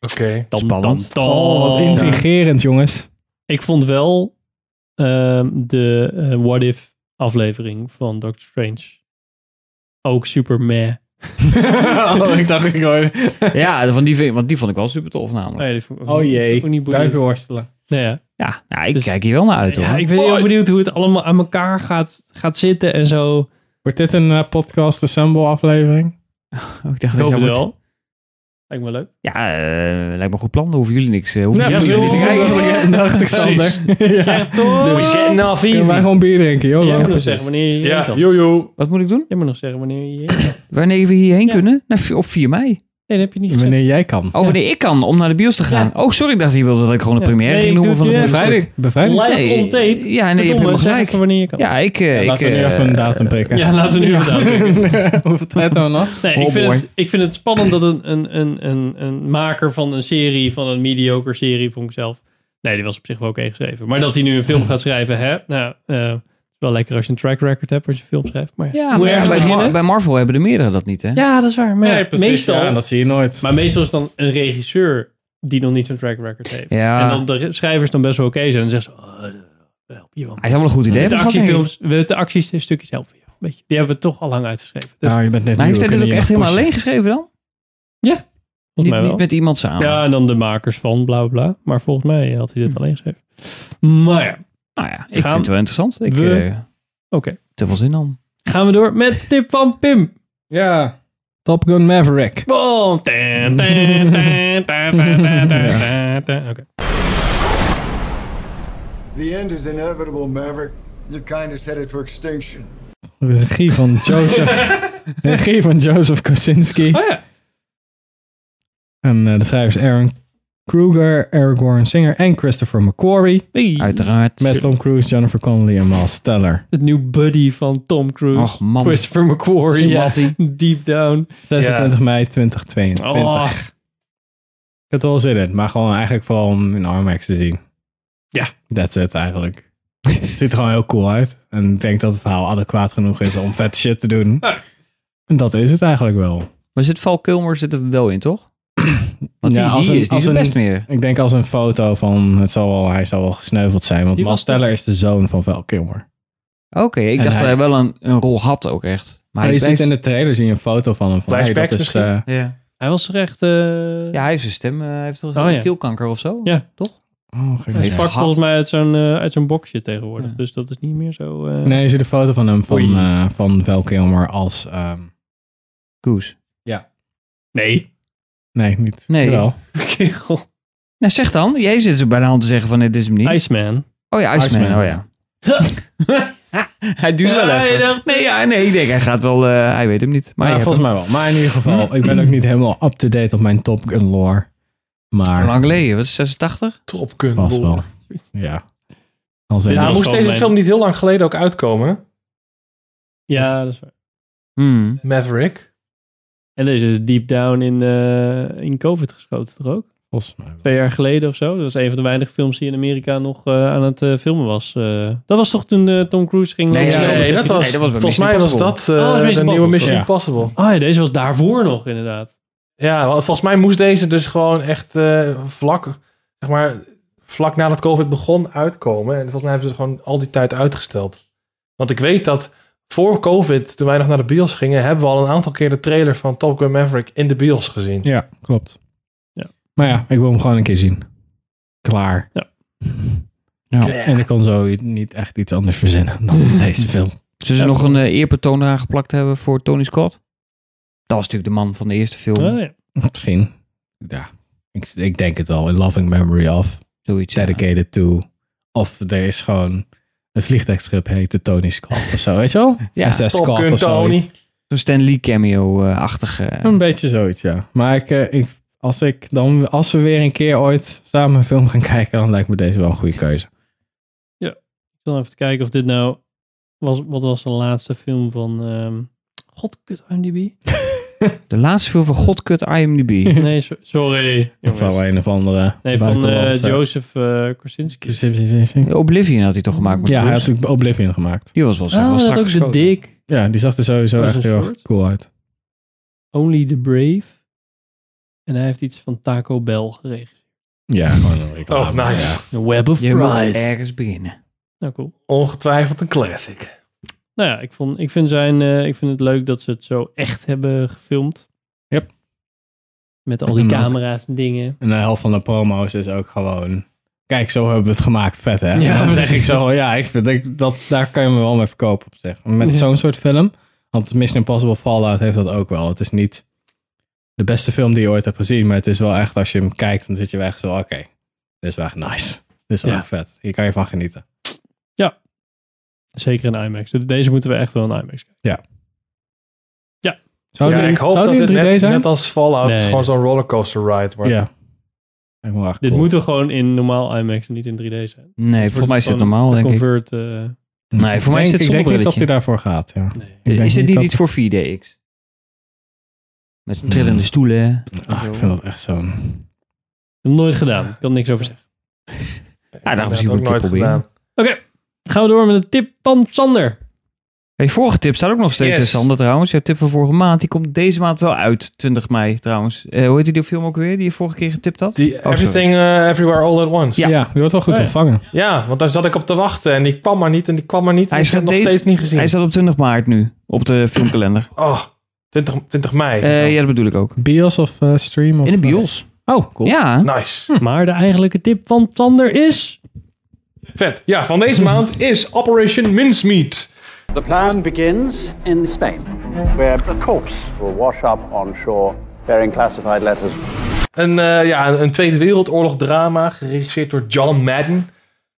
Oké.
Dan,
Spannend.
dan, dan.
Oh, wat intrigerend, jongens.
Ik vond wel ehm, de eh, What If aflevering van Doctor Strange ook super
[laughs]
meh.
[laughs] oh, ik dacht ik hoor.
ja, van die, vind- want die vond ik wel super tof namelijk.
Nee, die vond ik ook
Oh
niet-
jee,
ook niet boeiend.
duimpje worstelen.
Nee, ja.
Ja, nou, ik kijk hier wel naar uit hoor.
Dus- Ja, ik ben heel benieuwd hoe het allemaal aan elkaar gaat, gaat zitten en zo.
Wordt dit een eh, podcast assemble aflevering?
Oh, ik dacht
Ik
dat
hoop
jij
het
wordt...
wel. Lijkt me leuk.
Ja, eh, lijkt me een goed plan. Dan hoeven jullie niks, eh, hoeven
Ja,
jullie
precies. Dus-
niks te kijken.
Dacht ik, Sander. [laughs]
Ja, toch?
We getting off
Kunnen wij
easy.
gewoon bier drinken, joh.
Jij moet
Ja,
nog zeggen wanneer je hierheen
Ja,
kan.
jojo.
Wat moet ik doen?
Jij moet nog zeggen wanneer je hierheen kan.
Wanneer we hierheen kunnen? Nou, op 4 mei.
Nee, dat heb je niet gezegd.
Wanneer jij kan.
Oh, wanneer ik kan, om naar de bios te gaan. Oh, sorry, ik dacht je wilde dat ik gewoon de
Ja.
première
Nee,
ging
ik
noemen van
doe
het
het
hele
eerst.
stuk.
Bevrijdig.
Live on tape.
Ja, nee, je hebt
Verdomme,
helemaal
zeg
gelijk.
even wanneer je kan.
Ja, ik... eh, ik
Laten we nu
eh,
even een datum prikken.
Ja, laten we nu even duidelijk
[laughs]
Hoeveel tijd hebben we nog?
Nee,
Oh,
ik, vind het, ik vind het spannend dat een, een, een, een, een maker van een serie, van een mediocre serie, vond ik zelf. Nee, die was op zich wel oké geschreven. Maar dat hij nu een film gaat schrijven, hè? Nou, eh, het is wel lekker als je een track record hebt als je een film schrijft. Maar
Ja,
moet
maar ja,
ergens
bij, Mar-
beginnen.
bij Marvel hebben de meerdere dat niet, hè?
Ja, dat is waar. Maar ja,
Nee, precies.
meestal,
Ja, dat zie je nooit.
maar meestal is dan een regisseur die nog niet zo'n track record heeft.
Ja.
En dan de re- schrijvers dan best wel oké zijn. En dan zeggen ze, oh, dat help je wel.
Hij is wel een goed idee.
de
maar gehad,
actiefilms, we- de acties een stukje zelf. voor jou. Weet je, die hebben we toch al lang uitgeschreven. Dus,
Nou, je bent
nee.
net
Maar
nieuw,
heeft
we
hij dit
kunnen
ook echt helemaal
je nog pushen.
alleen geschreven dan?
volgens
Niet,
mij wel.
niet met iemand samen?
Ja, en dan de makers van bla bla bla. Maar volgens mij had hij dit alleen geschreven. Maar ja,
Nou ja, ik
Gaan
vind het wel interessant. Ik
we-
eh,
oké.
te veel zin aan.
Gaan we door met de tip van Pim.
Ja. Top Gun Maverick.
Boom. Tan, [laughs] tan, tan, tan, tan, tan, tan, tan, tan. Oké.
The end is inevitable, Maverick. Your kind is headed for extinction.
Regie
[laughs]
van Joseph. regie van Joseph Kosinski.
Oh ja.
En eh, de schrijvers Aaron Kruger, Eric Warren Singer en Christopher McQuarrie.
Uiteraard.
Met Tom Cruise, Jennifer Connelly en Miles Teller.
Het nieuwe buddy van Tom Cruise.
Och, man.
Christopher McQuarrie. Ja,
Smatty.
deep down.
26 mei 2022.
Oh,
Ik heb er wel zin in, maar gewoon eigenlijk vooral om in IMAX te zien.
Ja.
That's it eigenlijk. Het ziet er gewoon heel cool uit. En ik denk dat het verhaal adequaat genoeg is om vet shit te doen. En dat is het eigenlijk wel.
Maar zit Val Kilmer zit er wel in, toch? [clears throat] Want die, die is, die is
als
het best meer.
Ik denk als een foto van, het zal wel, hij zal wel gesneuveld zijn. Want
Die
Miles
was toch-
Teller is de zoon van Val Kilmer.
Oké, ik
En
dacht
hij-
dat hij wel een, een rol had ook echt.
Maar
Maar hij
je
blijft-
ziet in de trailer zie je een foto van hem. Van, hey, dat is, eh,
ja.
Hij was recht.
Ja, hij heeft zijn stem. eh, hij heeft toch
Oh, ja.
keelkanker of zo?
Ja.
Toch?
Oh,
Hij is
gehad.
vak volgens mij uit zo'n eh, uit zo'n boxje tegenwoordig. Dus dat is niet meer zo. eh,
nee, je ziet een foto van hem van,
Oei.
eh, van Val Kilmer als... ehm,
Goose.
Ja.
[laughs] Nee.
Nee, niet.
Nee.
Jawel.
Kerel.
Nou, zeg dan. Jij zit er bij de hand te zeggen van nee, dit is hem niet.
Iceman.
Oh ja, Iceman.
Iceman.
Oh ja. hij duurt wel
Ja, je
even.
dacht-
Nee, ja, nee, ik denk hij gaat wel... eh, hij weet hem niet. Maar
Maar
je hebt
volgens
hem. Hmm.
mij wel. Maar in ieder geval, ik ben ook niet helemaal up-to-date op mijn Top Gun lore. Maar
Lang geleden. Wat is 86?
Top Gun
pas wel.
lore.
Ja. Als
Ja,
een-
moest deze film niet heel lang geleden ook uitkomen?
Ja, dat is waar.
Hmm.
Maverick.
En deze is deep down in, eh, in COVID geschoten, toch ook?
Volgens mij
Twee jaar geleden of zo. Dat was een van de weinige films die in Amerika nog eh, aan het eh, filmen was. eh. dat was toch toen eh, Tom Cruise ging
Nee,
langs-
ja, nee, dat was-
bij
volgens
Mission
mij was
Impossible.
dat, eh,
was
de
Mission
nieuwe
Impossible.
Mission
Ja.
Impossible.
Ah ja, deze was daarvoor nog inderdaad.
Ja, want volgens mij moest deze dus gewoon echt eh, vlak, zeg maar, vlak nadat COVID begon uitkomen. En volgens mij hebben ze het gewoon al die tijd uitgesteld. Want ik weet dat voor COVID, toen wij nog naar de bios gingen, hebben we al een aantal keer de trailer van Top Gun Maverick in de bios gezien.
Ja, klopt.
Ja.
Maar ja, ik wil hem gewoon een keer zien. Klaar.
Ja.
Ja. En ik kon zo niet echt iets anders
[laughs]
verzinnen dan deze film.
Zullen ze nog een eh, eerbetoon aangeplakt hebben voor Tony Scott? Dat was natuurlijk de man van de eerste film.
Oh, ja.
Misschien. Ja, ik, ik denk het wel. In loving memory of.
Zoiets,
Dedicated to. Of er is gewoon een vliegtuigschip heette Tony Scott of zo. Weet je wel?
Ja,
SS
Top
Scott
Gun
of zo.
Tony. Zo'n Stan Lee cameo-achtige. eh,
Een beetje zoiets, ja. Maar ik, eh, ik, als, ik dan, als we weer een keer ooit samen een film gaan kijken, dan lijkt me deze wel een goede keuze.
Ja, ik zal even kijken of dit nou... Was, wat was de laatste film van... ehm God, kut IMDb?
de laatste film van Godkut IMDb. [laughs]
Nee, so- sorry.
Of wel een of andere.
Nee, van eh,
buitenlandse-
Joseph eh, Kosinski.
Oblivion had Oh, hij toch gemaakt met
Ja, hij had
Bruce?
natuurlijk Oblivion gemaakt.
Die was wel
Ah, dat had ook de dik.
Ja, die zag er sowieso
Dat is
echt
een
heel erg
soort.
cool uit.
Only the Brave. En hij heeft iets van Taco Bell geregeld.
Ja, gewoon een reclame.
Oh, nice.
ja.
The Web of
Je moet
Fries.
ergens beginnen.
Nou, cool.
Ongetwijfeld een classic.
Nou ja, ik, vond, ik, vind zijn, eh, ik vind het leuk dat ze het zo echt hebben gefilmd.
Yep.
Met al die
En dan-
camera's en dingen.
En de helft van de promo's is ook gewoon... Kijk, zo hebben we het gemaakt, vet hè?
Ja.
[laughs] Dan zeg ik zo, ja, ik vind ik, dat, daar kan je me wel mee verkopen op zich. Met
Ja.
zo'n soort film, want Mission Impossible Fallout heeft dat ook wel. Het is niet de beste film die je ooit hebt gezien, maar het is wel echt, als je hem kijkt, dan zit je wel echt zo, oké, dit is wel echt nice. Dit is wel
Ja.
echt vet. Hier kan je van genieten.
Zeker in IMAX. Dus Deze moeten we echt wel in IMAX kijken.
Ja.
Ja.
Zou
ja,
die-
ik hoop
zou
dat
die
het
in 3D
net,
zijn?
net als Fallout
Nee,
gewoon
nee.
zo'n rollercoaster ride wordt.
Ja. Ik vond het echt
Dit
cool.
moet er gewoon in normaal IMAX en niet in 3D zijn.
Nee, voor mij is dit
het
normaal, denk ik.
Convert, eh,
Nee, voor mij is dit
denk- Ik denk niet dat hij
zonnebrilletje.
daarvoor gaat, ja. Ik denk
Is dit niet
dat-
iets voor 4DX? Met trillende stoelen.
Ah, ik vind dat echt zo'n...
nooit gedaan. Ik kan niks over zeggen.
Ja, daarom
Dat
zie ik
heb
het een
ik
keer
nooit gedaan.
proberen.
Oké, gaan we door met de tip van Sander.
Je vorige tip staat ook nog steeds,
Yes.
in Sander, trouwens. Jouw tip van vorige maand, die komt deze maand wel uit. 20 mei, trouwens. Eh, hoe heette die film ook weer, die je vorige keer getipt had?
Die
Oh, sorry.
Everything eh, Everywhere All at Once.
Ja, die wordt wel goed
Oh, ja.
ontvangen.
Ja, want daar zat ik op te wachten en die kwam maar niet en die kwam maar niet.
Hij
Hij ik
is
heb hem nog
deze-
steeds niet gezien.
Hij staat op 20 maart nu, op de filmkalender.
Oh, 20, 20 mei. Oh,
Eh, ja, dat bedoel ik ook.
Bios of eh, stream? Of,
In de bios.
Oh, cool.
Nou,
Ja.
Nice.
Maar de eigenlijke tip van Sander is...
Vet. Ja, van deze maand is Operation Mincemeat.
The plan begins in Spain, where the corpse will wash up on shore bearing classified letters.
Een, eh, ja, een, een Tweede Wereldoorlog drama geregisseerd door John Madden.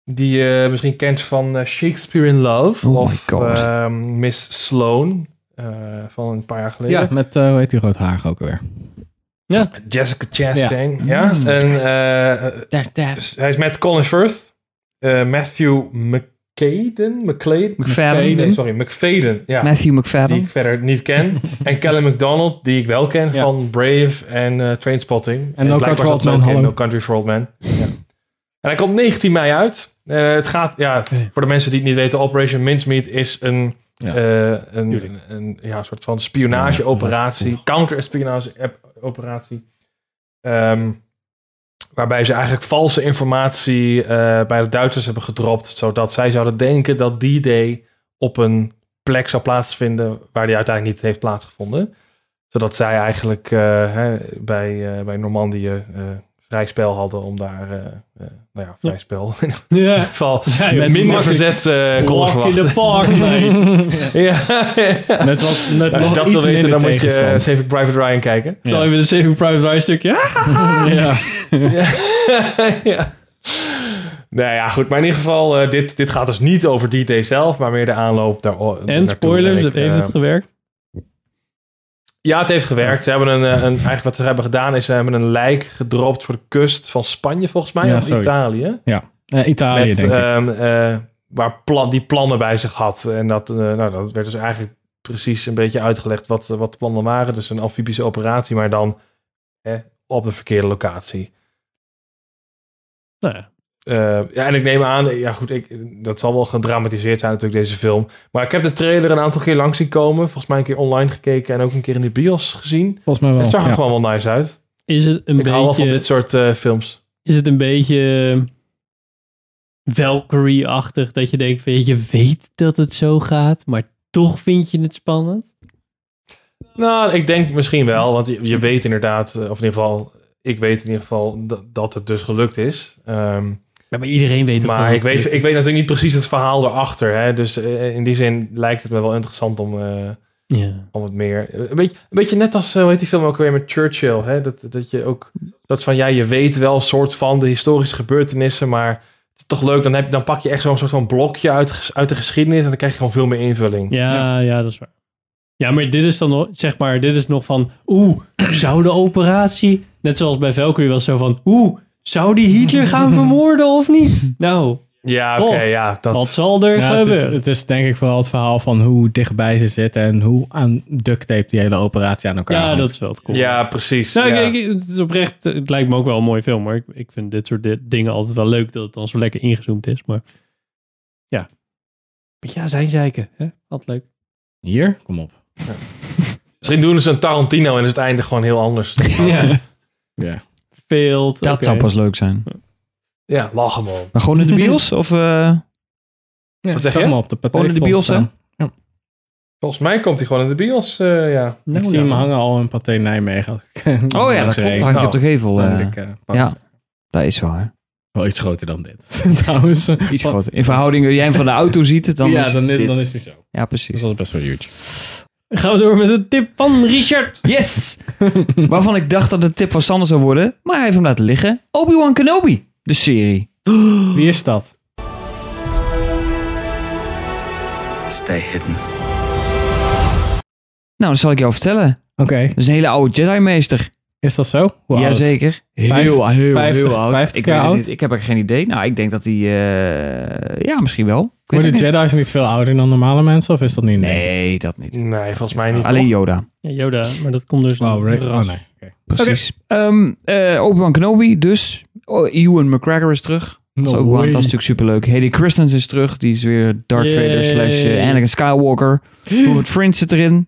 Die je misschien kent van eh, Shakespeare in Love.
Oh my
of
God.
eh, Miss Sloan. eh, van een paar jaar geleden.
Ja, met, eh, hoe heet die roodharig ook weer?
Ja.
Jessica Chastain. Ja.
Mm.
En eh, dus hij is met Colin Firth, eh, Matthew McCaden, McCladen,
McFadden.
Nee, sorry, McFadden. Ja.
Matthew McFadden.
Die ik verder niet ken. en Callum McDonald, die ik wel ken van Brave en eh, Trainspotting. En,
No
blijkbaar
Country for Old
zat ze ook
Men,
in
hallo.
No Country for Old Men. Ja. En hij komt 19 mei uit. Eh, het gaat, ja, voor de mensen die het niet weten, Operation Mincemeat is een,
Ja.
eh, een, een, een, ja, soort van spionageoperatie, counter-espionage-operatie Ehm, waarbij ze eigenlijk valse informatie eh, bij de Duitsers hebben gedropt. Zodat zij zouden denken dat die day op een plek zou plaatsvinden waar die uiteindelijk niet heeft plaatsgevonden. Zodat zij eigenlijk eh, hè, bij, eh, bij Normandië eh, vrij spel hadden om daar, eh, eh, nou ja, vrij spel. In ieder geval
Ja, joh,
met minder
makkelijk.
verzet eh konden
Walk in the
verwachten. [laughs]
park, mate.
ja.
Net was- net
Als
nog
je dat
iets
wil weten,
minder
dan moet je eh,
tegenstand.
Saving Private Ryan kijken.
Zal even de Saving Private Ryan stukje? ja.
[laughs] ja. Nou ja, goed. Maar in ieder geval, eh, dit, dit gaat dus niet over D-Day zelf, maar meer de aanloop daar. eh,
En spoilers,
dat
dat heeft het gewerkt?
Ja, het heeft gewerkt. Ze hebben een, eh, een, eigenlijk wat ze hebben gedaan is ze hebben een lijk gedropt voor de kust van Spanje volgens mij,
Ja,
of
zoiets.
Italië.
Ja, [laughs] Eh, Italië
Met,
denk ik.
ehm, eh, waar plan, die plannen bij zich had. En dat, eh, nou, dat werd dus eigenlijk precies een beetje uitgelegd wat, wat de plannen waren. Dus een amfibische operatie, maar dan eh, op de verkeerde locatie.
Nou ja.
Eh, ja, en ik neem aan, ja goed, ik, dat zal wel gedramatiseerd zijn natuurlijk deze film. Maar ik heb de trailer een aantal keer langs zien komen. Volgens mij een keer online gekeken en ook een keer in de bios gezien.
Volgens mij wel,
Het zag er
Oh, ja.
gewoon wel nice uit.
Is het een
ik hou wel van
beetje-
dit soort eh, films.
Is het een beetje Valkyrie-achtig dat je denkt van je weet dat het zo gaat, maar toch vind je het spannend?
Nou, ik denk misschien wel, want je, je weet inderdaad, eh, of in ieder geval, ik weet in ieder geval dat, dat het dus gelukt is. Ehm,
maar iedereen weet toch dat
Maar
het
ik weet,
gelukt
ik weet natuurlijk niet precies het verhaal erachter. Hè? Dus eh, in die zin lijkt het me wel interessant om, eh,
Ja.
om het meer. eh, Een beetje, een beetje net als, eh, hoe heet die film ook weer met Churchill? Hè? Dat, dat je ook, dat van ja, je weet wel een soort van de historische gebeurtenissen, maar het is toch leuk, dan, heb, dan pak je echt zo'n soort van blokje uit, uit de geschiedenis en dan krijg je gewoon veel meer invulling.
Ja, ja, dat is waar. Ja, maar dit is dan nog, zeg maar, dit is nog van, oeh, zou de operatie, net zoals bij Valkyrie was zo van, oeh, zou die Hitler gaan vermoorden of niet? Nou,
Ja,
oké,
ja. Dat...
Wat zal er
Ja, het,
gebeuren?
is, het is denk ik vooral het verhaal van hoe dichtbij ze zitten en hoe aan duct tape die hele operatie aan elkaar
Ja,
hangt.
dat is wel het cool.
Ja, precies.
Nou,
ja.
ik- ik- het is oprecht, het lijkt me ook wel een mooi film, maar ik, ik vind dit soort di- dingen altijd wel leuk dat het dan zo lekker ingezoomd is. Maar ja, maar ja zijn zeiken, hè? Altijd leuk.
Hier? Kom op.
Misschien doen ze een Tarantino en is het einde gewoon heel
[laughs]
anders.
Ja.
ja.
Veel.
Dat zou pas leuk zijn.
Ja, lachen man.
Maar gewoon in de bios? of, eh
Wat zeg je?
Gewoon in de bios, hè?
Volgens mij komt hij gewoon in de bios, eh, ja.
Nou
ik zie hem hangen al in Pathé Nijmegen.
Nou,
[laughs]
Oh ja, dat klopt. Hang je op de
Oh,
gevel. eh. ja, dat is waar.
Wel iets groter dan dit. [laughs] Trouwens.
Iets groter. In verhouding, als jij hem van de auto ziet, dan
Ja,
is
dan is-
dit.
dan is hij zo. Dus
Ja, precies.
Dat is best wel
[gasps]
huge.
Gaan we door met een tip van Richard.
Yes! [laughs] Waarvan ik dacht dat het tip van Sander zou worden, maar hij heeft hem laten liggen. Obi-Wan Kenobi, de serie.
Wie is dat?
Stay hidden. Nou, dat zal ik jou vertellen.
Oké.
Dat is een hele oude Jedi-meester.
Is dat zo? Hoe oud?
Jazeker. Heel,
Vijf-
heel, heel,
50
oud.
50
ik
jaar
weet het
oud?
niet. Ik heb er geen idee. Nou, ik denk dat hij... eh, ja, misschien wel. Ik weet
Worden
het niet.
Jedi's niet veel ouder dan normale mensen? Of is dat niet?
Nee, dat niet.
Nee, volgens mij niet.
Alleen
toch?
Yoda.
Ja, Yoda, maar dat komt dus
Oh,
een
Ray-
ras.
oh, nee.
Precies. Ehm, eh, Obi-Wan Kenobi dus. Oh, Ewan McGregor is terug.
No
dat, is ook wel-
way.
dat is natuurlijk superleuk. Hayden Christensen is terug. Die is weer Darth
Yay.
Vader slash eh, Anakin Skywalker. Robert Friend zit erin.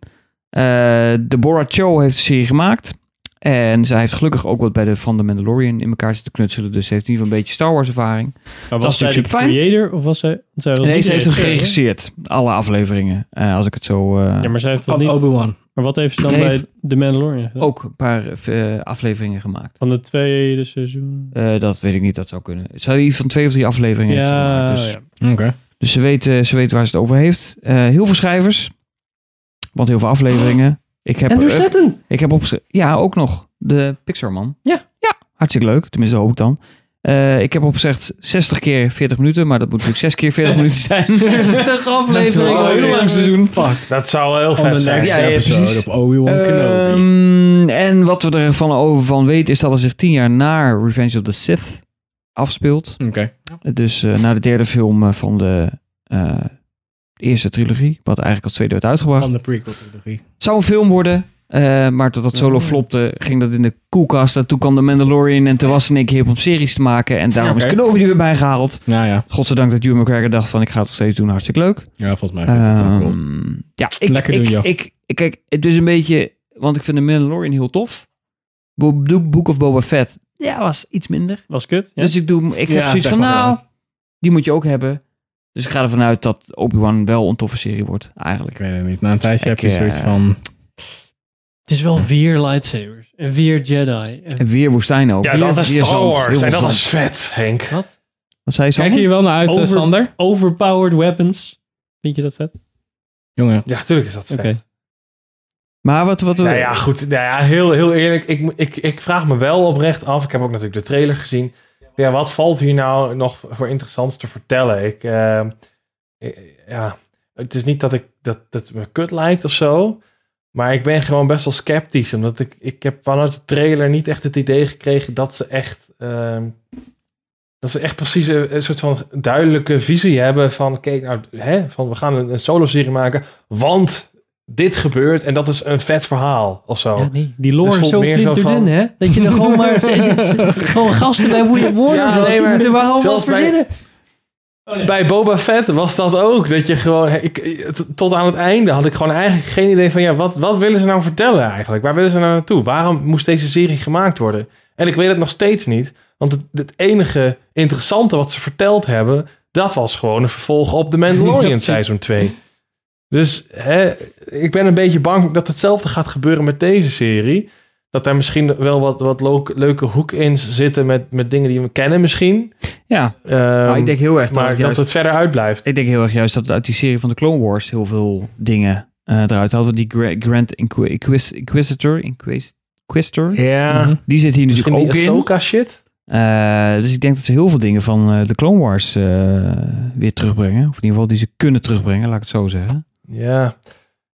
Eh Deborah Cho heeft de serie gemaakt. En zij heeft gelukkig ook wat bij de Van de Mandalorian in elkaar zitten knutselen. Dus ze heeft in ieder geval een beetje Star Wars ervaring.
Maar
dat
was
is
zij
natuurlijk
de
super fijn.
creator of was zij... want zij was
Nee,
niet
ze heeft hem
de creator,
geregisseerd. Alle afleveringen. eh, als ik het zo... eh,
hè? Ja, maar zij heeft
Van
toch niet...
Obi-Wan.
Maar wat heeft ze dan
Nee,
bij
v-
The Mandalorian gedaan?
ook een paar eh, afleveringen gemaakt.
Van het tweede seizoen.
Eh, dat weet ik niet, dat zou kunnen. Ze had iets van twee of drie afleveringen.
Ja,
heeft ze gemaakt, dus,
Oké.
dus ze, weet, eh, ze weet waar ze het over heeft. Eh, heel veel schrijvers. Want heel veel afleveringen. Ik heb,
Andrew
eh,
Stanton.
ik heb opgeschreven. Ja, ook nog. De Pixar-man.
Ja.
Ja, hartstikke leuk. Tenminste, hoop ik dan. Eh, ik heb opgezegd 60 keer 40 minuten. Maar dat moet natuurlijk 6 keer [laughs] 40 minuten zijn. [laughs] Eh, 60 afleveringen.
Oh,
heel
ja.
lang seizoen.
Dat zou wel heel
On
vet
the
zijn.
next Ja, ja, episode precies.
op Obi-Wan Kenobi.
Ehm, en wat we ervan over van weten is dat het zich tien jaar na Revenge of the Sith afspeelt.
Oké.
Dus eh, na de derde film eh, van de eh, eerste trilogie, wat eigenlijk als tweede werd uitgebracht.
Van de prequel-trilogie.
Zou een film worden, eh, maar totdat Solo flopte, ging dat in de koelkast. En toen kwam de Mandalorian en toen was in één keer hip om series te maken. En daarom is
Oké.
Kenobi er weer bij gehaald.
Nou ja.
Godzijdank dat Ewan McGregor dacht van ik ga het nog steeds doen, hartstikke leuk.
Ja, volgens mij vindt hij het wel cool.
Ehm, Ja, ik,
Lekker
ik,
doen, joh.
ik, ik- kijk, het is een beetje, want ik vind de Mandalorian heel tof. Bo- Bo- Book of Boba Fett, ja, was iets minder.
Was kut.
Dus ik, doe, hem- ik
Ja,
heb zoiets
zeg
van,
maar
nou, die moet je ook hebben. Dus ik ga ervan uit dat Obi-Wan wel een toffe serie wordt, eigenlijk.
Ik weet het niet. Na een tijdje heb je zoiets
eh,
van...
Het is wel weer lightsabers. En weer Jedi.
En weer woestijn ook.
Ja, dat is
Weer
Star
zand,
Wars.
heel veel
En dat
zand.
is vet,
Henk.
Wat?
Wat zei je,
Kijk je hier wel naar uit, eh, Sander?
Overpowered weapons. Vind je dat vet?
Jongen.
Ja, tuurlijk is dat vet.
Oké.
Maar wat... wat
Nou ja, goed. Nou ja, heel, heel eerlijk. Ik, mo- ik, ik vraag me wel oprecht af. Ik heb ook natuurlijk de trailer gezien. Ja, wat valt hier nou nog voor interessants te vertellen? Ik, eh, eh, ja, het is niet dat ik dat, dat me kut lijkt of zo. Maar ik ben gewoon best wel sceptisch. Omdat ik, ik heb vanuit de trailer niet echt het idee gekregen dat ze echt. ehm, dat ze echt precies een, een soort van duidelijke visie hebben van, kijk nou, hè, van we gaan een, een solo-serie maken, want dit gebeurt en dat is een vet verhaal of zo.
nee, die lore
Het
is
voelt
zo
meer zo
flinterdun,
van-
hè? Dat je er gewoon maar... [laughs] gewoon gasten bij woede woorden.
Ja,
Ja,
nee,
die
maar
moeten we allemaal
zelfs
wat
bij- Oh,
verzinnen. Oh,
Bij Boba Fett was dat ook. Dat je gewoon, hè, ik, t- tot aan het einde had ik gewoon eigenlijk geen idee van, ja, wat, wat willen ze nou vertellen eigenlijk? Waar willen ze nou naartoe? Waarom moest deze serie gemaakt worden? En ik weet het nog steeds niet, want het, het enige interessante wat ze verteld hebben, dat was gewoon een vervolg op The Mandalorian [laughs] seizoen 2. Dus hè, ik ben een beetje bang dat hetzelfde gaat gebeuren met deze serie. Dat daar misschien wel wat, wat lo- leuke hoek in zitten met, met dingen die we kennen misschien.
Ja,
Ehm,
Maar Nou, ik denk heel erg
maar
het
dat
juist-
het verder uitblijft.
Ik denk heel erg juist dat uit die serie van de Clone Wars heel veel dingen eh, eruit hadden. Die Gra- Grand Inqui- Inquis- Inquisitor, Inquis- Inquisitor,
Ja.
Mhm. die zit hier
Misschien
natuurlijk ook
Dus die
in.
Ahsoka shit?
Eh, dus ik denk dat ze heel veel dingen van eh, de Clone Wars eh, weer terugbrengen. Of in ieder geval die ze kunnen terugbrengen, laat ik het zo zeggen.
Ja.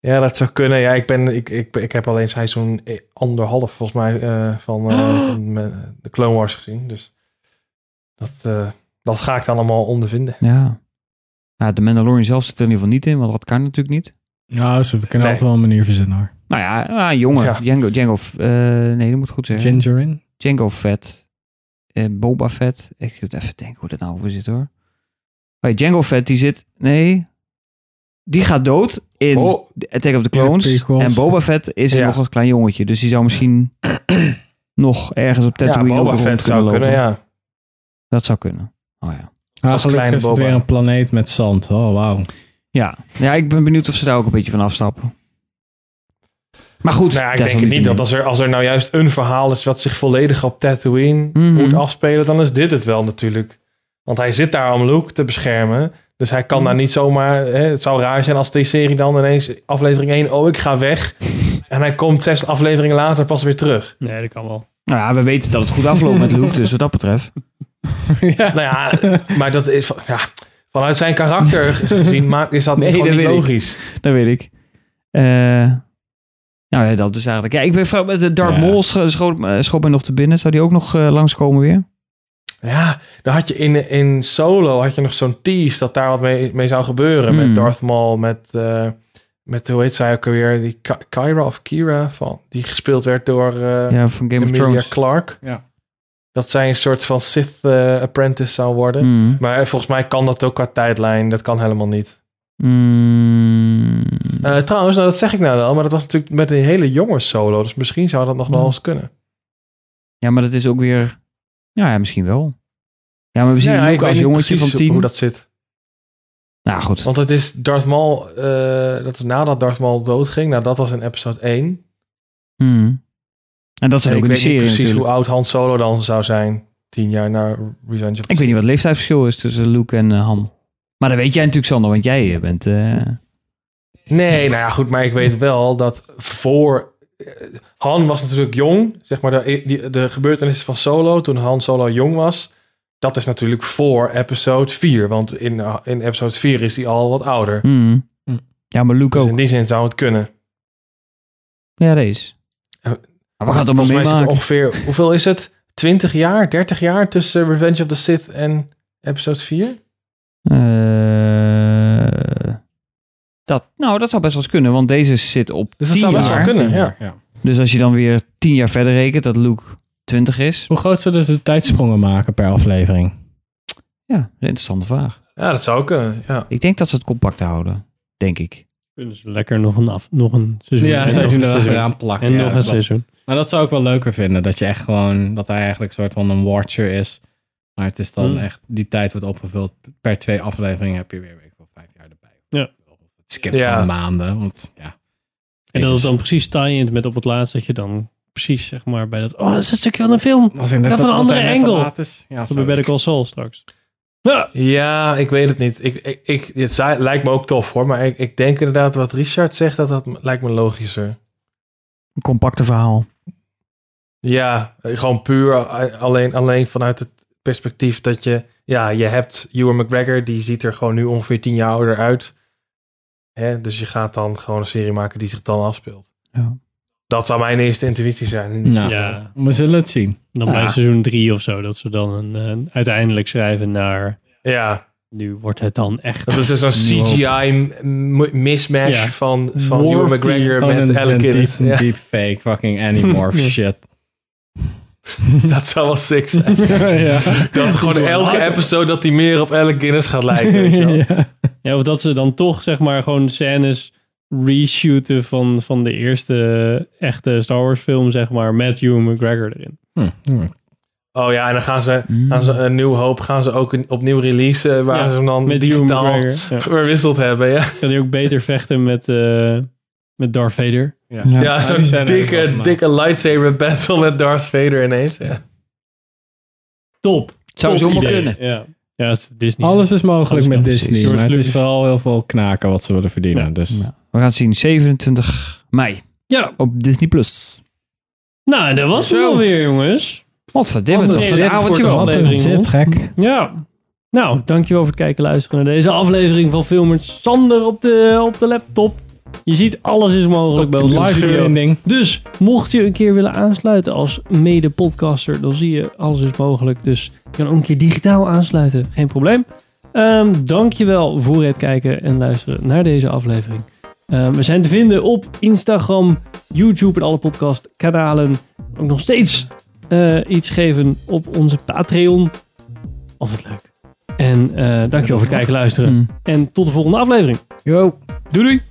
ja, dat zou kunnen. Ja, ik, ben, ik, ik, ik heb alleen seizoen e- anderhalf volgens mij eh, van, eh, van me- de Clone Wars gezien. Dus dat, eh, dat ga ik dan allemaal ondervinden.
Ja. Nou, de Mandalorian zelf zit er in ieder geval niet in, want dat kan natuurlijk niet.
Nou, ze, we kunnen
Nee.
altijd wel een manier verzinnen hoor.
Nou ja, ah, jongen.
Ja.
Django, Django, eh, nee, dat moet ik goed zeggen.
Gingerin?
Django Fett. Eh, Boba Fett. Ik moet even denken hoe dat nou over zit hoor. Hey, Django Fett die zit, nee. Die gaat dood in
Oh.
The Attack of the
In de
Clones.
prequels.
En Boba Fett is
Ja.
nog als klein jongetje. Dus die zou
[clears throat]
misschien nog ergens op
Ja,
Tatooine ook
Boba
rond
Fett zou
lopen.
kunnen, ja.
Dat zou kunnen. Oh ja.
Ah,
Als
gelukkig
kleine
is het
Boba.
weer een planeet met zand. Oh, wauw.
Ja. ja, ik ben benieuwd of ze daar ook een beetje van afstappen. Maar goed,
Nou ja, ik denk het niet.
desalniettemin.
Dat als er, als er nou juist een verhaal is wat zich volledig op Tatooine moet afspelen, dan is dit het wel natuurlijk. Want hij zit daar om Luke te beschermen. Dus hij kan daar niet zomaar... Hè, het zou raar zijn als die serie dan ineens aflevering 1... Oh, ik ga weg. En hij komt zes afleveringen later pas weer terug.
Nee, dat kan wel.
Nou ja, we weten dat het goed afloopt met Luke, dus wat dat betreft.
Nou ja, maar dat is... van- Ja, vanuit zijn karakter gezien ma- is dat gewoon niet
weet ik.
logisch.
Dat weet ik. Eh, nou ja, dat dus eigenlijk. Ja, ik ben vrouw met de Dark Maul scho- schoot, eh, schoot mij nog te binnen. Zou die ook nog langs langskomen weer?
Ja, dan had je in, in Solo had je nog zo'n tease dat daar wat mee, mee zou gebeuren.
Hmm.
Met Darth Maul, met, eh, met hoe heet zij ook alweer? Die Ka- Kyra of Kira, van, die gespeeld werd door eh,
Ja, van Game of
Emilia
Thrones.
Clark.
Ja.
Dat zij een soort van Sith eh, apprentice zou worden.
Hmm.
Maar eh, volgens mij kan dat ook qua tijdlijn. Dat kan helemaal niet.
Mm,
Eh, trouwens, nou, dat zeg ik nou wel, maar dat was natuurlijk met een hele jonge Solo. Dus misschien zou dat nog wel
Ja.
eens kunnen.
ja, maar dat is ook weer... Nou ja, misschien wel. Ja, maar we zien
Ja, ja, ik
Luke als
weet niet
jongetje van
precies
tien.
Hoe dat zit.
Nou goed.
Want het is Darth Maul, eh, dat is nadat Darth Maul doodging. Nou, dat was in episode 1.
Hmm. En dat zijn
En
ook in
ik
de
weet niet
serie
precies
natuurlijk.
hoe oud Han Solo dan zou zijn. Tien jaar na Revenge of the
Ik weet
Sith.
niet wat het leeftijdsverschil is tussen Luke en eh, Han. Maar dat weet jij natuurlijk, Sander, want jij eh, bent... eh,
Nee, nou ja, goed. Maar ik weet wel dat voor... eh, Han was natuurlijk jong. Zeg maar, de, die, de gebeurtenissen van Solo, toen Han Solo jong was... Dat is natuurlijk voor episode 4. Want in, eh, in episode 4 is hij al wat ouder.
hmm. Ja, maar Luke
Dus
ook.
in die zin zou het kunnen.
Ja, dat is. Maar we gaan het allemaal
Volgens mij zit er
meemaken.
ongeveer, hoeveel is het? 20 jaar, 30 jaar tussen Revenge of the Sith en episode 4?
Eh, dat, nou, dat zou best wel eens kunnen, want deze zit op
Dus dat
10
zou best wel
jaar.
kunnen, ja.
Dus als je dan weer 10 jaar verder rekent dat Luke 20 is.
Hoe groot zullen ze de tijdsprongen maken per aflevering?
Ja, een interessante vraag.
Ja, dat zou kunnen, ja.
Ik denk dat ze het compact houden, denk ik.
Kunnen ze lekker nog een, af, nog een seizoen.
Ja,
en
seizoen
nog een
erachteraan plakken.
En
Ja,
nog een
dat-
seizoen.
Maar dat zou ik wel leuker vinden. Dat je echt gewoon, dat hij eigenlijk een soort van een watcher is. Maar het is dan
Hmm.
echt, die tijd wordt opgevuld. Per twee afleveringen heb je weer, weet ik wel, vijf jaar erbij.
Ja.
Het skipt
Ja.
gewoon maanden. Want, ja.
En dat
Jezus.
is dan precies tie-in met op het laatst dat je dan precies zeg maar bij dat... Oh, dat is een stukje van een film.
Dat
Dat,
is net
is
dat-
een
dat
andere
hij net te
angle.
laat is. Ja,
Dat
zo.
bij Better Call Saul straks.
Ja, ik weet het niet. Ik, ik, ik, het za- lijkt me ook tof hoor, maar ik, ik denk inderdaad wat Richard zegt, dat, dat lijkt me logischer.
Een compacte verhaal.
Ja, eh, gewoon puur eh, alleen, alleen vanuit het perspectief dat je... Ja, je hebt Ewan McGregor, die ziet er gewoon nu ongeveer tien jaar ouder uit. Hè? Dus je gaat dan gewoon een serie maken die zich dan afspeelt.
Ja.
Dat zou mijn eerste intuïtie zijn.
Nou, we zullen het zien.
Dan bij seizoen drie of zo. Dat ze dan een, eh, uiteindelijk schrijven naar...
Ja.
Nu wordt het dan
[laughs]
echt...
Dat is dus een
[laughs] Nieuw.
CGI m- mismatch
Ja.
van, van Ewan
Warped
McGregor
van
met
een-
Alec
een
Guinness.
decent
Ja.
diep-
Fake fucking animorph
Ja.
shit.
Dat zou wel
[laughs]
sick zijn.
Ja.
Dat gewoon
Doe
elke
later.
episode dat die meer op Alec Guinness gaat lijken. Weet je wel.
[laughs] Ja, of dat ze dan toch zeg maar gewoon scènes reshooten van, van de eerste echte Star Wars film, zeg maar, met Hugh McGregor erin.
Hmm. Oh ja, en dan gaan ze,
Hmm.
gaan ze een nieuw hoop gaan ze ook een- opnieuw releasen waar
Ja,
ze hem dan
met Ewan
digitaal
McGregor, ja.
[laughs] verwisseld hebben. Ja,
Kan hij ook beter vechten met, eh, met Darth Vader?
Ja,
ja, zo'n dikke, dikke lightsaber battle met Darth Vader ineens. Ja.
Top.
Zou
Top
zomaar
idee.
kunnen.
Ja. Ja, het is Disney.
Alles is mogelijk
Alles
met
kan.
Disney.
George
Maar het is
Lucas.
vooral heel veel knaken wat ze willen verdienen. Dus
We gaan het zien. 27 mei.
Ja.
Op Disney+. Plus.
Nou, en dat was het
Zo.
alweer, jongens.
Wat verdimme
Wat een
toch.
zit
Een avondje
voor de
wel.
aflevering,
Zit,
hoor.
gek.
Ja. Nou, dankjewel voor het kijken en luisteren naar deze aflevering van Filmers Sander op de, op de laptop. Je ziet, alles is mogelijk bij ons
live
live
verbinding.
Dus mocht je een keer willen aansluiten als mede-podcaster, dan zie je, alles is mogelijk. Dus je kan ook een keer digitaal aansluiten, geen probleem. Ehm dankjewel voor het kijken en luisteren naar deze aflevering. Ehm, we zijn te vinden op Instagram, YouTube en alle podcastkanalen. Ook nog steeds eh, iets geven op onze Patreon. Altijd
Hm. Hmm.
leuk. En eh dankjewel voor het kijken en luisteren. En tot de volgende aflevering.
Yo.
Doei doei.